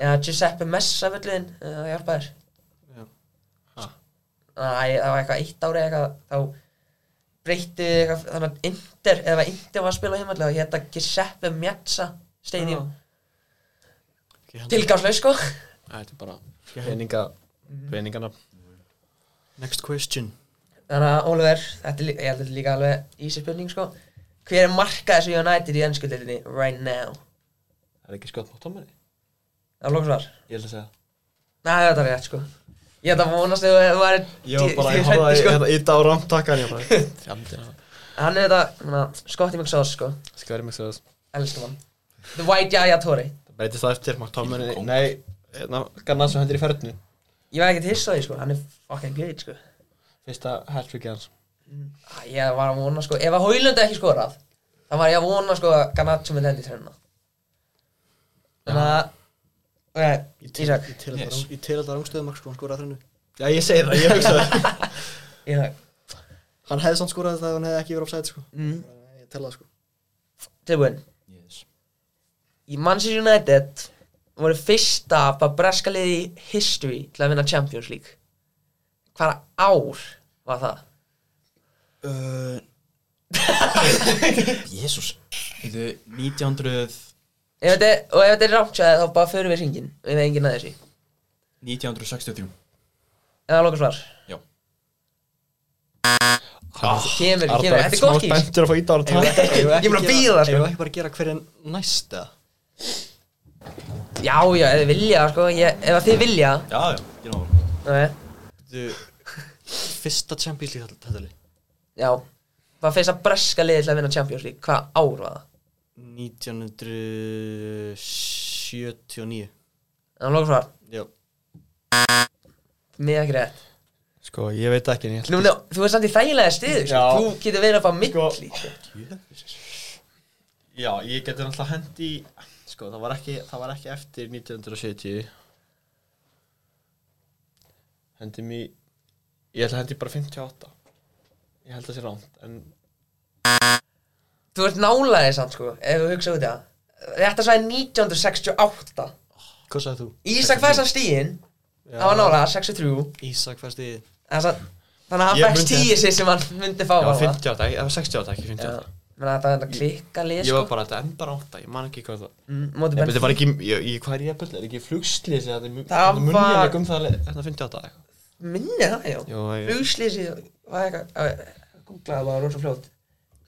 A: Já, Giuseppe Messa völlin Það hjálpa þér
H: Já.
F: Ha.
A: Æ, það var eitthvað eitt ári eitthvað Þá breytti eitthvað Þannig að Inder Eða var Inder var að spila heimallega Og hérna Giuseppe Messa Stadium Tilgáðslaus sko
F: Þetta er bara peninga
A: Mhm.
F: Peningana
H: Next question
A: Þannig að Oliver Þetta er lí- ég held að þetta er líka alveg Ísi spurning sko Hver er markað þessu United í ennsku deildinni Right now
F: Er ekki skjótt mátt á mér?
A: Það er lóksvar
F: Ég ætla að segja
A: Nei, þetta er rétt sko Ég held að vonast ef þú væri
F: Ég var bara,
A: ég
F: ég
A: hræddur,
F: horfði
A: sko.
F: þetta íta hérna, á rámtakkan Ég bara, fjandi
A: Hann er þetta Skotti McSauce sko
F: Skværi mig sér þess
A: Elskum hann The White Jaya Torrey
F: Það breytist það eftir, mátt á mér
G: Kong.
F: Nei, ganna sem hendur í fernu
A: Ég var ekkert hissa á því sko Hann er fucking great sko
F: Fyrsta hat-trick hans
A: Æ, Ég var að vona sko Ef að Hólund ekki skorað þá var ég að vona sko að Garnaccio með hendi trefna Þannig að Ok, Ísak
H: Ég tel
G: Yes.
H: alltaf- Ég tel alltaf rangstöðum sko, hann skoraði þrennu
F: Já, ég segi það, ég hugsa það
A: Ísak
H: Hann hefði samt skoraði það ef hann hefði ekki verið offside sko
A: mm,
H: Ég tel það sko
A: Tilbúin
G: Yes
A: Í Manchester United voru fyrsta bara breska liði í history til að vinna Champions League Hvaða ár var það?
G: Uh, Jésús Þetta er 1900
A: Ef þetta er- Og ef þetta er rámtjaði þá bara förum við hringin og ég veit enginn að þessi
G: 1963
A: Eða loka svar
G: Já.
A: Ah, Kemur, kemur,
F: Arda er
A: þetta
F: ekkert
A: er gott
F: smá
A: ís
F: spenntur að fá íta á hann takk
A: Ég er bara að býða það
H: Ég var
A: sko
H: ekki bara að gera hverjan næsta
A: Já, já, ef þið vilja sko ég, Ef að þið vilja
G: Já, já, ég náðu
A: Nei,
H: Þú Fyrsta Champions League þetta
A: já, var fyrst að breska liðið til að vinna Champions League, hvað ár var það?
H: 1979
A: En hann lókur svar,
H: Já,
A: mér ekki rétt
F: Sko, ég veit ekki en ég
A: Nú, nú, þú er samt í þægilega stiðu, sko.
F: Já.
A: þú getur verið upp á milli sko.
F: Já, ég geti náttúrulega hendi Sko, það var ekki, það var ekki eftir 1970 Hendi mér Ég ætla að hendi bara 58 Ég held það sé rámt En
A: Þú ert nálaðið samt, sko, ef þú hugsa út í það Þetta svo er 1968
H: hvað sagði þú?
A: Ísak fæst af stíin, það var nálað, 63
H: Ísak fæst í
A: En samt- Þannig að hann
F: Ég
A: fækst
F: myndi-
A: tíu sér sem hann myndi fá
F: Já,
A: var það?
F: 58, ekki- eða 68, ekki
A: Já,
F: 58
A: menn að það er að klikka lið,
F: Ég
A: sko
F: var bara þetta enda ráta, ég man ekki hvað það
A: Mm, Móti
F: Nei,
A: benn
F: þetta var ekki, ég, ég, hvað er ég að byrja, er ekki flugslýsi Það
A: Það
F: er munjaleg
A: var-
F: um það, þetta 58 eitthvað.
A: Minni það, já
F: Jó, ég-
A: Flugslýsi, hvað er eitthvað Googlaði bara rosa fljótt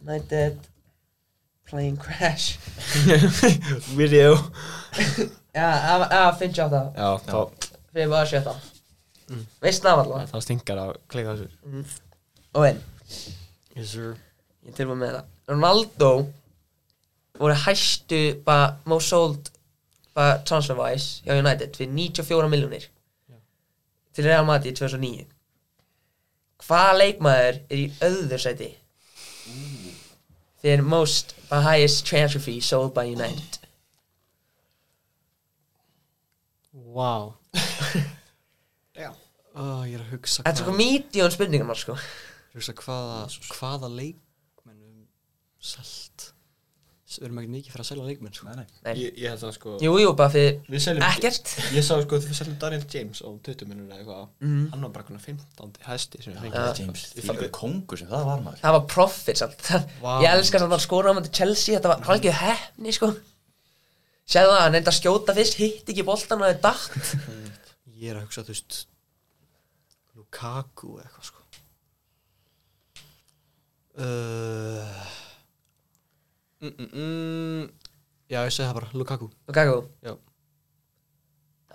A: United Plane Crash
F: Video
A: Já, það var- já, 58
F: Já, þá,
A: Fyrir bara 17
F: Mm.
A: Veist það allavega
F: það stingar að klika þessu
A: Og en,
H: Yes sir
A: ég er tilbúin með það Ronaldo voru hæstu bara most sold bara transferwise hjá United fyrir 94 miljónir til Real Madrid 2009 Hvaða leikmaður er í öðru sæti fyrir most bara highest transfer fee sold by United
H: Wow Já Ég er að hugsa
A: Þetta er sko mídjón spurningum sko.
H: Ég hugsa hvaða, hvaða leikmenn um selt S- Við erum ekki mikið fyrir að selja leikmenn sko. Nei, nei
F: Ég, ég held það sko
A: Jú, jú, bara fyrir
F: Við seljum
A: ekkert
F: Ég sá sko þegar við seljum Daniel James á 20 minnur eða eitthvað
H: Mhm.
F: Hann var bara konar 15. hæsti sem við fengið
C: Daniel James, því er kongur sem það var maður
A: Það var profit samt
H: Vá.
A: Ég elska samt að skora á mæti Chelsea Þetta var halgið hefni sko Segðu það, hann reyndi að skjóta fyrst Hitt ekki boltan og það er dagt
H: Ég er að hugsa, þú veist Lukaku eða eitthvað sko uh, mm, mm, mm, Já, ég segi það bara, Lukaku
A: Lukaku
H: Já.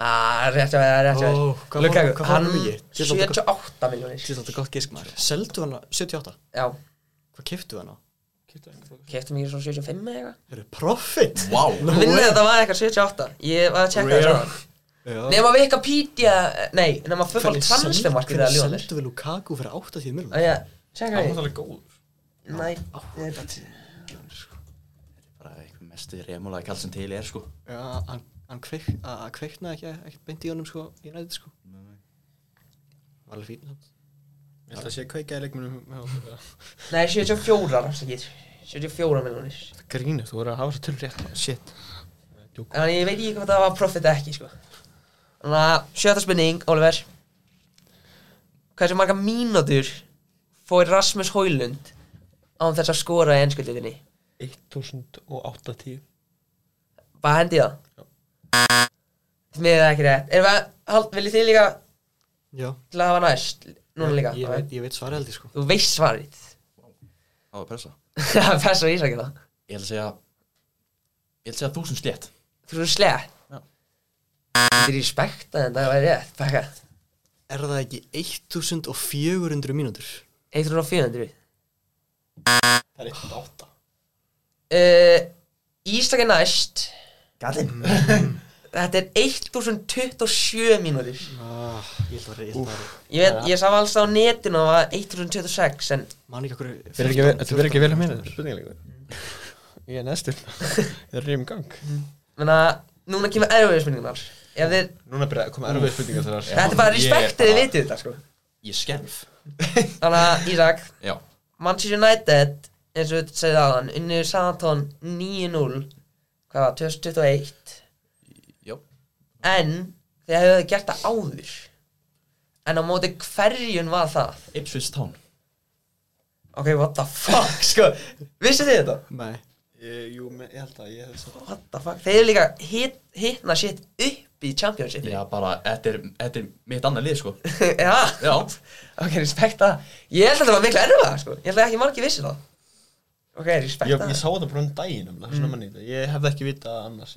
A: Ah, rétt hjá þér, rétt hjá
H: Ó, hvað
A: þér
H: fór-
A: Lukaku,
H: hvað fór
A: hann
H: hann í? Ég ætla að-
A: 78 miljónir
H: Þetta er gott gisk maður Seldu hann á 78?
A: Já,
H: Hvað keftu hann á?
A: keftum ekki svona 75 eða eitthvað
H: Eru profit?
C: Wow,
A: Minnið þetta var eitthvað 78 Ég var að checka
H: Rare.
A: það Nefna Wikipedia, nei, nefna fútbol transfermarkið eða
H: Hvernig
A: ljóðanir
H: seldu við Lukaku fyrir 80 miljonir?
A: Já, checka
F: Það var
A: því
F: alveg góður
A: United
C: bara einhver mestu remulaði kall sem til er sko
H: Já, hann, hann kveik, að, að kveiknaði ekki, ekki beint í honum sko, í næðið sko. Var alveg fín samt.
F: Ég held að sé kveikaði leikmunum
A: Nei, 74, afsakir 74 miljónir
F: Grínu, þú voru að hafa það tölur rétt
H: sko.
F: maður. Shit
A: Þannig að ég veit ekki hvað það var profit eða ekki sko. Þannig að sjötta spurning, Oliver Hversu marga mínútur fór Rasmus Hólund án þess að skora í ennskjöldinni?
F: 1080
A: Bara hendi í það Mér er það ekki rétt Erum við að, hald, viljið þið líka
H: Já,
A: til að hafa næst Núna líka
H: ég, veit, ég veit svarið held ég sko.
A: Þú veist svarið
C: það var pressa
A: Það passar í sækina
C: ég ætla að segja ég ætla að segja þúsund slétt
A: Þú eru slett
C: Já.
A: Þetta er í spekta en það væri rétt Bekka
H: Er það ekki 1400 mínútur?
A: 1400
F: Það er 108
A: uh, Ísland er næst
C: gallin
A: Þetta er 1027 mínútur
H: Ah, ég held að vera, ég held að vera.
A: Ég veit, ég sá alls á netinu að það var 1026 en
H: Man ekki okkur...
F: Þetta verður ekki vel að minna þetta Spurningleikur Ég er næstur Það er rým gang
A: menna, núna kemur erfiðu spurningunar Ef þeir,
F: Núna byrja að koma erfið spurningar þar
A: þetta er bara respektið þið vitið þetta sko
C: ég skelf
A: Þannig að Ísak,
C: já
A: Manchester United eins og við segið aðan, unnið Saðantón 9-0 hvað var, 2021
C: já
A: en þeir hefðu gert það áður en á móti hverjun var það
C: Ipswich Town
A: ok, what the fuck sko vissu þið þetta?
H: Nei.
F: Jú, me- ég held að ég hef svo
A: What the fuck? Þeir eru líka hit, hitna shit upp í championship
C: já bara þetta er þetta er mitt annað lið sko
A: Já,
C: já
A: ok, respekt það Ég held að þetta var miklu erfiða, sko Ég held að ekki margir vissi það Ok, respekt
F: Ég,
A: það
F: ég sá þetta bara um daginn um
A: Mm.
F: það, svona manni Ég hefði ekki vitað annars
H: Fæ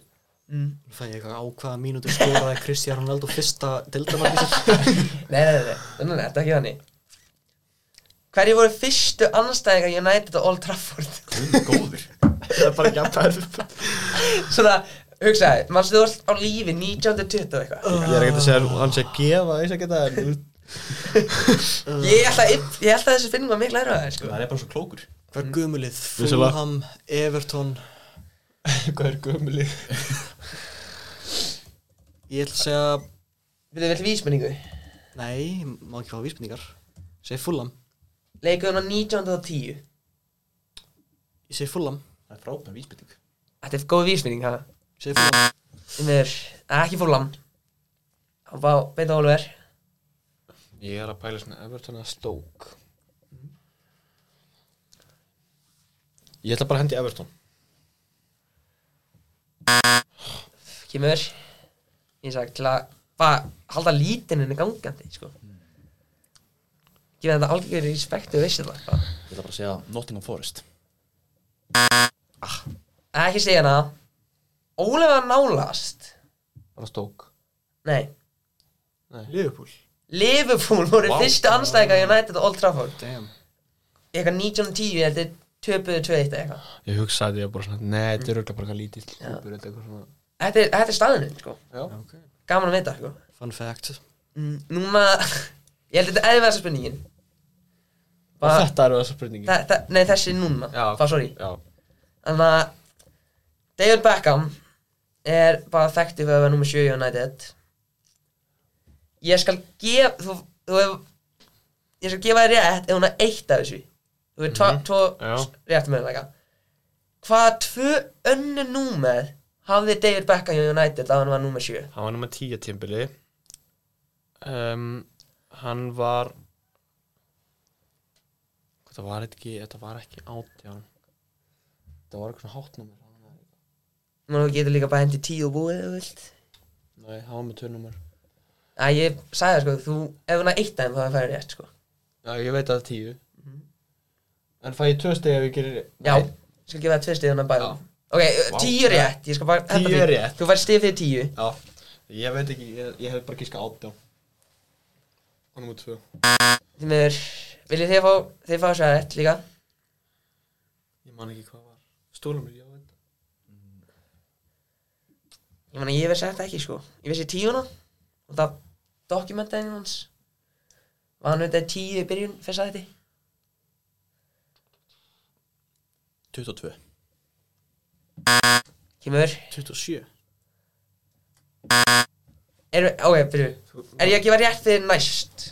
H: ég eitthvað á hvaða mínútur skoraði Kristján Ronaldo fyrsta dildamarki sér?
A: Nei, nei, nei, nei, nei, nei, þetta er ekki þannig Hverju voru fyrstu anstæðingar United á Old Trafford?
G: Guð minn góður
F: Það er bara ekki að það
A: Svona, hugsaði, mannstu þú varst á lífi 1920 og eitthvað
F: Ég er ekkert að segja að hann sé að gefa eins og geta en
A: Ég held að, ég held að þessi finning var miklu erfaðið, sko
G: Það er bara svo klókur
H: Hvað er gumulið?
F: Vissulega.
H: Fulham, Everton
F: hvað er gömulið
H: Ég ætla að segja,
A: Viltu vel vísmenningu?
H: nei, má ekki fá vísbendingar Segja Fulham,
A: Leikuðum á 1910
H: ég segi Fulham
G: Það er frábæð vísbytting
A: Þetta er góð vísmenning, það
H: Segja Fulham,
A: Sem er ekki fólam Hann var beint á Oliver
F: Ég er að pæla svona Everton að stók Ég ætla bara að hendi Everton
A: Kemur Ég sagði til að bara halda lítininu gangandi, sko Gefið þetta algjörðu respektu og vissi það bara.
G: Ég ætla bara að segja Nottingham Forest
A: Ekki segja hana Óli var nálast
F: Bara stók
A: Nei
H: Liverpool
A: Liverpool voru fyrstu anstæðingar United á Old Trafford
H: Damn
A: Eitthvað 1910 eða þetta töpuðu 2-1 eða eitthvað
F: Ég hugsaði ég bara svona Nei, þetta
A: Mm.
F: er auðvitað bara eitthvað lítill klúpur Þetta er eitthvað svona
A: Þetta er, þetta er staðinu sko.
F: Já
H: Ok
A: Gaman að vita sko.
H: Fun fact
A: Mm, Núna Ég held að þetta er eðverðsa spurningin
F: Og
A: Bara-
F: þetta eru þessar spurningi
A: þa- þa- Nei þessi núna
F: Já.
A: Fá sorry
F: Já
A: Þannig að David Beckham er bara þekktið fyrir að vera nummer 7 í United Ég skal gef þú, þú hef, ég skal gefa þér rétt ef hún er eitt af þessu þú er tvo, tvo
F: Já.
A: rétt með þetta Hvaða tvö önnu númer hafði David Beckham í United að hann var nummer 7
F: Hann var nummer 10 tímbili um, Hann var Þetta var ekki Þetta var ekki átján Þetta var eitthvað svona hátnúmer
A: Nú getur líka bara hendi 10 og búið ef þú vilt
F: Nei, hann var með törnúmer
A: Æ, ég sagði það sko, þú, ef hún er eitt af þeim þá er færið rétt sko
F: Já, ég veit að það er 10 En fæ ég tvö stegi ef ég gerir
A: Já, ég skal gefa það tvö hérna stið hann að bæða
F: Já.
A: Ok, tíu rétt, ég skal bara
F: Tíu
A: henda því.
F: rétt.
A: Þú fær stið fyrir tíu
F: Já, ég veit ekki, ég, ég hef bara gíska átján Og nummer tvö
A: Því miður, viljið þið fá, þið fá sér rétt líka
F: Ég man ekki hvað var Stólumur, já, veit
A: Ég meina, ég vissi þetta ekki sko Ég vissi tíuna Og það dokumentaði hans Var hann auðvitað tíu í byrjun, fyrst að þetta
G: 22
A: Kemur,
G: 27
A: er, ok, byrju Er ég að gefa rétt fyrir næst?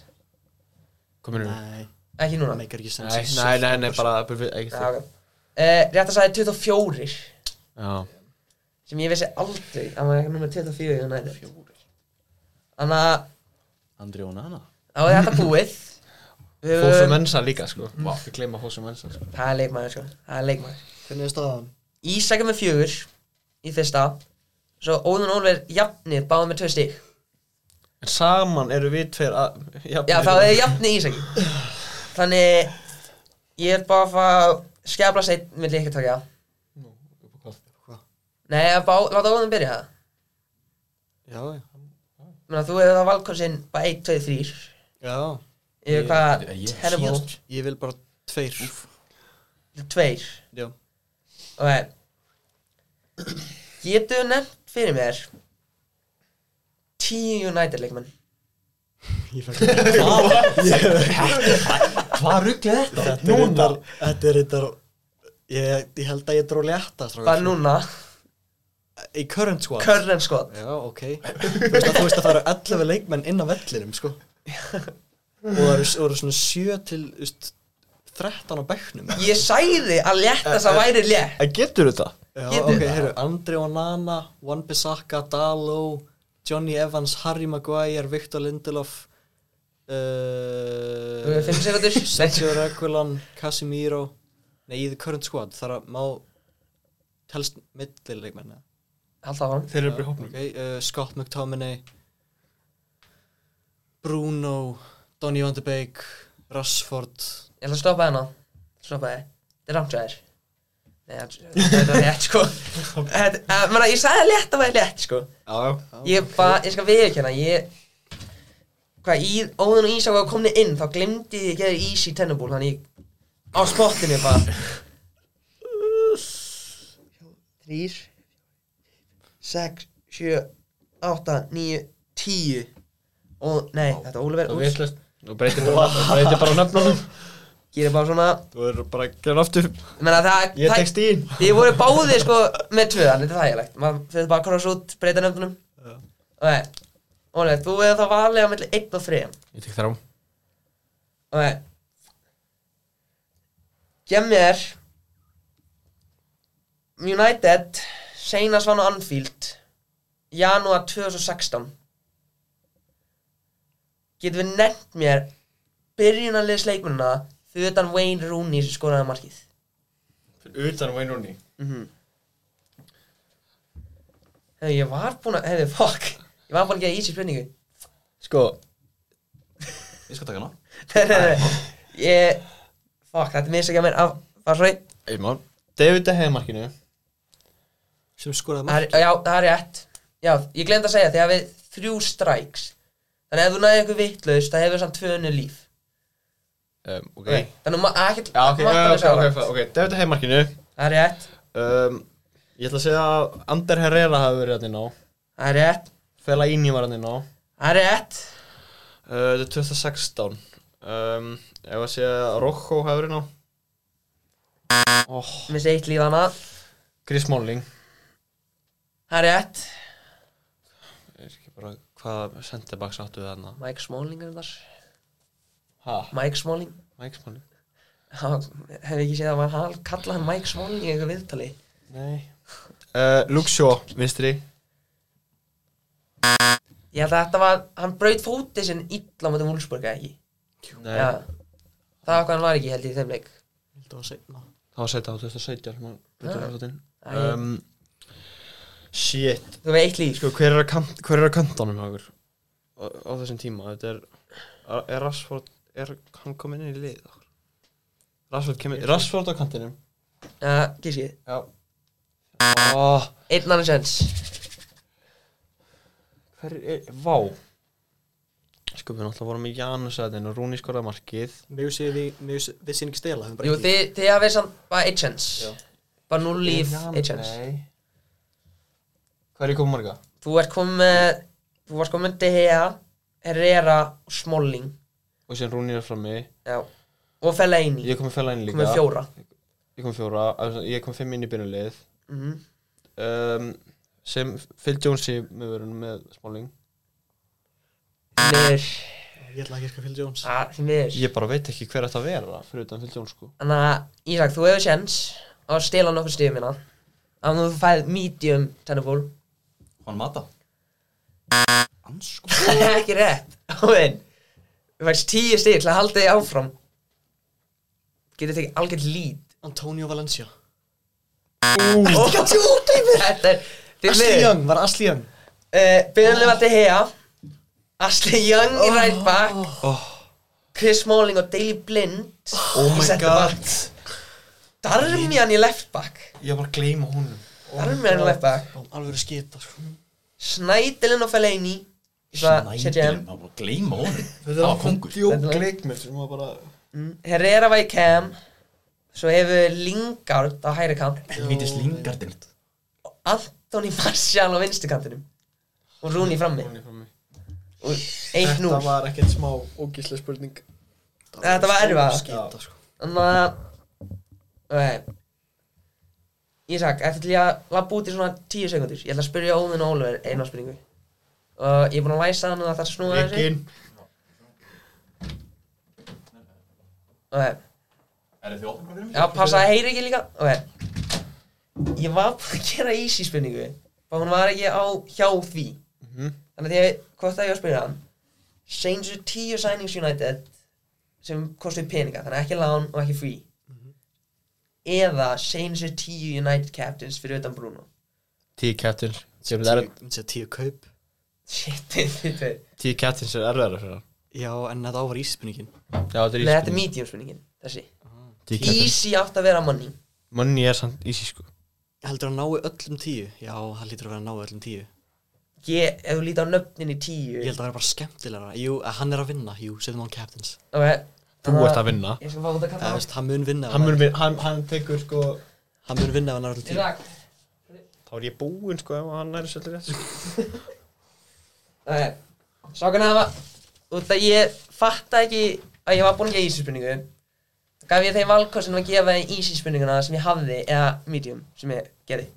F: Kominu
H: Nei
A: Ekki núna
H: Það meikar ekki sens
F: Nei, nei, nei, nei, bara byrfið, ekki
A: Já, ok
F: þig
A: uh, Rétt að sagði 24
F: Já,
A: Sem ég vissi aldrei að maður er nummer 24 í United Þannig að
G: Andri og Nana
A: þá er þetta búið Við
F: Fósum
A: höfum-
F: mensa líka, sko Vá, ég gleyma fósum mensa, sko
A: Það er leikmaður sko, það er leikmaður
H: Hvernig er staðan?
A: Ísak er með fjögur í fyrsta Svo Óðun og Ólver jafnir báði með tvö stík
F: En saman eru við tveir að
A: Já þá er jafni Ísaki Þannig ég er bara að fá skefla seitt með líka tókja
H: Hvað?
A: Nei, að bá, láta Óðun byrja það
H: Já, já
A: Menna, Þú hefur það valkonsinn bara 1, 2, 3
H: Já
A: Yfir hvað
G: ég- ég-
A: terrible
H: Ég vil bara tveir Úf.
A: Tveir
H: Já
A: Ok Getur nefnt fyrir mér Tíu United leikmenn
G: Hvað ruggla þetta?
H: Þetta er reyndar Þetta er reyndar ég, ég held að ég dró létta strákar.
A: Bara núna
H: Í current squad
A: Körlen skot
H: Já, ok Þú veist að þú veist að það eru 11 leikmenn inn á vellinum, sko Og það eru, það eru svona 7 til, þú veist 13 á bekknum
A: Ég sæði að létta það væri létt
F: En getur þetta?
H: Já,
A: Getur
H: ok,
A: það?
H: heyrðu Andri Onana, Juan Bissaka, Dalo Johnny Evans, Harry Maguire, Viktor Lindelof
A: Þú hefur
H: uh,
A: fimm sekundur
H: Sergio Reguilon, Casemiro Nei, í the current squad, þar að má telst millileikmenn eða?
A: Alltaf hann
F: Þeir eru bara í hópnum
H: okay, uh, Scott McTominay Bruno Donny van de Beek Rashford
A: Ég ætla að stoppa hérna Stoppa þið Þetta er ramt ræðir Nei, þetta er létt sko Þetta- eh, Menna, ég sæði að létta væri létt sko
F: Já, já
A: Ég bara, ég skal viðkjöna Ég hvað, í, óðun og ísá var komni inn þá glemdi ég að gera ís í tennubúl þannig ég- á spottinu bara þrýr sex, sjö, átta, níu, tíu og nei, þetta Óliver
F: Og
A: úr,
F: vitlust Þú breytir bara, þú breytir bara nöfnunum
A: gerir bara svona
F: Þú er bara að gera aftur
A: menna, það,
F: Ég
A: það-
F: tek stíðin
A: Þið voru báðir sko með tvö, þannig þetta er þægilegt maður fyrir bara að krossa út, breyta nöfnunum Ok, Óli, þú hefur þá valið á milli 1 og 3
I: Ég tek þrá
A: Ok Gem mér United Seinas vann á Anfield Janúar 2016 Getum við nefnt mér byrjunarliðs leikmunna fyrir utan Wayne Rooney sem skoraði markið
F: Utan Wayne Rooney
A: Hefði ég var búinn að, hefði fuck Ég var búinn að gera easy spurningu
F: Sko
G: Ég skal taka hana
A: Nei, nei, nei. Ég, fuck, þetta er mistakja mér af, var svo
F: Einmál David De Gea í markinu
H: sem skoraði
A: Það
H: mark
A: er, já, það er rétt Já, ég glemt að segja því að við þrjú strikes Þannig að ef þú næði eitthvað vittlaust Það hefur samt tvö önnur líf
F: um, Ok
A: okay. Þannig að maður ekkert
F: Já, ok,
A: maður
F: ok,
A: alveg
F: ok,
A: sjá
F: ok,
A: það.
F: ok, David De Gea í markinu
A: Það er rétt
F: um, Ég ætla að segja að Ander Herrera hafi verið hann inn á
A: Það er rétt
F: Fela Íni var hann inn á
A: Það er rétt
F: Uh, Þetta er 2016 um, Ef að segja að Rocco hefur inn á oh,
A: Mér sé eitt líf hana
F: Chris Molling
A: Það er rétt
F: Er ekki bara Hvað sendibaks áttu við hann
A: Mike Smalling er þar
F: Ha,
A: Mike Smalling
F: Mike Smalling
A: Já, Hefði ekki séð að maður hal- kalla hann Mike Smalling í eitthvað viðtali
F: Nei uh, Luke Shaw, vinstri
A: Ég held að þetta var Hann braut fótið sinn illa á mútið Wolfsburg eða ekki
F: Nei,
A: Já Það var hvað hann var ekki held ég í þeim leik
H: þetta var seinna
F: það var setja á 2017 sem hann
A: Ah.
F: brutur fótinn
A: Æ, ég-
F: um, Shit
A: Þú veist eitt líf
F: Sko, hver er að, kant, hver er að kantanum hjá okkur á, á þessum tíma? Þetta er, er Rashford, er hann kominn inn í lið okkur? Rashford kemur, Rashford á kantinum
A: Já, gískið
F: Já oh,
A: Einn annan sens
F: Hver er, vá Sko, við náttúrulega vorum í Janus aðeins og Rúni skoraði markið
H: mjög sé við, mjög sé við séum ekki stela höfum bara
A: Jú,
H: ekki-
A: þið, þið hafið samt bara eitt chans Bara núl líf,
F: Jan-
A: eitt chans
F: Nei Hvað er ég komið marga?
A: Þú ert komið með Þú varst komið með De Gea Herrera og Smalling
F: Og síðan Rúni er frammi
A: Já Og Fellaini
F: Ég er komið fæla inn líka
A: Komið með fjóra
F: Ég komið fjóra, af- ég komið fimm inn í byrjunlið
A: Mhm.
F: um, Sem Phil Jones í mögurinn með Smalling
A: Því miður
H: ég ætla ekki að skilja Phil Jones
A: Já, því miður
F: Ég bara veit ekki hver þetta vera fyrir utan Phil Jones sko
A: Þannig að Ísak, þú hefur chans Á að stela nokkuð stíðum minna Þannig að þú færð medium tenniból
G: Juan Mata Ansko
A: Það er ekki rétt Óvinn Þú færst tíu stíð til að halda þig áfram Getur tekið algjörn lít
H: Antonio Valencia
A: Þetta er djúkleimur Þetta er því
H: Ashley
A: miður.
H: Young var Ashley Young
A: Eh, Björnlega var De Gea Ashley Young í right back Chris Smalling og Daley Blind Oh my god Darmian í left back
F: Ég bara gleyma honum
A: Darmian í left back
H: alveg skita sko.
A: Snædilin og Fellaini Ég ætla að setja hann.
G: Snædilinn, maður bara gleyma honum Það var kongur
A: Þetta
F: Djók
A: var-
F: leikmenn sem var bara
A: mm. Herrera var í cam Svo hefur Lingard á hægri kant
G: Helvítis lingardinn
A: Anthony Martial á vinstri kantinum Og Rooney frammi
F: Rúni frammi
A: Og 1-0
F: var ekkert smá ógíslega spurning
A: Þetta var erfið
H: skita sko.
A: Þannig að Ok Ísak, eftir til ég að labba út í svona 10 sekundur Ég ætla að spyrja Óðinn og Ólfur eina spurningu Og ég er búinn að læsa hann og það þarf að snúa þessu
F: Eginn
A: Ok,
G: Er þið opnum fyrir mig?
A: já, passa að heyri ekki líka Ok Ég var búinn að gera easy spurningu Bara hún var ekki á hjá því
F: Mhm.
A: Þannig að ég, hvort að ég var að spyrja hann Seinsu 10 signings United Sem kostuði peninga Þannig að ekki lán og ekki free
F: Mhm.
A: Eða seinsu 10 United captains fyrir utan Bruno
F: Tíu captains Sem
H: Tíu-
F: er
H: ég myndi segja tíu kaup
A: Shit, þið tveir
F: Tíu captains er erfiðara fyrir hann
H: já en þetta ávar íspinningin
F: Já, þetta er
A: Nei, þetta er medium spurningin, þessi
F: Tíu captains
A: Easy átt að vera money
F: Manni er samt easy sko
H: heldur að hann nái öllum tíu já það lítur að vera að ná öllum tíu
A: ég, ef þú líti á nöfnin í tíu
H: Ég held að það er bara skemmtilegra Jú, að hann er að vinna, jú, setjum hann captains
A: Ok,
F: Þú
A: þannig
F: ert að vinna
A: Ég skal fá út að
H: Eða,
A: kalla
H: þú veist, hann mun vinna ef
F: Ah. Hann, mun, vin- hann, hann tekur sko
H: Hann mun vinna ef hann er allir tíu
A: Írak
F: Þá er ég búinn sko ef hann er svolítið rétt sko.
A: Nei, sákan að það Út að ég fatta ekki að ég var búinn að gefa ísinspurningu Gaf ég þeim valkostin að gefa þeim ísinspurninguna sem ég hafði Eða medium sem ég gerði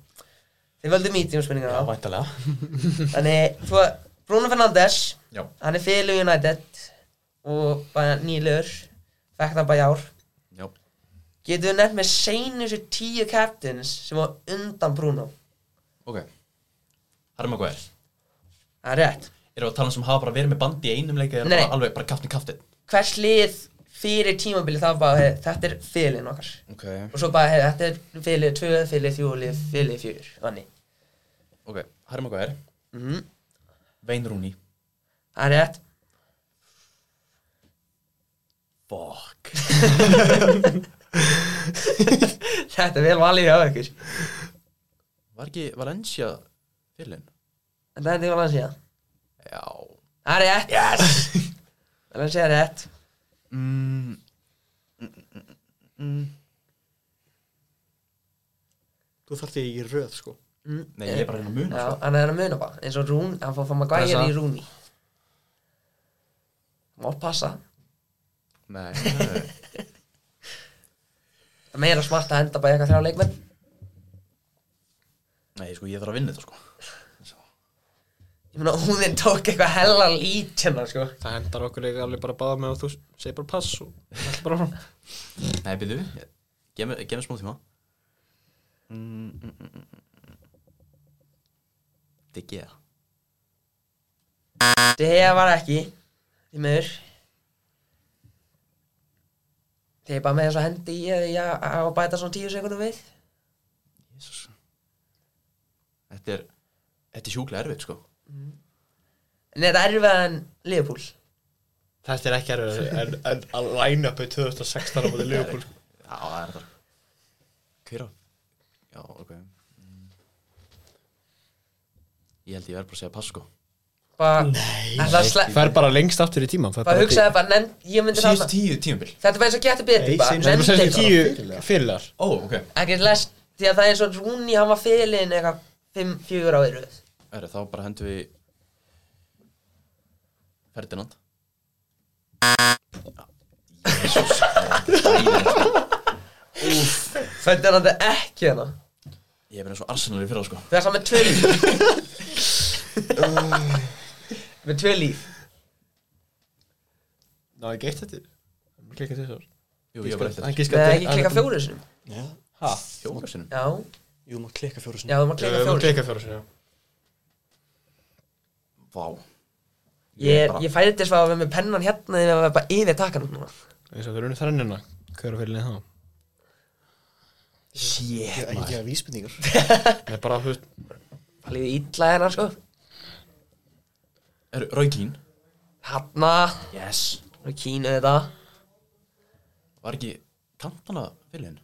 A: Þeir völdu medium spurninguna
G: væntalega
A: Þannig, þú að Bruno Fernandes
G: Já.
A: Hann er fyrir United Og bara nýlur Fekk það bara í ár
G: Já.
A: Getum við nefnt með seinustu tíu captains sem var undan Bruno
G: Ok Harry Maguire
A: Það er rétt
G: Erum við að tala um sem hafa bara verið með bandi í einum leik eða
A: Nei.
G: bara alveg bara kaftin kaftin
A: Hvers lið fyrir tímabilið það var bara hei, þetta er fyrirliðin okkar
G: Ok
A: og svo bara hei, þetta er fyrirlið 2, fyrirlið 4, fyrirlið 4 Þannig
G: Ok Harry Maguire
A: Mhm.
G: Wayne Rooney
A: Það er rétt
G: Fuck
A: Þetta er vel valið hjá ykkur
G: Var ekki Valencia fyrirlin?
A: En það er þetta valið síðan
G: Já
A: Það er rétt Yes Það er að segja rétt
G: mm.
H: Þú þarf því í röð, sko
G: Nei, ég er bara að reyna að muna
A: Já,
G: sko.
A: hann er að muna bara eins og Rún, hann fór að fá maður
F: Pressa.
A: gæjar í Rúni Má passa
G: Nei, nei.
A: Það meira smart að henda bara í eitthvað þrjá leikmenn
G: nei, sko, ég þarf að vinna þetta sko
A: Ég meina, húðin tók eitthvað hella lít hérna, sko.
F: Það hendar okkur ekki alveg bara að báða með og þú segir bara pass og allt bara fram
G: Nei, byrðu, gef mér- gef mér smá tíma Mm, Diggi það
A: Deja var ekki, því miður. Þegar ég bara með þess að hendi í eða ég á að bæta svona tíu sekundum við.
G: Jesus. Þetta er Þetta er sjúklega erfitt sko
A: En þetta er erfið en Liverpool.
F: Þetta er ekki erfið en, en að line upi 2016 á móti Liverpool
G: Já, það er þetta Hver á? Já, ok mm. Ég held ég verð bara að segja pass sko
A: Bara, ætla að slepp,
F: Fer bara lengst aftur í tíman
A: bara hugsaði bara, nefnd, ég myndi
G: Síðustu
A: þarna.
G: tíu tímabil
A: Þetta er bara eins og getur betur, bara, nefndi þetta.
F: tíu fyrirlegar
G: Ó, ok
A: Ekkert lest, því að það er eins og Rúni, hann var fyrirliðin eitthvað 5-4 á yfir.
G: Æri, Þá bara hendum við Ferdinand
A: Föndir hann þetta ekki hérna.
G: Ég er verið eins og Arsenal í fyrra sko
A: Það er saman með tvö líf. með tvö líf.
F: Ná, ég geitt þetta Klikka þess að
G: Jú, ég var bara eftir
F: Hann giskaði
A: Nei, ekki klika fjóru sinum.
H: Já
F: Ha?
G: Fjóra sinum
A: Já,
H: Jú, maður klikka fjóru
A: já,
H: sinni
A: þú maður klika fjóru sinum.
F: Klikka fjóru sinni, já
G: Vá
A: Ég,
G: Ég
A: er-
G: bara-
A: ég færi þess að vera með pennan hérna þegar við erum bara yfir takkanum núna.
F: eins og þeir unni þrennina hver er fyrirlið þá?
H: Ég er ekki að vísbendingur
F: Nei, bara, þú veist,
A: Það líður illa hérna, sko.
G: Er Raukín
A: Hanna,
G: Yes
A: og kínu þetta.
G: Var ekki kantana fyrirlin?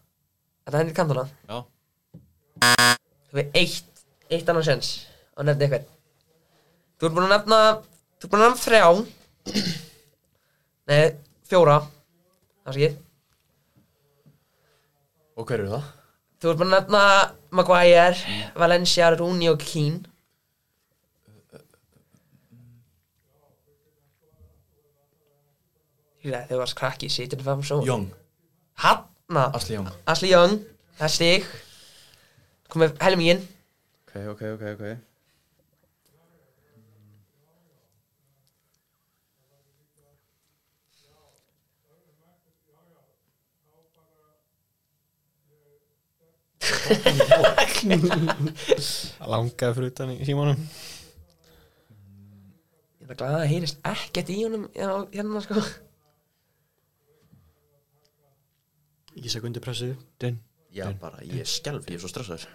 A: Þetta hendur kantuna.
G: Já
A: Þú er eitt, eitt annan sens að nefna eitthvað. Þú ert búin að nefna, þú ert búin að nefna þrjá. Nei, fjóra. Það sé ekki.
G: Og hver eru það?
A: Þú ert búin að nefna Maguire, Valencia, Rooney og Keane. Þegar þau varst krakki, situr fram svo.
G: Young
A: Hanna.
G: Asli Young
A: Asli Young, það er stig. Komið helminginn.
G: Ok, ok, ok, ok
F: langaði fyrir utan í símanum
A: Ég er glæðið að það heyrist ekkert í honum hérna, hérna sko.
H: Ég segi undir pressu
F: Dinn.
G: Já, bara, ég er skelf, ég er svo stressaður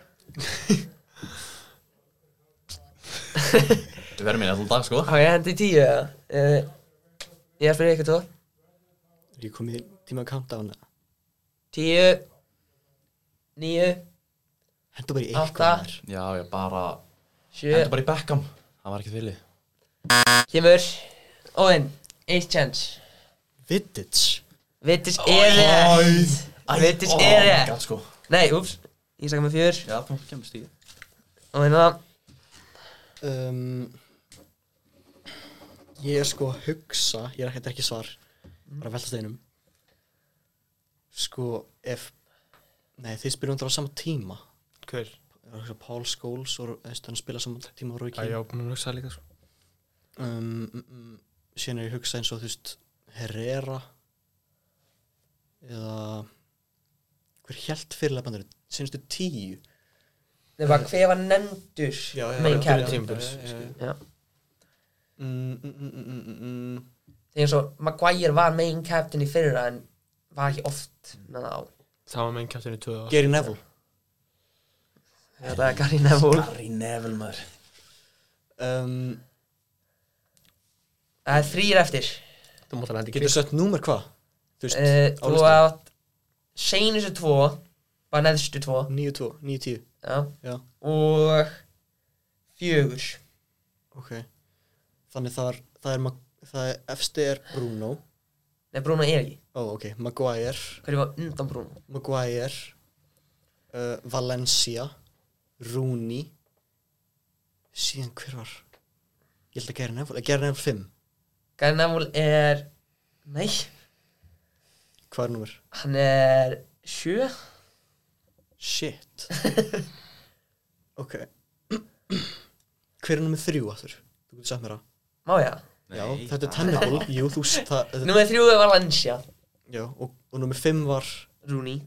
G: Þú verður mér alltaf dag, sko
A: Há ég hendi í tíu eða? Uh, ég er að spyrja ykkur tvo.
H: Er ég komið í tíma að kanta á hana
A: Tíu, níu,
H: Hentu bara í
A: Átta.
H: eitthvað maður.
G: Já, ég bara,
A: sjö,
G: hendur bara í Beckham Það Hann var ekki fyrir
A: Kemur Óðinn Eitt chance
H: Vittits
A: Vittis er rétt Vittis er rétt
G: Gat sko
A: Nei, úps Ég sagði með fjör
G: Já, þú kemur stíð
A: Og hérna
H: um, Ég er sko að hugsa Ég er þetta er ekki svar Bara að velta steinum Sko ef Nei þið spyrum þetta á sama tíma
F: Hver?
H: Ég er að hugsa Paul Scholes og þú veist, hann spila sama tíma og Rói
F: Já,
H: Kín
F: já, mér hugsaði líka sko. svo
H: um, mm, mm, Síðan er ég að hugsa eins og þú veist Herrera Eða Hver hjælt fyrirlega bandur Sýnstu tíu
A: Nei, bara hver var nefndur Main character
F: tímabils.
A: Já.
H: Mm, tímbils
A: Þegar eins og Maguire var main captain í fyrra En var ekki oft með það á
F: Það var meginn kjáttinni tvöða
H: Gary Neville
A: Þetta er Gary Neville
G: Gary Neville maður
H: um,
A: Það er þrýr eftir
F: Þú mátt alveg hendi
H: Getur sett númer hvað? Þú veist,
A: Eh,
H: á
A: Þú
H: listan
A: átt Seinustu tvo Bara neðstu tvo
H: 9-2, 9-10
A: Já
H: Já,
A: Og Fjögur
H: ok Þannig það er, það er, Mag- það er Efsti er Bruno
A: Nei, Bruno er ekki
H: Ó, ok, Maguire
A: Hverju var undan Bruno
H: Maguire uh, Valencia Rooney Síðan hver var? Ég held að Gary Neville, Gary Neville 5
A: Gary Neville er Nei
H: Hvað er númer?
A: Hann er sjö
H: Shit Ok Hver er númer 3 aftur? Þú getur sagt mér það
A: Má ég það?
H: Já, þetta er tenniból Jú, þú s- það, þetta-
A: Númer þrjú er Valencia
H: Já, og, og nummer 5 var
A: Rooney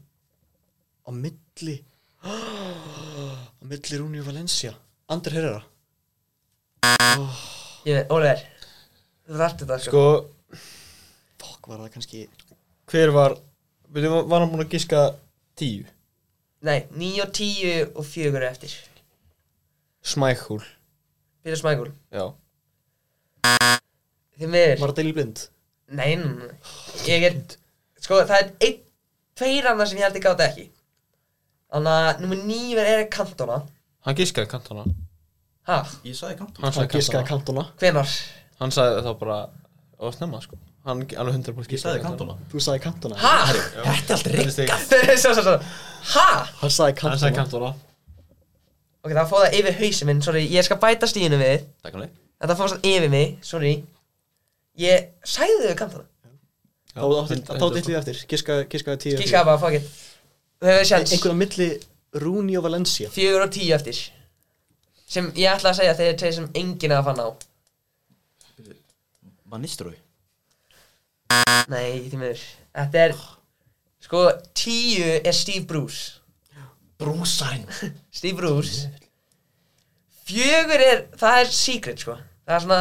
H: á milli á milli Rúni og Valencia Andri Herrera
A: Ég veit, Oliver Þú þarftu þetta sko
F: Sko,
H: Fokk var það kannski
F: hver var Við þau var hann búin að giska tíu
A: Nei, níu og tíu og fjögur er eftir
F: Smækúl
A: Peter Smækul
F: Já
A: Þið miður
H: var það Daily Blind
A: Nei, nei, nei. ég er Sko, það er einn Tveir annar sem ég held ég gáta ekki Þannig að númer níu er Erik Cantona
F: Hann giskaði kantana
A: Ha,
G: Ég sagði kantum
F: Hann sagði
H: Gískaði
F: kantana
H: kantona
A: hvenar?
F: Hann sagði þá bara Það var snemma sko Hann g- alveg 100%
G: Ég sagði kantona
H: þú sagði kantona
A: Ha?
G: Þetta er allt
F: Þetta er stig.
A: Svo, svo, svo Ha?
H: hann sagði
F: Hann sagði
H: kantona
F: kantona
A: Ok, það fóð það yfir hausin minn, sorry Ég skal bæta stíðinu við
G: Takk hann leik
A: Þetta fóð það yfir mig, sorry Ég sæði þau kantana
F: Já,
H: þá átti- þá
F: 100%.
H: dillið eftir Gískaði gískaði 10
A: Kíkja bara, fuck it Þú hefur sjans
H: einhverja milli Rúni og Valencia
A: Fjögur og sko. tíu eftir Sem ég ætla að segja þegar þeir sem enginn er að fann á
G: Var Nistrúi
A: Nei, því miður Þetta er Sko, tíu er Steve Bruce
G: Brúsarinn
A: Steve Bruce Fjögur er, það er secret sko Það er svona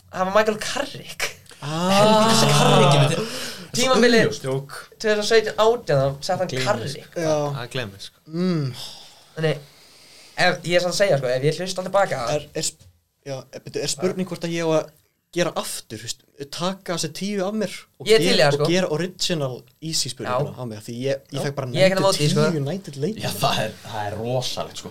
A: Það var Michael Carrick
G: Helvíðis karriki með þér
A: Tímabilið
F: Stjók
A: 2017 átján þá sett hann
F: Gleymir.
A: Carrick
H: já
F: Það glemir sko
H: mm.
A: Þannig ef, Ég er svona að segja sko, ef ég hlusta tilbaka
H: er, er, sp- já, er, byrju, er spurning hvort að ég á að gera aftur veist, taka þessi tíu af mér og,
A: Ég er til í það, sko.
H: og gera original easy spurninguna
A: Já.
H: á mig af því ég, ég fekk bara
A: Ég er ekki á
H: United
A: móti, sko.
H: United leik
G: Já, það er, það er rosalegt sko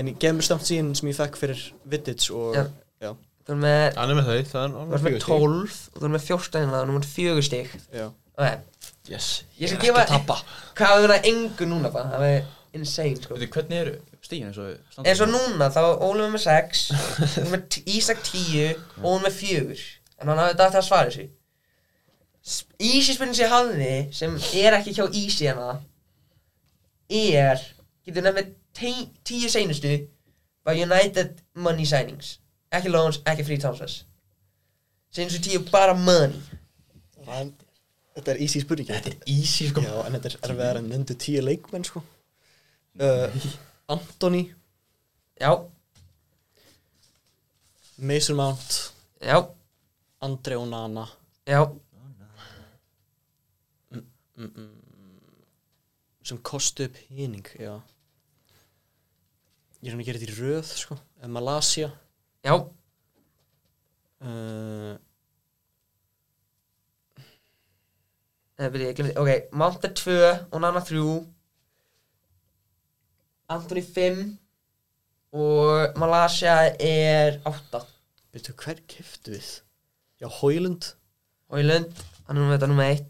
H: en ég gef mér stemt síðan sem ég fekk fyrir Vittits og
A: Já.
H: já. Já,
A: Þú erum með
F: Hann er með þau Það er
A: Þú erum með 12 og þú erum með 14 hérna og nú erum við 4 stík Ok,
G: Yes
A: Ég skal
G: er ekki
A: gefa-
G: að tappa
A: hvað hafði það engu núna bara, það er insane sko
G: Veitu, hvernig eru stíðin eins og við hérna? standum?
A: eins og núna þá var Óli með 6 hún með t- Ísak 10 og hún með 4 en hann hafði þetta aftur að svara þessu Sp- Easy spurning sem ég hafði sem er ekki hjá Easy hana er getur nefnir 10 seinustu by United Money Signings ekki loans, ekki free transfers seinustu 10 bara money
H: En, þetta er easy spurning
G: Þetta er easy sko
H: já, en þetta er erfiðar en nefndu tíu leikmenn sko. uh, Anthony
A: já,
H: Mason Mount
A: já,
H: Andre Onana
A: já
H: sem kostu upp hýning já ég er hann að gera þetta í röð sko. Eh, Malasia
A: já,
H: uh,
A: Nei, byrja, Eh, ég glemdi, ok, Mount er 2 og Nana 3 Anthony 5 og Malaysia er 8
H: Veitu, hver keftu við? Já, Hoylund
A: og í Lund, hann er nú þetta nummer 1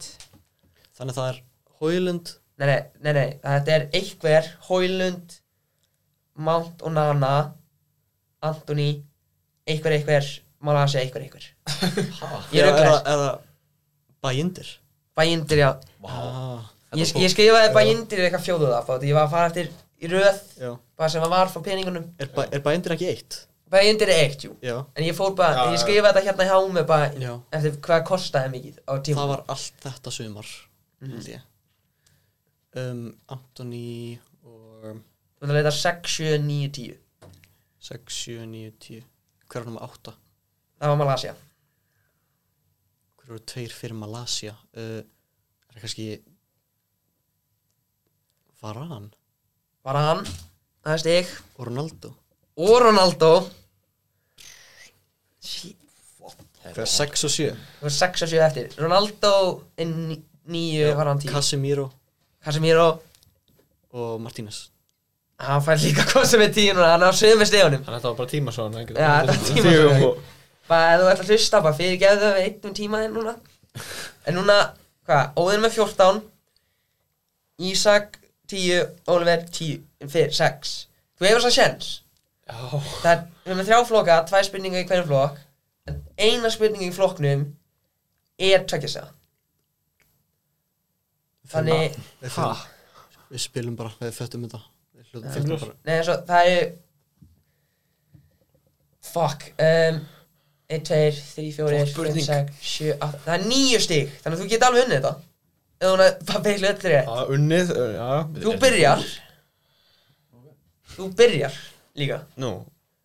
H: Þannig að það er Hoylund
A: Nei, nei, nei, nei, þetta er einhver Hólund, Mount og Nana Antoni, einhver einhver Malaysia einhver einhver Ég
H: Já,
A: er
H: það-
A: auðvitað,
H: Er það Bæindir?
A: bæindir já
H: Ah,
A: Ég, ég skrifaði bæindir eitthvað fjóðu það því ég var að fara eftir í röð
H: já
A: bara sem að var frá peningunum
H: Er, bæ, er bændir ekki eitt?
A: Bæindir er eitt, jú
H: Já
A: En ég fór bara,
F: Já,
A: ég
F: já.
A: skrifaði þetta hérna hjá mig bara
H: Já.
A: eftir hvað kostaði mikið á tíma
H: Það var allt þetta sumar held ég. um, Antoni og
A: Þú ætlar að leita 6, 7, 9, 10
H: 6, 7, 9, 10 Hver var nummer 8?
A: Það var Malaysia
H: Hver eru tveir fyrir Malaysia? Uh, er það kannski Varan
A: Var hann, það er stig
H: og Ronaldo
A: Og Ronaldo Shit Eh,
H: Hver er 6 og 7?
A: Það var 6 og 7 eftir Ronaldo er 9 var hann 10
H: Casemiro
A: Casemiro
H: og Martínez
A: Hann fær líka hvað sem er 10 núna Hann er á sömu stegunum
F: Þannig að þetta var bara tíma svona
A: Já, þetta var tímasóun. Bara ef þú ætlar að hlusta Bara fyrirgefðu það við eitt um tíma þinn núna En núna Hvað Óðinn með 14 Ísak 10 Oliver 10 Fyrir 6 Þú hefur þess að sjens
F: Já,
A: Það er Við erum með þrjá flokka Tvær spurningar í hverjum flokk En eina spurning í flokknum Er tveggjastaða. Þannig
H: Við fyrir, Við spilum bara, við föttum þetta Við
A: Eh.
H: hlutum föttum bara
A: Nei, svo, það eru Fuck um, 1, 2, 3, 4, 5, 6, 7, 8 Það er níu stík Þannig að þú geti alveg unnið þetta Eða hún að bara beigla öll þér
F: Já, unnið, uh, já,
A: Þú byrjar Þú byrjar líka
F: nú,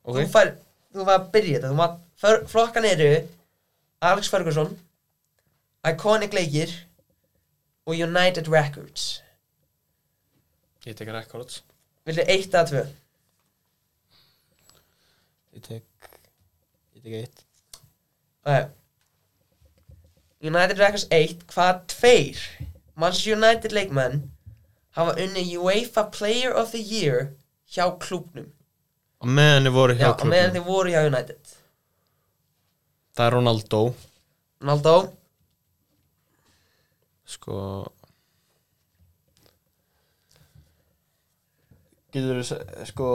F: ok
A: Þú fær, þú fær að byrja þetta Þú maður, för, flokkan eru Alex Ferguson Iconic leikir Og United Records
F: Ég tek records
A: Viltu eitt að tvö?
F: Ég tek, ég tek eitt
A: Nei. United Records 1 hvað tveir Manchester United leikmenn hafa unni UEFA Player of the Year hjá klúbnum
F: Á meðan þið voru hjá
A: Já, á meðan
F: klubnum
A: þeir voru hjá United
F: Það er Ronaldo
A: Ronaldo,
F: Sko Getur þú, sko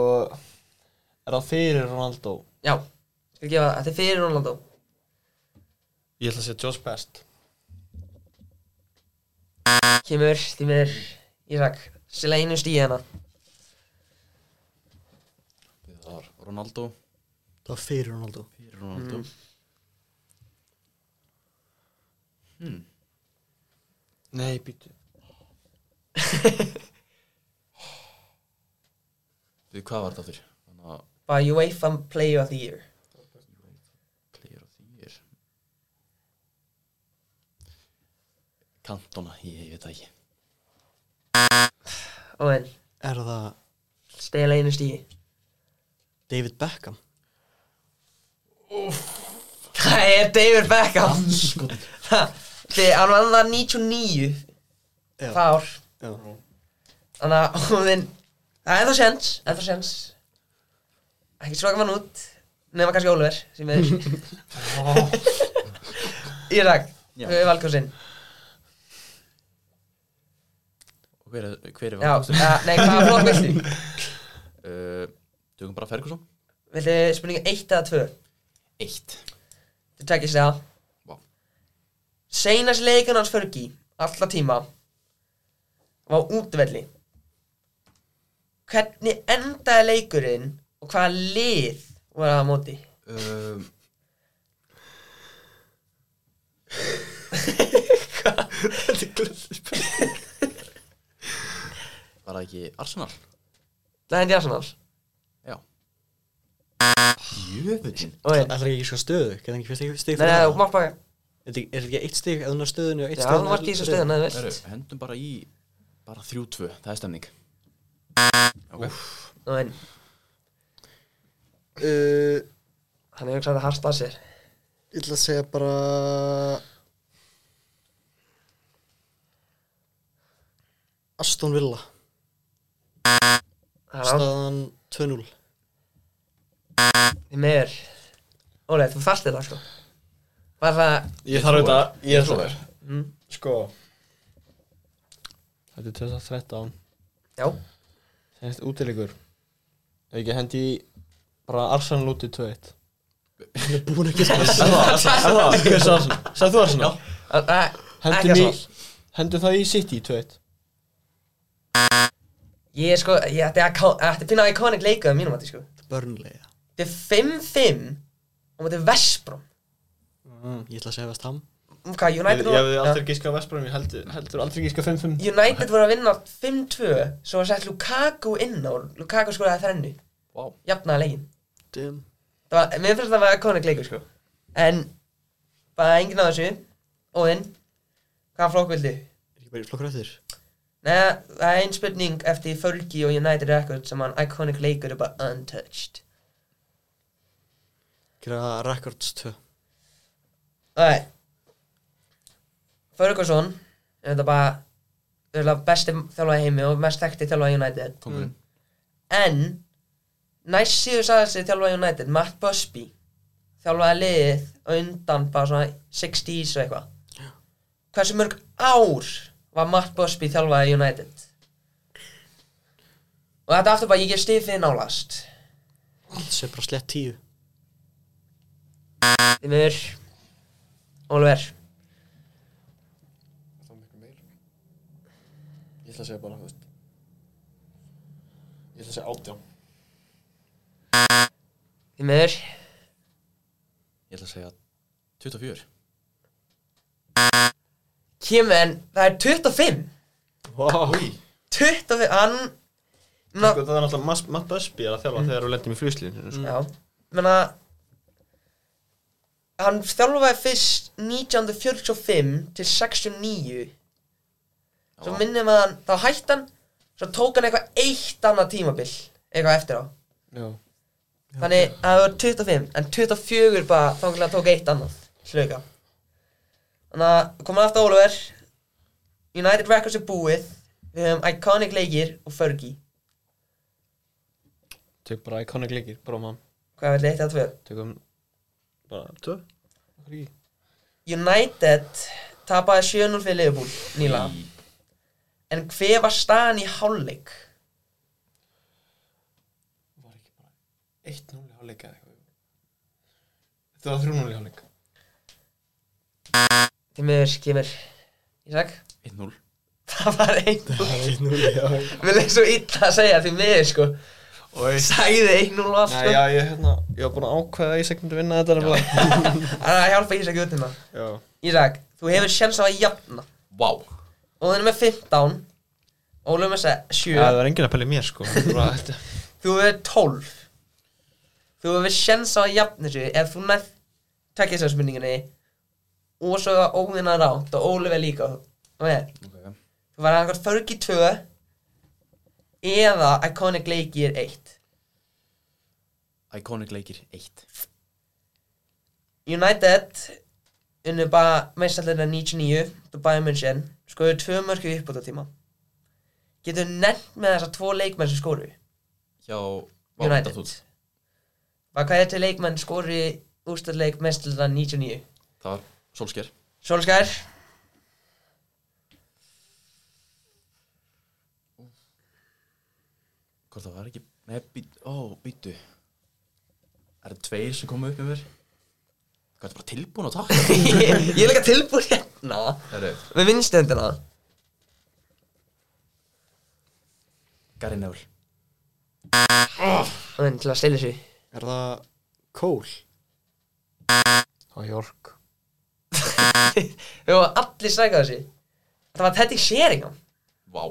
F: Er það fyrir Ronaldo?
A: já skal gefa það, þetta er fyrir Ronaldo
F: Ég ætla að segja Josh Best
A: kemur, því miður, Ísak sila einu stíði hana
C: Það var Ronaldo
H: Það var fyrir Ronaldo
C: Fyrir Ronaldo
G: Mm. Hmm.
F: Nei, býtu
C: Við hvað var þetta aftur? Þannig að
A: bara UEFA Player of the Year
C: Player of the Year Kantona, ég, ég veit það ekki
A: og en,
H: Er það
A: stela einu stíði
H: David Beckham?
A: það er David Beckham það, þið- hann var það 99
H: Já.
A: það ár
H: Já
A: Þannig að óðinn Það er þá sjens, er þá sjens Ekki sloka mann út Nefna kannski Ólver sem er Írak,
C: Já.
A: við valkosinn
C: Og hver, er- hver er
A: Já, að, nei, hvaða flokk viltu?
C: uh, Dugum bara Ferguson
A: Viltu spurningu 1 eða 2?
C: Eitt
A: Þú tekist það
C: Vá.
A: Seinas leikun hans Fergi Alla tíma Var á útvelli Hvernig endaði leikurinn Og hvaða lið Var það á móti?
C: um, Var það ekki Arsenal?
A: Það hendi Arsenal
C: Já Jöfullin
A: Óðinn
H: Það er ekki sko stöðu, getur ekki fyrst ekki stig
A: Nei,
H: fyrir
A: nei,
H: það?
A: þú mátt baka
H: Er þetta ekki- er þetta ekki eitt stig eða hún er stöðunni og eitt
A: Já,
H: stig
A: þú mátt lýsa stöðuna, þú
C: Heru,
A: veist
C: Hendum bara í Bara 3-2, það er stemning
A: Nú en,
H: Uh,
A: hann er hugsaður að harsta að sér
H: ég ætla að segja bara Aston Villa
A: Það er án-
H: staðan 2-0
A: Þið meður Ólega, þú fastið það sko Var það
F: Ég þarf þetta Ég
G: trúi
F: þarf
G: þér.
F: þetta Sko Þetta er 2013
A: Já
F: Senast útilegur Ef ekki hendi í Bara Arsenal úti 2-1 Ég er búin ekki að segja það Hver er Arsenal? Sæð þú Arsenal?
A: Að- að- Ekki
F: Hendum í
A: Arsenal.
F: Hendum það í City 2-1
A: Ég er sko Ég ætti að ká- ætti að finna iconic leika um mínum að sko
H: Burnley já.
A: Þetta er 5-5 Og þetta er Vestbrom
H: mm, Ég ætla að segja Vest Ham
A: Hvað,
F: Ég
A: United
F: ég hefði
A: voru-
F: aldrei gískað á Vestbjörnum Ég held- heldur aldrei gískað 5-5
A: United voru að vinna 5-2 Svo var sett Lukaku inn á Lukaku skoraði þrennu
G: Vá.
A: Jafnaði leikin
H: Damn
A: Það var, mér finnst það að vera konik leikur sko En, bara enginn á þessu Óðinn, hvað flokk vildu?
H: Er ekki bara í flokkur eftir?
A: Nei, það er ein spurning eftir Fergie og United Records sem hann iconic leikur er bara untouched
H: Gera Records 2
A: Það Ferguson er þetta bara örugglega besti þjálfaði heimi og mest þekkti þjálfaði United
C: Mm.
G: Kongurinn.
A: En, næst síður sagði sig þjálfaði United, Matt Busby þjálfaði liðið og undan bara svona 60s og eitthvað Hversu mörg ár var Matt Busby þjálfaði United? Og þetta er aftur bara, ég gef stig fyrir nálast
H: Þetta er bara slett 10
A: Þimur Oliver
F: Ég ætla að segja bara þú veist. Ég ætla að segja 18
A: Þimur
G: Ég ætla að segja 24
A: Kim en það er 25
F: Wow.
A: 25 Hann Ná,
F: Sko, það er náttúrulega Mas- Matt Busby er að þjálfa þegar við lendum í fljóslíðinu sko.
A: Já Menna Hann þjálfaði fyrst 1945 til 69 Svo minnum að hann Þá hætti hann Svo tók hann eitthvað eitt annað tímabil Eitthvað eftir á
F: Já.
A: Þannig að það var 25 En 24 bara þangilega tók eitt annað Sluga Þannig að komum aftur Oliver United Records er búið Við höfum Iconic leikir og Fergie
F: Tök bara iconic leikir, bara mann
A: Hvað er leitt að tvö?
F: Tökum bara Tvö? Okkur ekki
A: United tapaði 7-0 fyrir Liverpool nýla En hver var staðan í hálfleik?
F: Var ekki bara 1-0 í hálfleik eða eitthvað Þetta var 3-0 í hálfleik
A: Tímiður kemur Ísak
G: 1-0
A: Það var einn Mér leik svo illa að segja því miður sko
F: Oi.
A: Sæði 1-0 oft
F: Nei,
A: sko
F: já, ég, hérna, ég var búin að ákveða að Ísak myndi vinna þetta nefnilega
A: Það er að hjálpa Ísak út hérna
F: Já
A: Ísak, þú hefur sjans á að jafna
G: Vá
A: og þeir eru með 15 Ólum er se-
F: Já,
A: 7
F: það var enginn að pæla í mér, sko Bara, þetta
A: þú hefur 12 þú hefur sjens á að jafna þessu ef þú nætt tekja þessu spurningunni og svo að óðina rátt og Ólum er líka og ég,
G: okay.
A: þú var annað Fergie 2 eða Iconic Leikir 1
G: Iconic leikir 1
A: United unnu bara meðstallina 99 Dubai München skoðu tvö mörku upp á þetta tíma getur nefnt með þessa tvo leikmenn sem skóru
G: Hjá Vá,
A: United
G: þetta þú-
A: Var hvað er til leikmenn skori úrstæðleik mestlita 99?
G: Það var Solskjær
A: Solskær
G: Hvort það var ekki Nei, být, ó, býtu Er það tveir sem komu upp með mér? Hvað er bara tilbúin að taka?
A: Ég er líka tilbúin hérna
G: Herru,
A: Með vinnstendina
G: Gary Neville
A: Þannig til að stila þessu
H: Er það Cole?
F: Á York
A: Við varum allir strækað þessu Það var Teddy Sheringham
G: Vá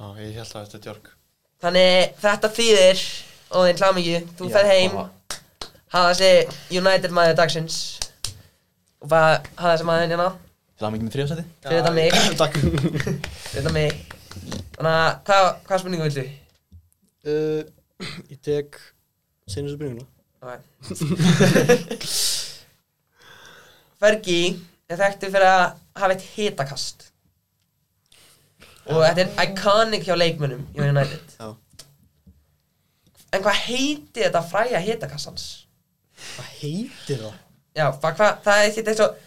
F: Já, ég held að þetta er York
A: Þannig þetta þýðir Og þeir klám ekki Þú ferð heim
G: bara-
A: Hafa þessi United maður dagsins Og bara hafa þessi maður hérna
G: Það var mikið með þriðasæti
A: Fyrir þetta mig
F: Takk
A: Fyrir þetta mig Þannig að hvað, hvað spurningu viltu?
H: Uh, ég tek Seinu spurninguna
A: Ok. Fergie er þekktu fyrir að hafa eitt hitakast og þetta er iconic hjá leikmönnum hjá United
H: Já.
A: En hvað heiti þetta fræja hitakassans?
H: Hvað heitir það?
A: Já, hvað, hvað, það er ekkert eins og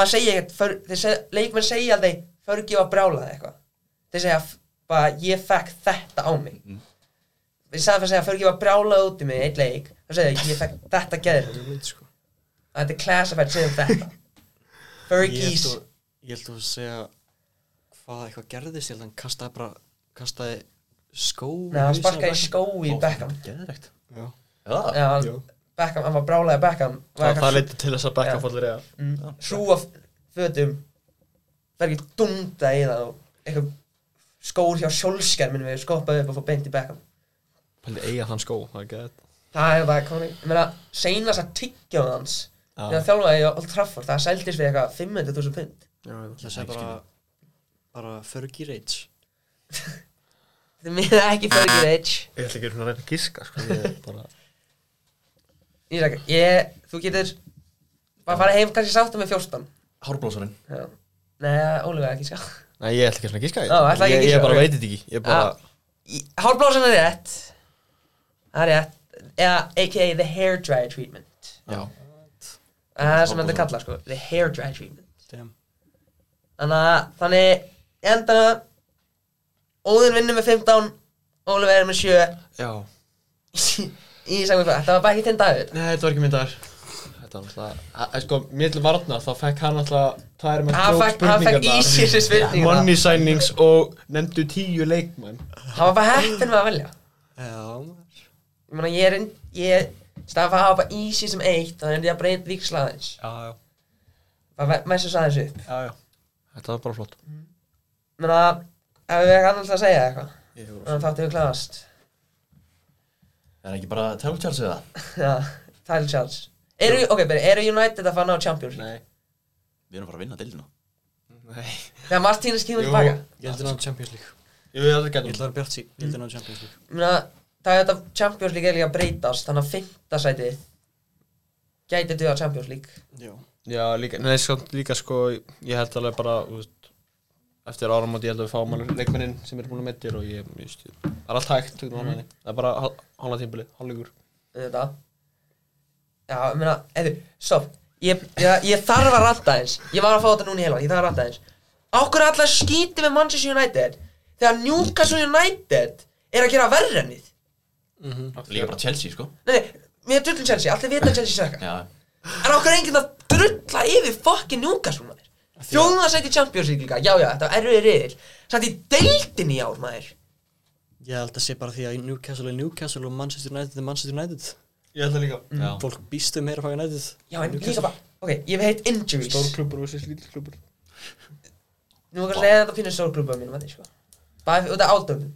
A: maður segja ekkert, för- þeir segja, leikmenn segja aldrei förgjöf að brjála eitthvað þeir segja f- bara ég fekk þetta á mig mm. við sagði fyrir að segja förgjöf að brjála út í mig í eitt leik þá segja þeir, ég fekk þetta geður
H: Ég veit sko
A: þetta er classified segja um þetta
H: Ég
A: Fergies
H: held að- ég held að þú segja hvað eitthvað gerðist, ég held að hann kastaði bara kastaði skó
A: Nei, hann sparkaði í skó í Beckham
G: Geðvegt
H: Já.
G: Já,
A: Já, hann-
F: Jú.
A: Beckham, hann var brálaði Beckham
F: það, það leiti til þess að
A: Já.
F: bekka fólk reyða
A: Súa Mm. fötum verður ekki dunda í það og eitthvað skór hjá sjálfskær minnum við skoppaði upp og fór beint í Beckham
F: Pældi eiga þann skó, það er gett
A: Það er bara komin Ég meina, seinast að tyggjaðu hans Þegar þjálfaði ég á Old Trafford Það seldist við eitthvað 500.000 pund
H: Það segja bara bara Fergie Rage
A: Þið miða ekki Fergie Rage
F: Ég ætla ekki að reyna að giska, sko Ég er bara
A: Ég sagði, ég, þú getur Bara fara heim kannski sáttum með 14
G: Hárblósarinn
A: Já. Nei, Ólifa ekki sko. ská
F: Nei, ég ætla ekki svona að giska
A: Ó, ætla ekki að
F: Ég-
A: giska,
F: Ég bara
A: ok.
F: veit þetta ekki Ég bara
A: Hálfblósan Ah, er rétt Það er rétt Eða, a.k.a. the hair dry treatment Það
G: Já
A: er það Eh, sem þetta kalla, sko The hair dry treatment
H: Damn.
A: Þannig að, þannig Ég held að Óðinn vinnur með 15 Ólifa er með 7
F: Já
A: Í samkvæmt hvað, þetta var bara ekki þinn dagur
F: Nei, þetta var ekki mynd þar Þetta var alltaf að- Sko, millir varna þá fekk hann alltaf Það er með
A: Hann fekk- hann fekk í sig þessi spurningar.
F: Money signings og nefndu tíu leikmenn
A: Það var bara heppin með að velja
H: Já, maður.
A: Ég meina, ég er inn, ég Stafa að hafa bara easy sem eitt Þannig að ég að breyta vikslaðins
F: Já, já,
A: Bara messu saðins upp
F: já, já Þetta var bara flott
A: Ég meina, ef við ekki annars að segja eitthvað
F: Ég hefur
A: Þannig að þáttu við klárast
G: Er ekki bara Tell Charles við það?
A: Já, title chance Eru, ok, byrja, eru United að fara að ná Champions League?
F: Nei
G: Við erum bara að vinna deildina
F: Nei
A: Þegar Martínez kemur
F: Jú.
A: tilbaka
H: ég held að ná Champions League
F: Jú, þetta
H: Ég
F: getur
H: held að vera Bjartsi, ég held að ná Champions League
A: Ég meina, það er þetta Champions League er líka að breytast Þannig að fimmta sæti Gæti duða Champions League
H: Mm. Já,
F: Já, líka, nei, sko, líka sko, ég held alveg bara, þú veist, eftir áramóti ég held að við fáum alveg leikmennin sem er búin að meittir og ég, ég veist, ég- það er allt hægt, þú veist, mm. það er bara hál- hálfa tímbili, hálfleikur.
A: þetta Já, ég meina, eða, stopp ég, ég, ég þarf að ranta eins Ég var að fá þetta núna í heila, ég þarf að ranta eins Ákveður allar skítið með Manchester United Þegar Newcastle United Er að gera verri en við
G: Líka bara Chelsea, sko
A: Nei, nei, við erum drullin Chelsea, allir vita að Chelsea sökka
G: Já
A: En ákveður enginn að drulla yfir fokkin Newcastle maður Þjóðum það sæti í Champions League líka, já já, þetta var erfiði riðil Sæti í deildin í ár maður
H: ég held að sé bara því að Newcastle er Newcastle og Manchester United er Manchester United
F: Ég held að líka.
G: Já
H: Fólk býstu meira að fá United
A: Já, en líka bara, ok, ég hef heitt injuries
F: Stór klubur og þessi lítil klubur.
A: Nú kannski er þetta að finna stórklubba mínum að því, sko Bara út af átöfum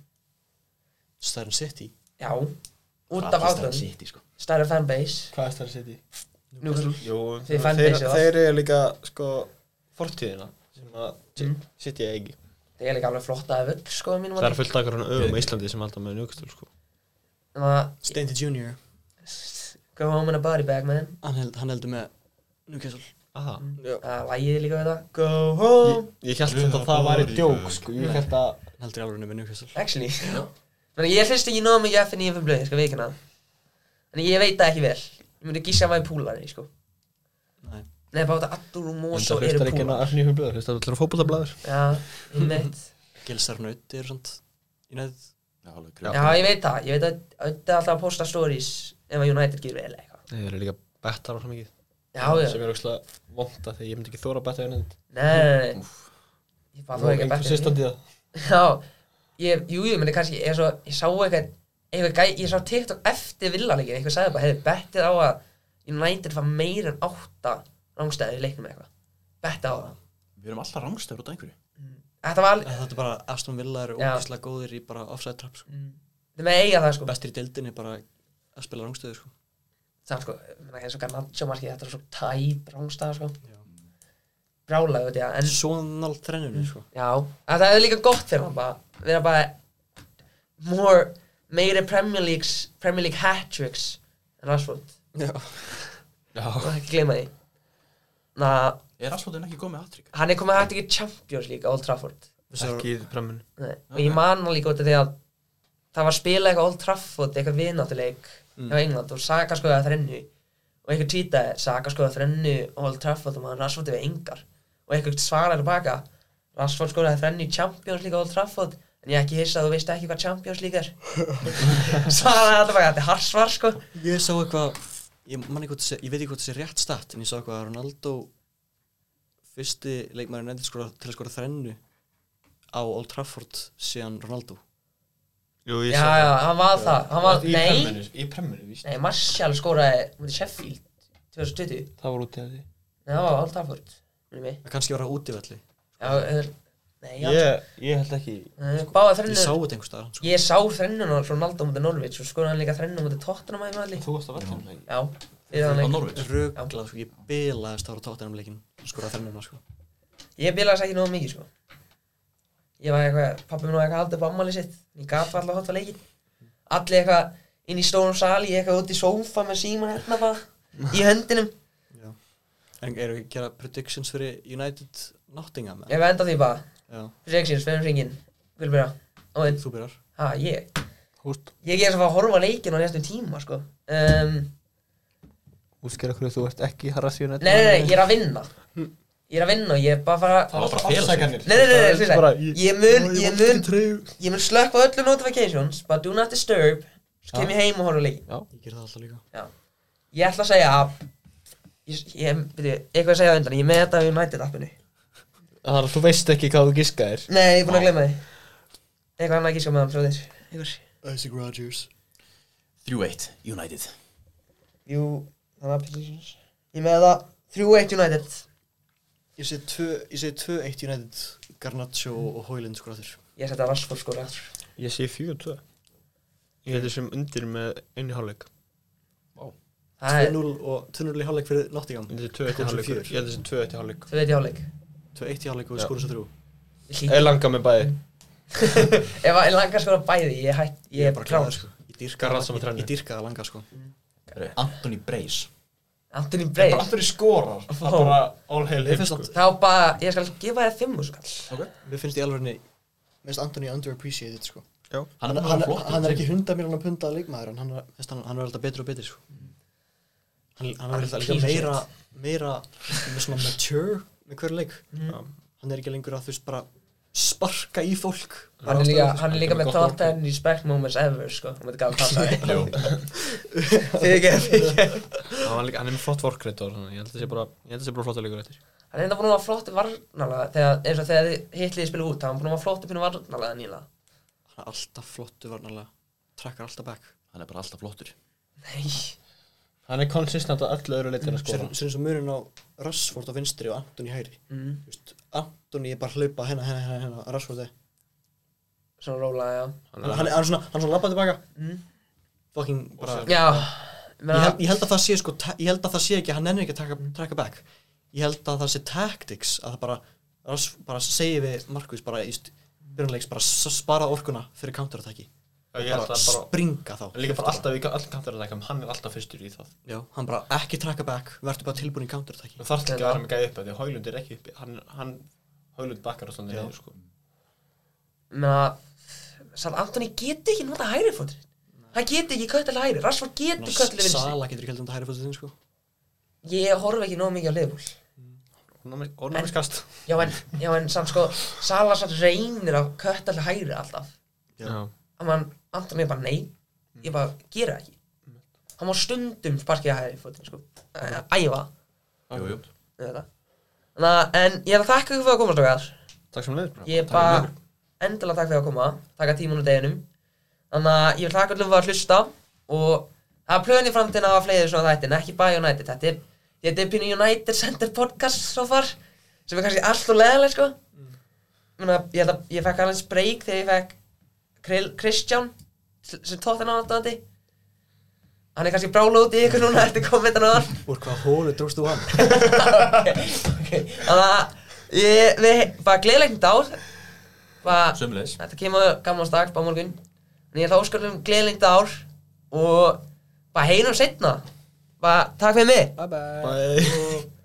H: Stærn City
A: Já, út af
G: Allir stærri
A: átöfum
G: City, sko
A: Stærra fanbase
F: Hvað er stærri sitt í?
A: Newcastle
F: Jú,
A: Þeir fann þeir- þessi, va? þeir
F: eru líka, sko, fortíðina sem að
A: Mm.
F: sitt ég ekki.
A: Það er líka alveg flott að öll, sko, að mínum
F: Það
A: að
F: er fullt af hverjum öðum á Íslandi sem alltaf með njögustul, sko.
A: Þannig að
H: Stanley Junior,
A: Go home in a body bag, man
H: hann, held, hann heldur með Newcastle
F: Aha.
A: Það er lægið líka við það Go home
F: Ég held þetta að það væri djók, sko, ég held að...
H: Hann heldur alveg með Newcastle
A: Actually Þannig að ég hlust ekki nóg mikið FN í FN blöð, ég skal veikina sko, Þannig að ég veit það ekki vel Ég myndi gísa að maður púlari, sko
H: Nei.
A: Nei, bara þetta Addur og
F: En
A: Moso
F: það
A: eru
F: hlustar ekki
A: púlar
F: að öfni í hugblæður, hlustar allir að fókbólablæður.
A: Já, ég veit
H: Gilsar Nauti er svont United
G: Já, alveg
A: Já, ég veit það, ég veit að auðvitað alltaf að posta stories ef að United gerir vel eða eitthvað
F: Nei, þeir eru líka bettar á það mikið.
A: Já, já,
F: sem er ógslag vonda þegar ég myndi ekki þóra að betta við neitt
A: nei, nei, nei Ég bara þú ekki að
F: einhver
A: betta hérna
F: sýstandi það
A: Já, ég, jú, ég myndi kannski, ég, er svo, ég sá eitthvað, eitthvað gæ, ég sá TikTok eftir villalegin, eitthvað sagði bara, hefði bettið á að United fá meir en átta rángstæði í leiknum eða eitthvað, bettið á það.
G: Við erum alltaf rangstöður út af einhverju
A: Þetta var alveg,
H: Þetta er bara Aston Villa eru
A: Já.
H: ógeðslega góðir í bara offside trap sko.
A: Mm. það með eiga það sko,
H: Bestir í deildinni bara að spila rangstöðu sko.
A: það sko, menn ekki eins og Garnaccio markið, þetta er svo tæp rángstæða sko,
H: Já.
A: brálaði þetta, en
H: Svo nált
A: Mm.
H: þrennunni sko.
A: já, en það er líka gott fyrir hann bara, vera bara more, meiri Premier Leagues, Premier League hat-tricks en Rashford,
H: Já.
A: það er ekki gleyma því. Na,
G: Er Rashfordin ekki góð með aðtrykk?
A: hann er komið hægt ekki Champions League á Old Trafford
H: Svo,
F: ekki í premmun
A: Nei. og ég man hann líka út af því að það var að spila eitthvað Old Trafford, eitthvað vináttuleik mm. á England og Saka skoði að þrennu og einhver tweetaði, Saka skoði að þrennu á Old Trafford og maður Rashford við engar og einhver svaraði tilbaka Rashford skoði að þrennu í Champions League á Old Trafford en ég er ekki hissa að þú veist ekki hvað Champions League er svaraði alltaf baka, þetta er harsvar sko
H: Ég sá eitthvað Ég, man ekki hvort það sé- ég veit ekki hvort það sé rétt stat En ég sá eitthvað að Ronaldo Fyrsti leikmæri nefndi skora, til að skora þrennu Á Old Trafford Síðan Ronaldo
F: Jú,
A: já, já, hann var það, hann var,
F: Í
A: nei
F: premminu, í premminu, víst
A: nei, Martial skoraði mútið Sheffield 2020,
F: Það var út í að því
A: nei, það var Old Trafford minnum mig,
H: Það kannski var að útivelli
A: já, er, nei, já
F: Ég, ég held ekki
A: yeah. báða
H: Sko, Ég
A: þrennur
H: sá þetta einhvers staðar sko.
A: Ég sá þrennun á Ronaldo mútið Norvits og skoði hann líka þrennun mútið Tottenham aðeins allir.
F: Þú varst að verða hann
A: Já, fyrir hann
G: á
A: leik.
G: Norvins
H: Rögla, sko, ég bilaðist ára tóttinum leikin Skora þrennuna, sko
A: Ég bilaði ekki nógu mikið, sko. Ég var eitthvað, pappi minn var eitthvað haldið upp ammali sitt. Ég gaf alltaf hótt á leikin. Allir eitthvað inn í stórum sali, ég eitthvað út í sófa með síma hérna bara. Í höndinum.
H: En eru ekki að gera predictions fyrir United Nottingham? eða?
A: Ég var enda því bara.
H: Já,
A: Fyrir ekki sinns, fyrir hringin. Vil byrja. Óðinn.
H: þú byrjar
A: Ha, ég.
F: Húst,
A: Ég er svo að fá að horfa á leikin á næstum tíma, sko. Um,
F: útskjara hverju þú ert ekki harrasjónet
A: nei, nei, nei, ég er að vinna. Ég er að vinna og ég er bara að fara
G: Það var bara félagsækjum
A: Nei, nei, nei, nei,
F: Það er bara-
A: nei, ég mun, ég mun,
F: treyju
A: ég mun slökka á öllum notifications, bara do not disturb, svo kem ég heim og horfa á leikinn.
H: Ég ger það alltaf líka
A: Ég ætla að segja að, ég, ég byrju, eitthvað að segja á undan, ég er með þetta við United appinu.
F: Það er, þú veist ekki hvað þú giskaðir
A: Nei, ég er búinn að glemma því. Eitthvað annað gíska með hann, svo þér. Ykkur.
H: Isaac Rodgers
G: 3-1 United
A: Jú, það var petitions. Ég er með það 3-1 United.
H: Ég segi 2-1 United Garnaccio og
A: Mm.
H: Hoyland sko aftur
A: Ég setja Rashford skóra aftur.
F: Ég sé fjögur tvö Ég hefði sem undir með einu hálfleik
A: Það er Mm.
H: 2-0 og 2-0 í hálfleik fyrir Nottingham
F: Þetta er tvö eitt í
H: Kom svo
F: hálfleik
H: fjögur.
F: Ég hefði sem tvö eitt í hálfleik
A: 2-1 í hálfleik.
H: 2-1 í hálfleik og við
F: Já.
H: skorum svo þrjú
A: Ég
F: Ég
A: hlýt.
F: langa með bæði
A: Ef að- ég langar að skora bæði, ég hætt, ég er bara
H: kláður,
A: kláð.
H: sko Ég dýrka
F: Garnaccio með
H: ég,
F: þrennu.
H: ég dýrka að langa sko
G: Anthony Brace
A: Anthony Bray.
F: Aftur í skorar Það er bara all hail
H: Mér
F: him
H: finnst,
F: sko.
H: sko.
A: Þá bara, ég skal gefa þér sko, 5 skall.
H: mér finnst í alvegni Mér finnst Anthony underappreciated sko
G: Hann er
H: hann,
G: bara flott
H: hann er ekki hundar mér hann að punda að leikmaður en hann, er- veist, hann, hann er alltaf betri og betri sko.
G: Mm.
H: hann, hann er alltaf líka
A: pínu
H: meira meira með svona mature með hverju leik hann er ekki lengur að þú veist bara sparka í fólk
A: Hann er líka,
H: Bara
A: hann er líka
F: Hann er
A: með top
F: gott
A: 10 respect moments ever, sko. Hún veit ekki að passa það.
G: Jú.
A: Fyrir ekki, fyrir ekki.
F: Hann var líka- hann er með flott vorkreit og svona. Ég held að sé bara Ég held að sé bara flott að leikur eftir
A: Hann er enda búin að vera flott í varnalega, þegar, eins og þegar hitliði spila út, hann er búin að vera flott í pínu varnalega nýla.
H: hann er alltaf flottu varnalega trakkar alltaf back
G: Hann er bara alltaf flottur
A: Nei.
F: Hann er konsistent á öllu öðru sko. leitin að
H: sem
F: skora
H: sem eins og mörun á Rashford á vinstri og Antoni hægri
A: Mm.
H: Þú veist, Antoni er bara að hlaupa hérna, hennar hennar hennar hennar Rashford er
A: Svona róla, já.
H: hann, hann, er- hann er svona hann er svona labbað tilbaka
A: Mm.
H: fucking bara
A: Já.
H: ég
A: Menna,
H: held, ég held að það sé sko, ta- ég held að það sé ekki, hann nennir ekki að taka, taka back ég held að það sé tactics að það bara, Rass- bara segi við Markus bara í st- byrjunleiks bara s- spara orkuna fyrir counterattacki
F: Ég held
H: bara
F: að bara
H: springa þá
F: En líka bara alltaf í allir kantarættakam, um. hann er alltaf fyrstur í það
H: já, hann bara ekki taka back, verður bara tilbúin í counterattacki
F: Þú þarft ekki að vera með gæði uppi, því að Haulund er ekki uppi Hann, hann Haulund bakkar alltaf niður sko
A: menna, sann Antoni geti ekki nota hægri fótur. Hann geti ekki köttilega hægri, Rashford getur köttilega vinstri.
H: Sala getur ekki heldur um þetta hægri fótið þinn sko
A: Ég horf ekki nóg mikið á liðbúl.
F: Ornámi skast
A: Já, en, já, en sann sko, Sala sann reynir að köttilega hægri alltaf.
F: Já
A: að mann, Antoni er bara nei ég bara gera það ekki hann má stundum sparkið að hægri fótinn sko. Æ- æfa
G: Jú, jú
A: auðvitað. Þannig að- en ég er að þakka ykkur fyrir að koma strákar
F: Takk sem leiður
A: ég er bara um endilega takk fyrir að koma taka tíman úr deginum þannig að ég vil þakka allir fyrir að hlusta og það er plöðin í framtíðin að hafa fleiri svona þættin ekki bara United þetta er, þetta er pínu United Center podcast svo far sem er kannski allt og leðaleg sko Menna, ég, held að ég fekk alveg spreik þegar ég fekk Kril, Kristján sem tótt henni á þetta hann er kannski brála út í ykkur núna eftir kommentan á hann
H: úr hvað hólu dróstu hann
A: þannig að ég, við bara gleðilegt dál bara
G: Sumleis
A: Þetta kemur gaman strax, bara á morgun En ég ætla að óska um gleðlengt ár Og bara heyrum setna Bara takk fyrir mig
F: Bye